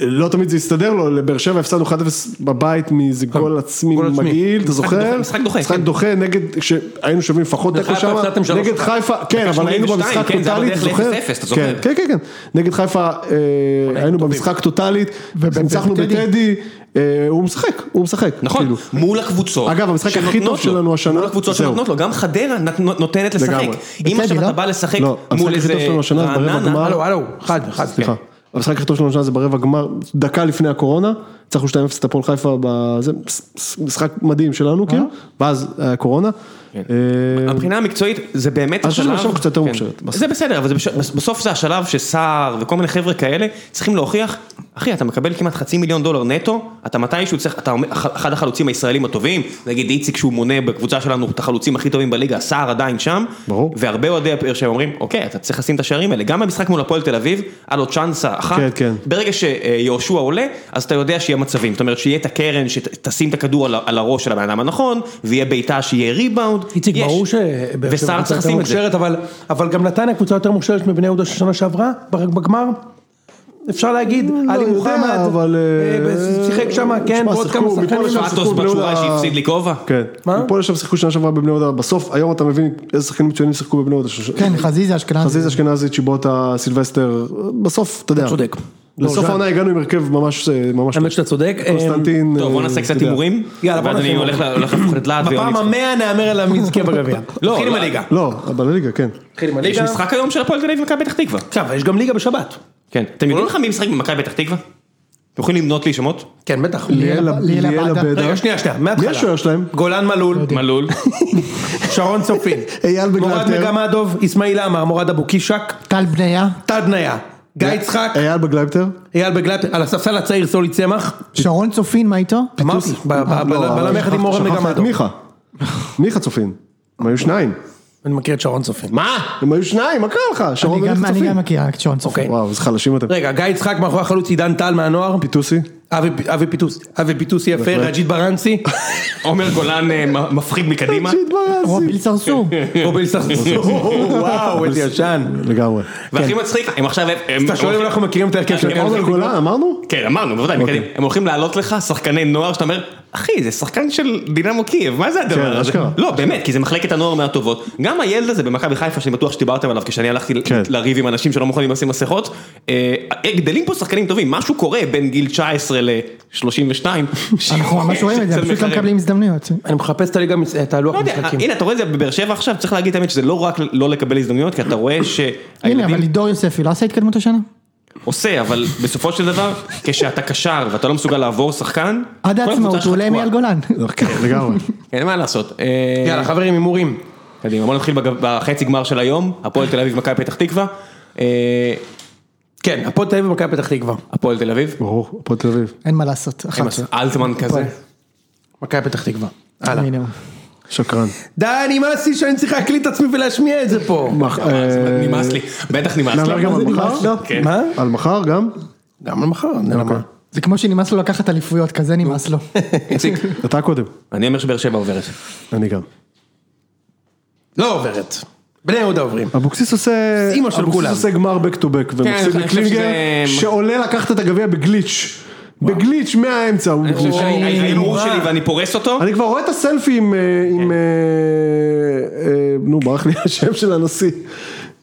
Speaker 2: לא תמיד זה הסתדר לו, לבאר שבע הפסדנו 1-0 בבית מאיזה גול עצמי
Speaker 1: גול עצמי.
Speaker 2: מגעיל, אתה
Speaker 3: נכון. משחק
Speaker 2: זוכר?
Speaker 3: דוחה, משחק דוחה,
Speaker 2: משחק
Speaker 3: כן.
Speaker 2: דוחה, נגד, כשהיינו שווים לפחות תיקו
Speaker 1: חיפה
Speaker 2: שם,
Speaker 1: הפסדתם שלוש
Speaker 2: נגד
Speaker 1: אחת.
Speaker 2: חיפה, כן,
Speaker 3: דקה
Speaker 2: אבל היינו
Speaker 3: 82,
Speaker 2: במשחק
Speaker 3: כן, זה היה
Speaker 2: טוטאלי, אתה
Speaker 3: בדרך
Speaker 2: זוכר?
Speaker 3: ל-0-0, אתה
Speaker 2: כן,
Speaker 3: זוכר? נכון.
Speaker 2: כן, כן, כן, נגד חיפה אה, היינו במשחק טוטאלית,
Speaker 4: וב-
Speaker 2: ניצחנו
Speaker 4: בטדי.
Speaker 2: בטדי, אה, הוא משחק, הוא משחק,
Speaker 3: נכון,
Speaker 2: כאילו.
Speaker 3: מול הקבוצות.
Speaker 2: אגב, המשחק הכי
Speaker 3: שנותנות
Speaker 2: טוב
Speaker 3: לו.
Speaker 2: שלנו השנה,
Speaker 3: מול הקבוצות
Speaker 2: זהו.
Speaker 3: שנותנות לו, גם חדרה נת- נותנת לשחק.
Speaker 2: לגמרי.
Speaker 3: אם
Speaker 4: בטדי,
Speaker 3: עכשיו אתה
Speaker 4: לא?
Speaker 3: בא לשחק
Speaker 2: לא, המשחק
Speaker 3: מול
Speaker 2: הכי
Speaker 3: איזה
Speaker 2: טוב שלנו השנה, ברבע
Speaker 3: רעננה,
Speaker 2: גמר.
Speaker 1: הלו, הלו, אחד, אחד.
Speaker 2: סליחה.
Speaker 1: כן.
Speaker 2: המשחק הכי טוב שלנו השנה זה ברבע גמר, דקה לפני הקורונה, ניצחנו 2-0 את הפועל חיפה, בזה, משחק מדהים שלנו,
Speaker 3: אה?
Speaker 2: כאילו, ואז היה קורונה.
Speaker 3: כן.
Speaker 2: אה,
Speaker 3: מבחינה המקצועית זה באמת
Speaker 2: אני חושב
Speaker 3: השלב,
Speaker 2: שעכשיו קצת יותר
Speaker 3: כן.
Speaker 2: מוכשרת, בסוף.
Speaker 3: זה בסדר, אבל זה בש- בס- בסוף זה השלב שסער וכל מיני חבר'ה כאלה צריכים להוכיח, אחי אתה מקבל כמעט חצי מיליון דולר נטו, אתה מתישהו צריך, אתה אומר- אח- אחד החלוצים הישראלים הטובים, נגיד איציק שהוא מונה בקבוצה שלנו את החלוצים הכי טובים בליגה, סער עדיין שם,
Speaker 2: ברור.
Speaker 3: והרבה אוהדי הפאר שהם אומרים, אוקיי אתה צריך לשים את השערים האלה, גם במשחק מול הפועל תל אביב, היה לו צ'אנסה אחת,
Speaker 2: כן, כן.
Speaker 3: ברגע שיהושע עולה, אז אתה יודע שיהיה מצבים, זאת אומרת שיהיה את הקרן שתשים את הכדור על ה- על הראש של הבן אדם הנכון, ויהיה בעיטה שיהיה ריבאונד,
Speaker 1: איציק,
Speaker 3: יש.
Speaker 1: ברור שבאר שבע
Speaker 3: וסער
Speaker 1: קבוצה
Speaker 3: צריך
Speaker 1: יותר
Speaker 3: לשים את זה.
Speaker 1: מוכשרת, אבל- אבל גם נתניה קבוצה יותר מוכשרת מבני יהודה של שנה שעברה, רק בגמר. אפשר להגיד, עלי
Speaker 2: יודע,
Speaker 1: מוחמד,
Speaker 2: אבל,
Speaker 1: אה,
Speaker 2: אה,
Speaker 1: שיחק שם, כן,
Speaker 2: שמע,
Speaker 1: ועוד
Speaker 2: שיחקו
Speaker 1: כמה
Speaker 2: מפה
Speaker 1: שחקנים.
Speaker 2: לשם.
Speaker 3: פאטוס
Speaker 2: שיחקו בני
Speaker 3: בתמורה
Speaker 2: יהודה-
Speaker 3: שהפסיד לי כובע?
Speaker 2: כן,
Speaker 1: מה?
Speaker 2: מפה לשם שיחקו שנה שעברה בבני יהודה, בסוף היום אתה מבין איזה שחקנים מצוינים שיחקו בבני יהודה.
Speaker 4: כן, חזיזה אשכנזי.
Speaker 2: חזיז אשכנזי, צ'יבוטה, סילבסטר, בסוף, אתה יודע.
Speaker 1: אתה צודק.
Speaker 2: לסוף
Speaker 1: דורז'אן.
Speaker 2: העונה הגענו עם הרכב ממש, אה, ממש,
Speaker 1: האמת שאתה צודק. אה,
Speaker 2: קונסטנטין.
Speaker 3: טוב, בוא
Speaker 2: אה,
Speaker 3: נעשה
Speaker 2: אתה
Speaker 3: קצת
Speaker 2: יודע.
Speaker 3: הימורים.
Speaker 1: יאללה, בוא
Speaker 3: ואז
Speaker 1: נעשה
Speaker 3: אני
Speaker 1: הימורים.
Speaker 3: הולך ל- הולך להפוך את להב
Speaker 1: בפעם
Speaker 3: ויוני.
Speaker 1: המאה נהמר על המזכה בגביע.
Speaker 3: לא,
Speaker 1: נתחיל עם
Speaker 3: לא.
Speaker 1: הליגה.
Speaker 2: לא, אבל הליגה, כן.
Speaker 1: נתחיל עם
Speaker 3: יש
Speaker 1: הליגה.
Speaker 3: משחק היום של הפועל תל אביב ומכבי פתח תקווה.
Speaker 1: עכשיו, יש גם ליגה בשבת.
Speaker 3: כן. אתם יודעים לך מי משחק במכבי פתח תקווה? אתם יכולים למנות לי שמות?
Speaker 1: כן, בטח.
Speaker 4: ליאלה-
Speaker 2: ליאלה
Speaker 4: ליאלה
Speaker 2: בעדה.
Speaker 4: בעדה.
Speaker 1: רגע, שנייה, שנייה, מההתחלה.
Speaker 2: מי השוער שלהם?
Speaker 1: גולן מלול,
Speaker 3: מלול.
Speaker 1: שרון צופין,
Speaker 2: אייל
Speaker 1: מורד
Speaker 2: בגלטר.
Speaker 1: מגמדוב, אסמאעיל עמאר, מורד אבו קישק,
Speaker 4: טל בניה,
Speaker 1: טד ניה, גיא יצחק,
Speaker 2: אייל בגלייבטר?
Speaker 1: אייל בגלטר, על הספסל הצעיר סולי צמח,
Speaker 4: שרון צופין, מה איתו?
Speaker 1: אמרתי, ב- ב-
Speaker 2: לא,
Speaker 1: אה, בלם יחד עם מורד
Speaker 2: שכחת את
Speaker 1: מגמדוב.
Speaker 2: מיכה. מיכה צופין. הם היו שניים.
Speaker 1: אני מכיר את שרון צופין.
Speaker 3: מה?
Speaker 2: הם היו שניים, מה קרה לך? שרון
Speaker 4: אני גם-
Speaker 2: ומיכה
Speaker 4: אני
Speaker 2: צופין.
Speaker 4: גם מכיר רק את שרון צופין.
Speaker 1: אוקיי.
Speaker 2: וואו, איזה חלשים אתם.
Speaker 1: רגע, גיא יצחק מאחורי החלוץ עידן טל מהנוער,
Speaker 2: פיטוסי?
Speaker 1: אבי- אבי פיטוס, אבי פיטוס יפה,
Speaker 2: בהחלט.
Speaker 1: רג'ית ברנסי,
Speaker 3: עומר גולן אה, מ- מפחיד מקדימה.
Speaker 2: כן.
Speaker 4: רוביל צרצור.
Speaker 1: רוביל סחסור, וואו, איזה ישן.
Speaker 2: לגמרי.
Speaker 3: והכי מצחיק, הם עכשיו... הם- הם-
Speaker 1: אתה שואל אם אנחנו מכירים את ההרכב של
Speaker 3: אני
Speaker 1: הפועל?
Speaker 2: עומר גולן, אמרנו?
Speaker 3: כן, אמרנו, בוודאי,
Speaker 4: אוקיי.
Speaker 3: מקדימה. הם הולכים לעלות לך שחקני נוער שאתה אומר, אחי, זה שחקן של דינמו קייב, מה זה
Speaker 2: כן,
Speaker 3: הדבר הזה?
Speaker 2: אשכרה.
Speaker 3: לא, באמת, כי זה מחלקת הנוער מהטובות. גם הילד הזה במכבי חיפה, שאני בטוח שדיברתם עליו כשאני הלכתי
Speaker 2: כן.
Speaker 3: לריב עם אנשים שלא מוכנים לשים מסכות, אה, גדלים פה שחקנים טובים, משהו קורה בין גיל 19 ל-32.
Speaker 4: אנחנו ממש רואים את זה, פשוט לא מקבלים הזדמנויות.
Speaker 1: אני מחפש את הליגה, את הלוח
Speaker 3: לא יודע,
Speaker 1: משחקים.
Speaker 3: הנה אתה רואה את זה בבאר שבע עכשיו, צריך להגיד את האמת שזה לא רק לא לקבל הזדמנויות, כי אתה רואה שהילדים...
Speaker 4: הנה, אבל לידור יוספי לא עשה התקדמות השנה?
Speaker 3: עושה, אבל בסופו של דבר, כשאתה קשר ואתה לא מסוגל לעבור שחקן,
Speaker 4: עד
Speaker 3: כל הקבוצה
Speaker 4: העצמאות
Speaker 3: שלך
Speaker 4: הוא עולה עם
Speaker 3: תקועה.
Speaker 4: אייל גולן.
Speaker 1: אוקיי.
Speaker 2: כן, לגמרי.
Speaker 3: אין מה לעשות. אה,
Speaker 1: יאללה חברים, הימורים.
Speaker 3: קדימה, בוא נתחיל בג- בחצי גמר של היום, הפועל תל אביב, מכבי פתח תקווה. אה,
Speaker 1: כן, הפועל תל אביב ומכבי פתח תקווה.
Speaker 3: הפועל תל אביב.
Speaker 2: ברור, הפועל תל אביב.
Speaker 4: אין מה לעשות, אחת.
Speaker 3: אלטמן כזה.
Speaker 1: מכבי פתח תקווה. הלאה.
Speaker 4: הנה הוא.
Speaker 2: שקרן.
Speaker 1: די, נמאס לי שאני צריך להקליט את עצמי ולהשמיע את זה פה.
Speaker 2: מח- אה,
Speaker 3: נמאס לי, בטח נמאס
Speaker 2: נדבר
Speaker 3: לי.
Speaker 2: גם על מחר?
Speaker 1: כן. מה?
Speaker 2: על מחר גם?
Speaker 1: גם על מחר, אני לא יודע מה.
Speaker 4: זה כמו שנמאס לו לקחת אליפויות, כזה נמאס לו.
Speaker 3: איציק,
Speaker 2: אתה קודם,
Speaker 3: אני אומר שבאר שבע עוברת.
Speaker 2: אני גם.
Speaker 1: לא עוברת. בני יהודה עוברים.
Speaker 2: אבוקסיס עושה,
Speaker 1: אימא של
Speaker 2: אבוקסיס
Speaker 1: כולם.
Speaker 2: עושה גמר back to back ומפסיד
Speaker 3: כן, אני חושב
Speaker 2: לקלינגר,
Speaker 3: שזה-
Speaker 2: שעולה לקחת את הגביע בגליץ', בגליץ' מהאמצע. הוא
Speaker 3: אני חושב
Speaker 2: גליץ'.
Speaker 3: שאני- ההימור שלי ואני פורס אותו,
Speaker 2: אני כבר רואה את הסלפי עם, אה,
Speaker 3: כן.
Speaker 2: עם, אה, אה, נו ברח לי השם של הנשיא.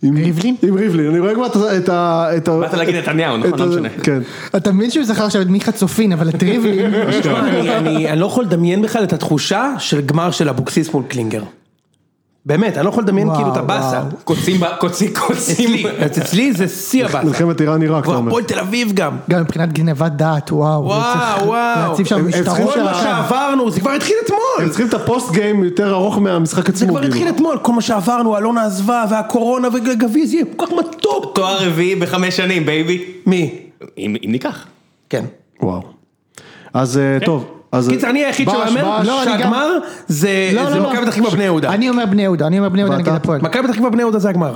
Speaker 2: עם
Speaker 4: ריבלין?
Speaker 2: עם ריבלין, אני רואה כבר את ה- את ה... את ה-
Speaker 3: באת להגיד נתניהו, נכון?
Speaker 2: את
Speaker 3: לא
Speaker 2: ה-
Speaker 3: משנה.
Speaker 2: כן.
Speaker 4: אתה מבין שהוא זכר עכשיו את מיכה צופין, אבל את ריבלין,
Speaker 1: תשמע, אני- אני אני לא יכול לדמיין בכלל את התחושה של גמר של אבוקסיס מול קלינגר. באמת, אני לא יכול לדמיין
Speaker 4: וואו,
Speaker 1: כאילו את הבאסה.
Speaker 3: קוצים, ב- קוצים, קוצים.
Speaker 1: אז אצלי זה שיא הבאסה.
Speaker 2: מלחמת איראן עיראק, אתה
Speaker 1: כבר
Speaker 2: אומר.
Speaker 1: הפועל תל אביב גם.
Speaker 4: גם מבחינת גנבת דעת, וואו.
Speaker 1: וואו,
Speaker 4: צריך
Speaker 1: וואו.
Speaker 4: להציב שם
Speaker 2: הם- הם צריכים
Speaker 4: משטרות לא,
Speaker 1: כל
Speaker 4: של
Speaker 1: מה
Speaker 4: הקו.
Speaker 1: שעברנו, זה כבר התחיל
Speaker 2: הם
Speaker 1: אתמול.
Speaker 2: צריכים את הפוסט גיים יותר ארוך מהמשחק
Speaker 1: זה
Speaker 2: עצמו.
Speaker 1: כבר
Speaker 2: כאילו.
Speaker 1: התחיל אתמול, כל מה שעברנו, אלונה עזבה, והקורונה וגביע, זה יהיה כל כך מתוק.
Speaker 3: תואר רביעי בחמש שנים, בייבי.
Speaker 1: מי?
Speaker 3: אם אם ניקח.
Speaker 1: כן.
Speaker 2: וואו. אז אה,
Speaker 3: כן.
Speaker 2: טוב. אז-
Speaker 1: קיצר, אני היחיד
Speaker 2: בש,
Speaker 1: שאומר
Speaker 2: בש.
Speaker 4: לא, אני גם-
Speaker 1: שהגמר זה
Speaker 4: לא,
Speaker 1: זה
Speaker 4: לא, לא.
Speaker 1: מכבי פתח תקווה בני יהודה.
Speaker 4: אני אומר בני יהודה, אני אומר בני יהודה
Speaker 2: ואתה?
Speaker 4: נגד הפועל.
Speaker 1: מכבי פתח תקווה בני יהודה זה הגמר.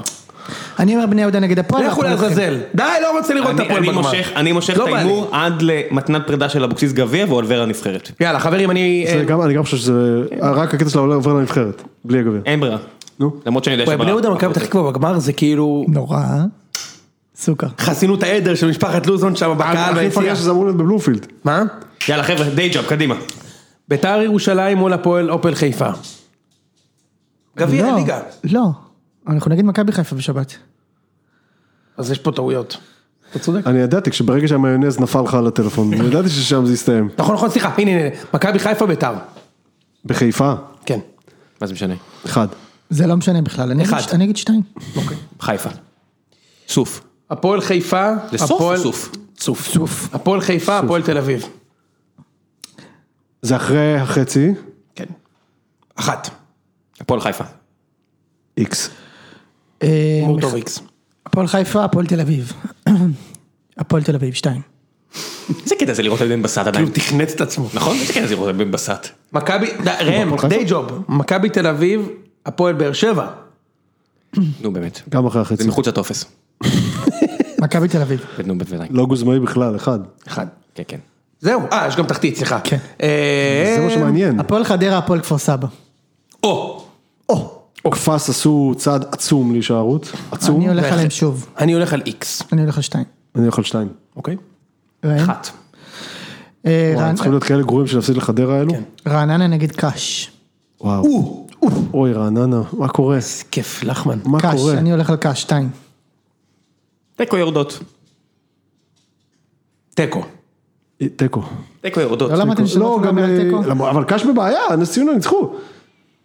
Speaker 4: אני אומר בני יהודה נגד הפועל.
Speaker 1: לכו
Speaker 4: והפועל לוקחים.
Speaker 1: לעזאזל. די, לא רוצה לראות את
Speaker 3: אני-
Speaker 1: הפועל
Speaker 3: אני
Speaker 1: בגמר.
Speaker 3: מושך- אני מושך את
Speaker 1: לא בא לי.
Speaker 3: ההימור עד למתנת פרידה של אבוקסיס גביע ואולבר הנבחרת.
Speaker 1: יאללה, חברים, אני... אה,
Speaker 2: זה גם- אני גם חושב שזה... אה, רק הקטע של העולה עובר לנבחרת. בלי הגביע.
Speaker 3: אין ברירה.
Speaker 2: נו.
Speaker 3: למרות שאני יודע
Speaker 1: וואי, בני יהודה מכבי פתח תקווה בגמר זה כאילו
Speaker 4: נורא. סוכר.
Speaker 1: חסינות העדר של משפחת לוזון שם בקהל
Speaker 2: הכי
Speaker 1: ביציע.
Speaker 2: מפגש שזה אמור להיות בבלומפילד.
Speaker 1: מה?
Speaker 3: יאללה חבר'ה, די ג'אב, קדימה.
Speaker 1: ביתר ירושלים מול הפועל אופל חיפה. גביע
Speaker 4: לא,
Speaker 1: הליגה.
Speaker 4: לא. אנחנו נגד מכבי חיפה בשבת.
Speaker 1: אז יש פה טעויות. אתה צודק.
Speaker 2: אני ידעתי שברגע שהמיונז נפל לך על הטלפון, אני ידעתי ששם זה יסתיים.
Speaker 1: נכון, נכון, סליחה, הנה, הנה, הנה, מכבי חיפה ביתר.
Speaker 2: בחיפה,
Speaker 1: כן.
Speaker 3: מה זה משנה?
Speaker 2: אחד.
Speaker 4: זה לא משנה בכלל. אני אגיד
Speaker 1: אחד.
Speaker 4: ש- אני אגיד שתיים.
Speaker 3: חיפה. סוף.
Speaker 1: הפועל חיפה,
Speaker 3: זה סוף או
Speaker 1: הפועל-
Speaker 3: סוף?
Speaker 1: סוף. סוף. הפועל חיפה, הפועל תל אביב.
Speaker 2: זה אחרי החצי,
Speaker 1: כן. אחת.
Speaker 3: הפועל חיפה.
Speaker 2: איקס.
Speaker 4: אה,
Speaker 1: מורטוב איקס.
Speaker 4: הפועל חיפה, הפועל תל אביב. הפועל תל אביב, שתיים.
Speaker 3: איזה קטע זה לראות על בן בסט עדיין.
Speaker 1: הוא תכנת את עצמו.
Speaker 3: נכון? איזה קטע זה לראות על בן בסט.
Speaker 1: מכבי, די, ראם, די ג'וב. מכבי תל אביב, הפועל באר שבע.
Speaker 3: נו באמת.
Speaker 2: גם אחרי החצי.
Speaker 3: זה מחוץ לטופס.
Speaker 4: מכבי תל אביב.
Speaker 3: נו בוודאי.
Speaker 2: לא גוזמאי בכלל, אחד.
Speaker 1: אחד.
Speaker 3: כן כן.
Speaker 1: זהו, אה, יש גם תחתית, סליחה.
Speaker 4: כן.
Speaker 1: אה,
Speaker 2: זה מה שמעניין.
Speaker 4: הפועל חדרה, הפועל כפר סבא.
Speaker 1: או, או.
Speaker 2: קפס עשו צעד עצום להישארות. עצום.
Speaker 4: אני הולך
Speaker 1: בהחלט.
Speaker 4: עליהם שוב.
Speaker 1: אני הולך על איקס.
Speaker 4: אני הולך על שתיים.
Speaker 2: אני הולך על שתיים.
Speaker 1: אוקיי?
Speaker 4: ראם?
Speaker 3: אחת.
Speaker 4: אה,
Speaker 2: וואי,
Speaker 4: רענ-
Speaker 2: צריכים להיות כאלה גרועים שנפסיד לחדרה
Speaker 1: כן.
Speaker 2: האלו?
Speaker 4: רעננה נגד קאש.
Speaker 2: וואו. אוי רעננה, מה קורה?
Speaker 1: איזה כיף, לחמן.
Speaker 2: מה
Speaker 4: קאש,
Speaker 2: קורה?
Speaker 4: אני הולך על קאש, שתיים.
Speaker 3: תיקו יורדות.
Speaker 1: תיקו.
Speaker 2: תיקו.
Speaker 3: תיקו יורדות.
Speaker 4: לא למדתם שלא
Speaker 2: לא,
Speaker 4: צריך
Speaker 2: גם...
Speaker 4: להמר על
Speaker 2: אה,
Speaker 4: תיקו?
Speaker 2: למ- אבל קאש בבעיה, נס ציונה ניצחו.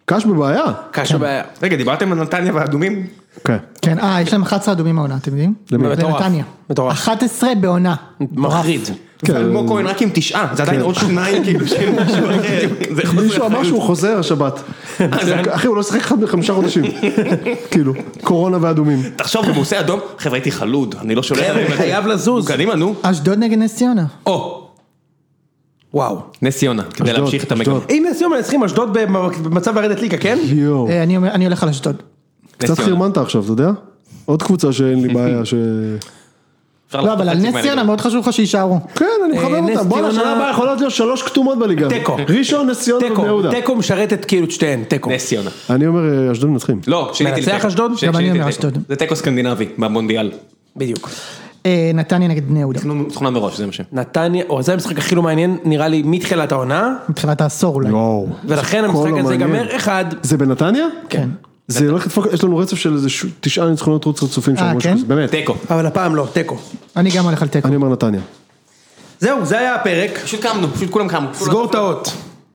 Speaker 2: קאש בבעיה.
Speaker 1: קשה בעיה.
Speaker 3: כן. רגע, דיברתם על נתניה והאדומים?
Speaker 2: כן.
Speaker 4: כן, אה, יש להם 11 אדומים העונה, אתם יודעים?
Speaker 2: למי?
Speaker 1: מטורף.
Speaker 4: לנתניה.
Speaker 1: מטורף.
Speaker 4: 11 בעונה.
Speaker 1: מחריד.
Speaker 2: כן.
Speaker 3: אלמוג כהן רק עם תשעה, זה עדיין
Speaker 1: כן.
Speaker 3: עוד שניים כאילו של משהו אחר. זה חוסר
Speaker 2: מישהו אמר
Speaker 3: אחריות.
Speaker 2: שהוא חוזר השבת. אחי, הוא לא שיחק חמ- חמישה חודשים. כאילו, קורונה ואדומים.
Speaker 3: תחשוב, אם הוא עושה אדום, חבר'ה הייתי חלוד, אני לא שולח.
Speaker 1: חבר'ה, חייב לזוז.
Speaker 3: קדימה נו.
Speaker 4: אשדוד נגד נס ציונה.
Speaker 1: או. וואו.
Speaker 3: נס ציונה, כדי
Speaker 2: אשדוד,
Speaker 3: להמשיך את המגמה.
Speaker 2: אשדוד.
Speaker 1: אם נס ציונה מנצחים אשדוד במ- במצב לרדת ליגה, כן?
Speaker 2: יואו.
Speaker 4: אה, אני אומר- אני הולך על אשדוד.
Speaker 2: אוקיי, קצת חרמנת עכשיו, אתה יודע? עוד קבוצה שאין לי בעיה ש...
Speaker 4: לא, אבל על נס ציונה מאוד חשוב לך שיישארו.
Speaker 2: כן, אני
Speaker 1: אה,
Speaker 2: מחבר
Speaker 1: נס
Speaker 2: אותה. בואנה,
Speaker 1: ציונה-
Speaker 2: שנה הבאה יכולות להיות שלוש כתומות בליגה.
Speaker 1: תיקו.
Speaker 2: ראשון, נס ציונה ובני
Speaker 1: תיקו.
Speaker 2: יהודה.
Speaker 1: תיקו משרתת כאילו את שתיהן, תיקו.
Speaker 3: נס ציונה.
Speaker 2: אני אומר, אה, אשדוד מנצחים.
Speaker 3: לא, שיניתי
Speaker 1: מנצח
Speaker 3: לתיקו.
Speaker 1: אשדוד?
Speaker 3: שיניתי
Speaker 4: גם אני אומר
Speaker 3: לתיקו.
Speaker 4: אשדוד.
Speaker 3: זה תיקו סקנדינבי, במונדיאל.
Speaker 1: בדיוק.
Speaker 4: אה, נתניה נגד בני יהודה.
Speaker 3: תכנון- תכונה מראש, זה מה ש...
Speaker 1: נתניה, או זה המשחק הכי לא מעניין, נראה לי, מתחילת העונה,
Speaker 4: מתחילת העשור אולי.
Speaker 2: יואו.
Speaker 1: ולכן
Speaker 2: כל
Speaker 1: המשחק הזה
Speaker 2: המעניין.
Speaker 1: ייגמר אחד.
Speaker 2: זה בנתניה?
Speaker 4: כן.
Speaker 2: זה הולך לדפוק, יש לנו רצף של איזה ש- תשעה ניצחונות רוץ רצופים שם.
Speaker 4: אה,
Speaker 2: משהו
Speaker 4: כן?
Speaker 2: כזה, באמת.
Speaker 3: תיקו.
Speaker 1: אבל הפעם לא, תיקו.
Speaker 4: אני גם הולך על תיקו.
Speaker 2: אני אומר נתניה.
Speaker 1: זהו, זה היה הפרק.
Speaker 3: פשוט קמנו, פשוט כולם קמו.
Speaker 1: סגור את האות.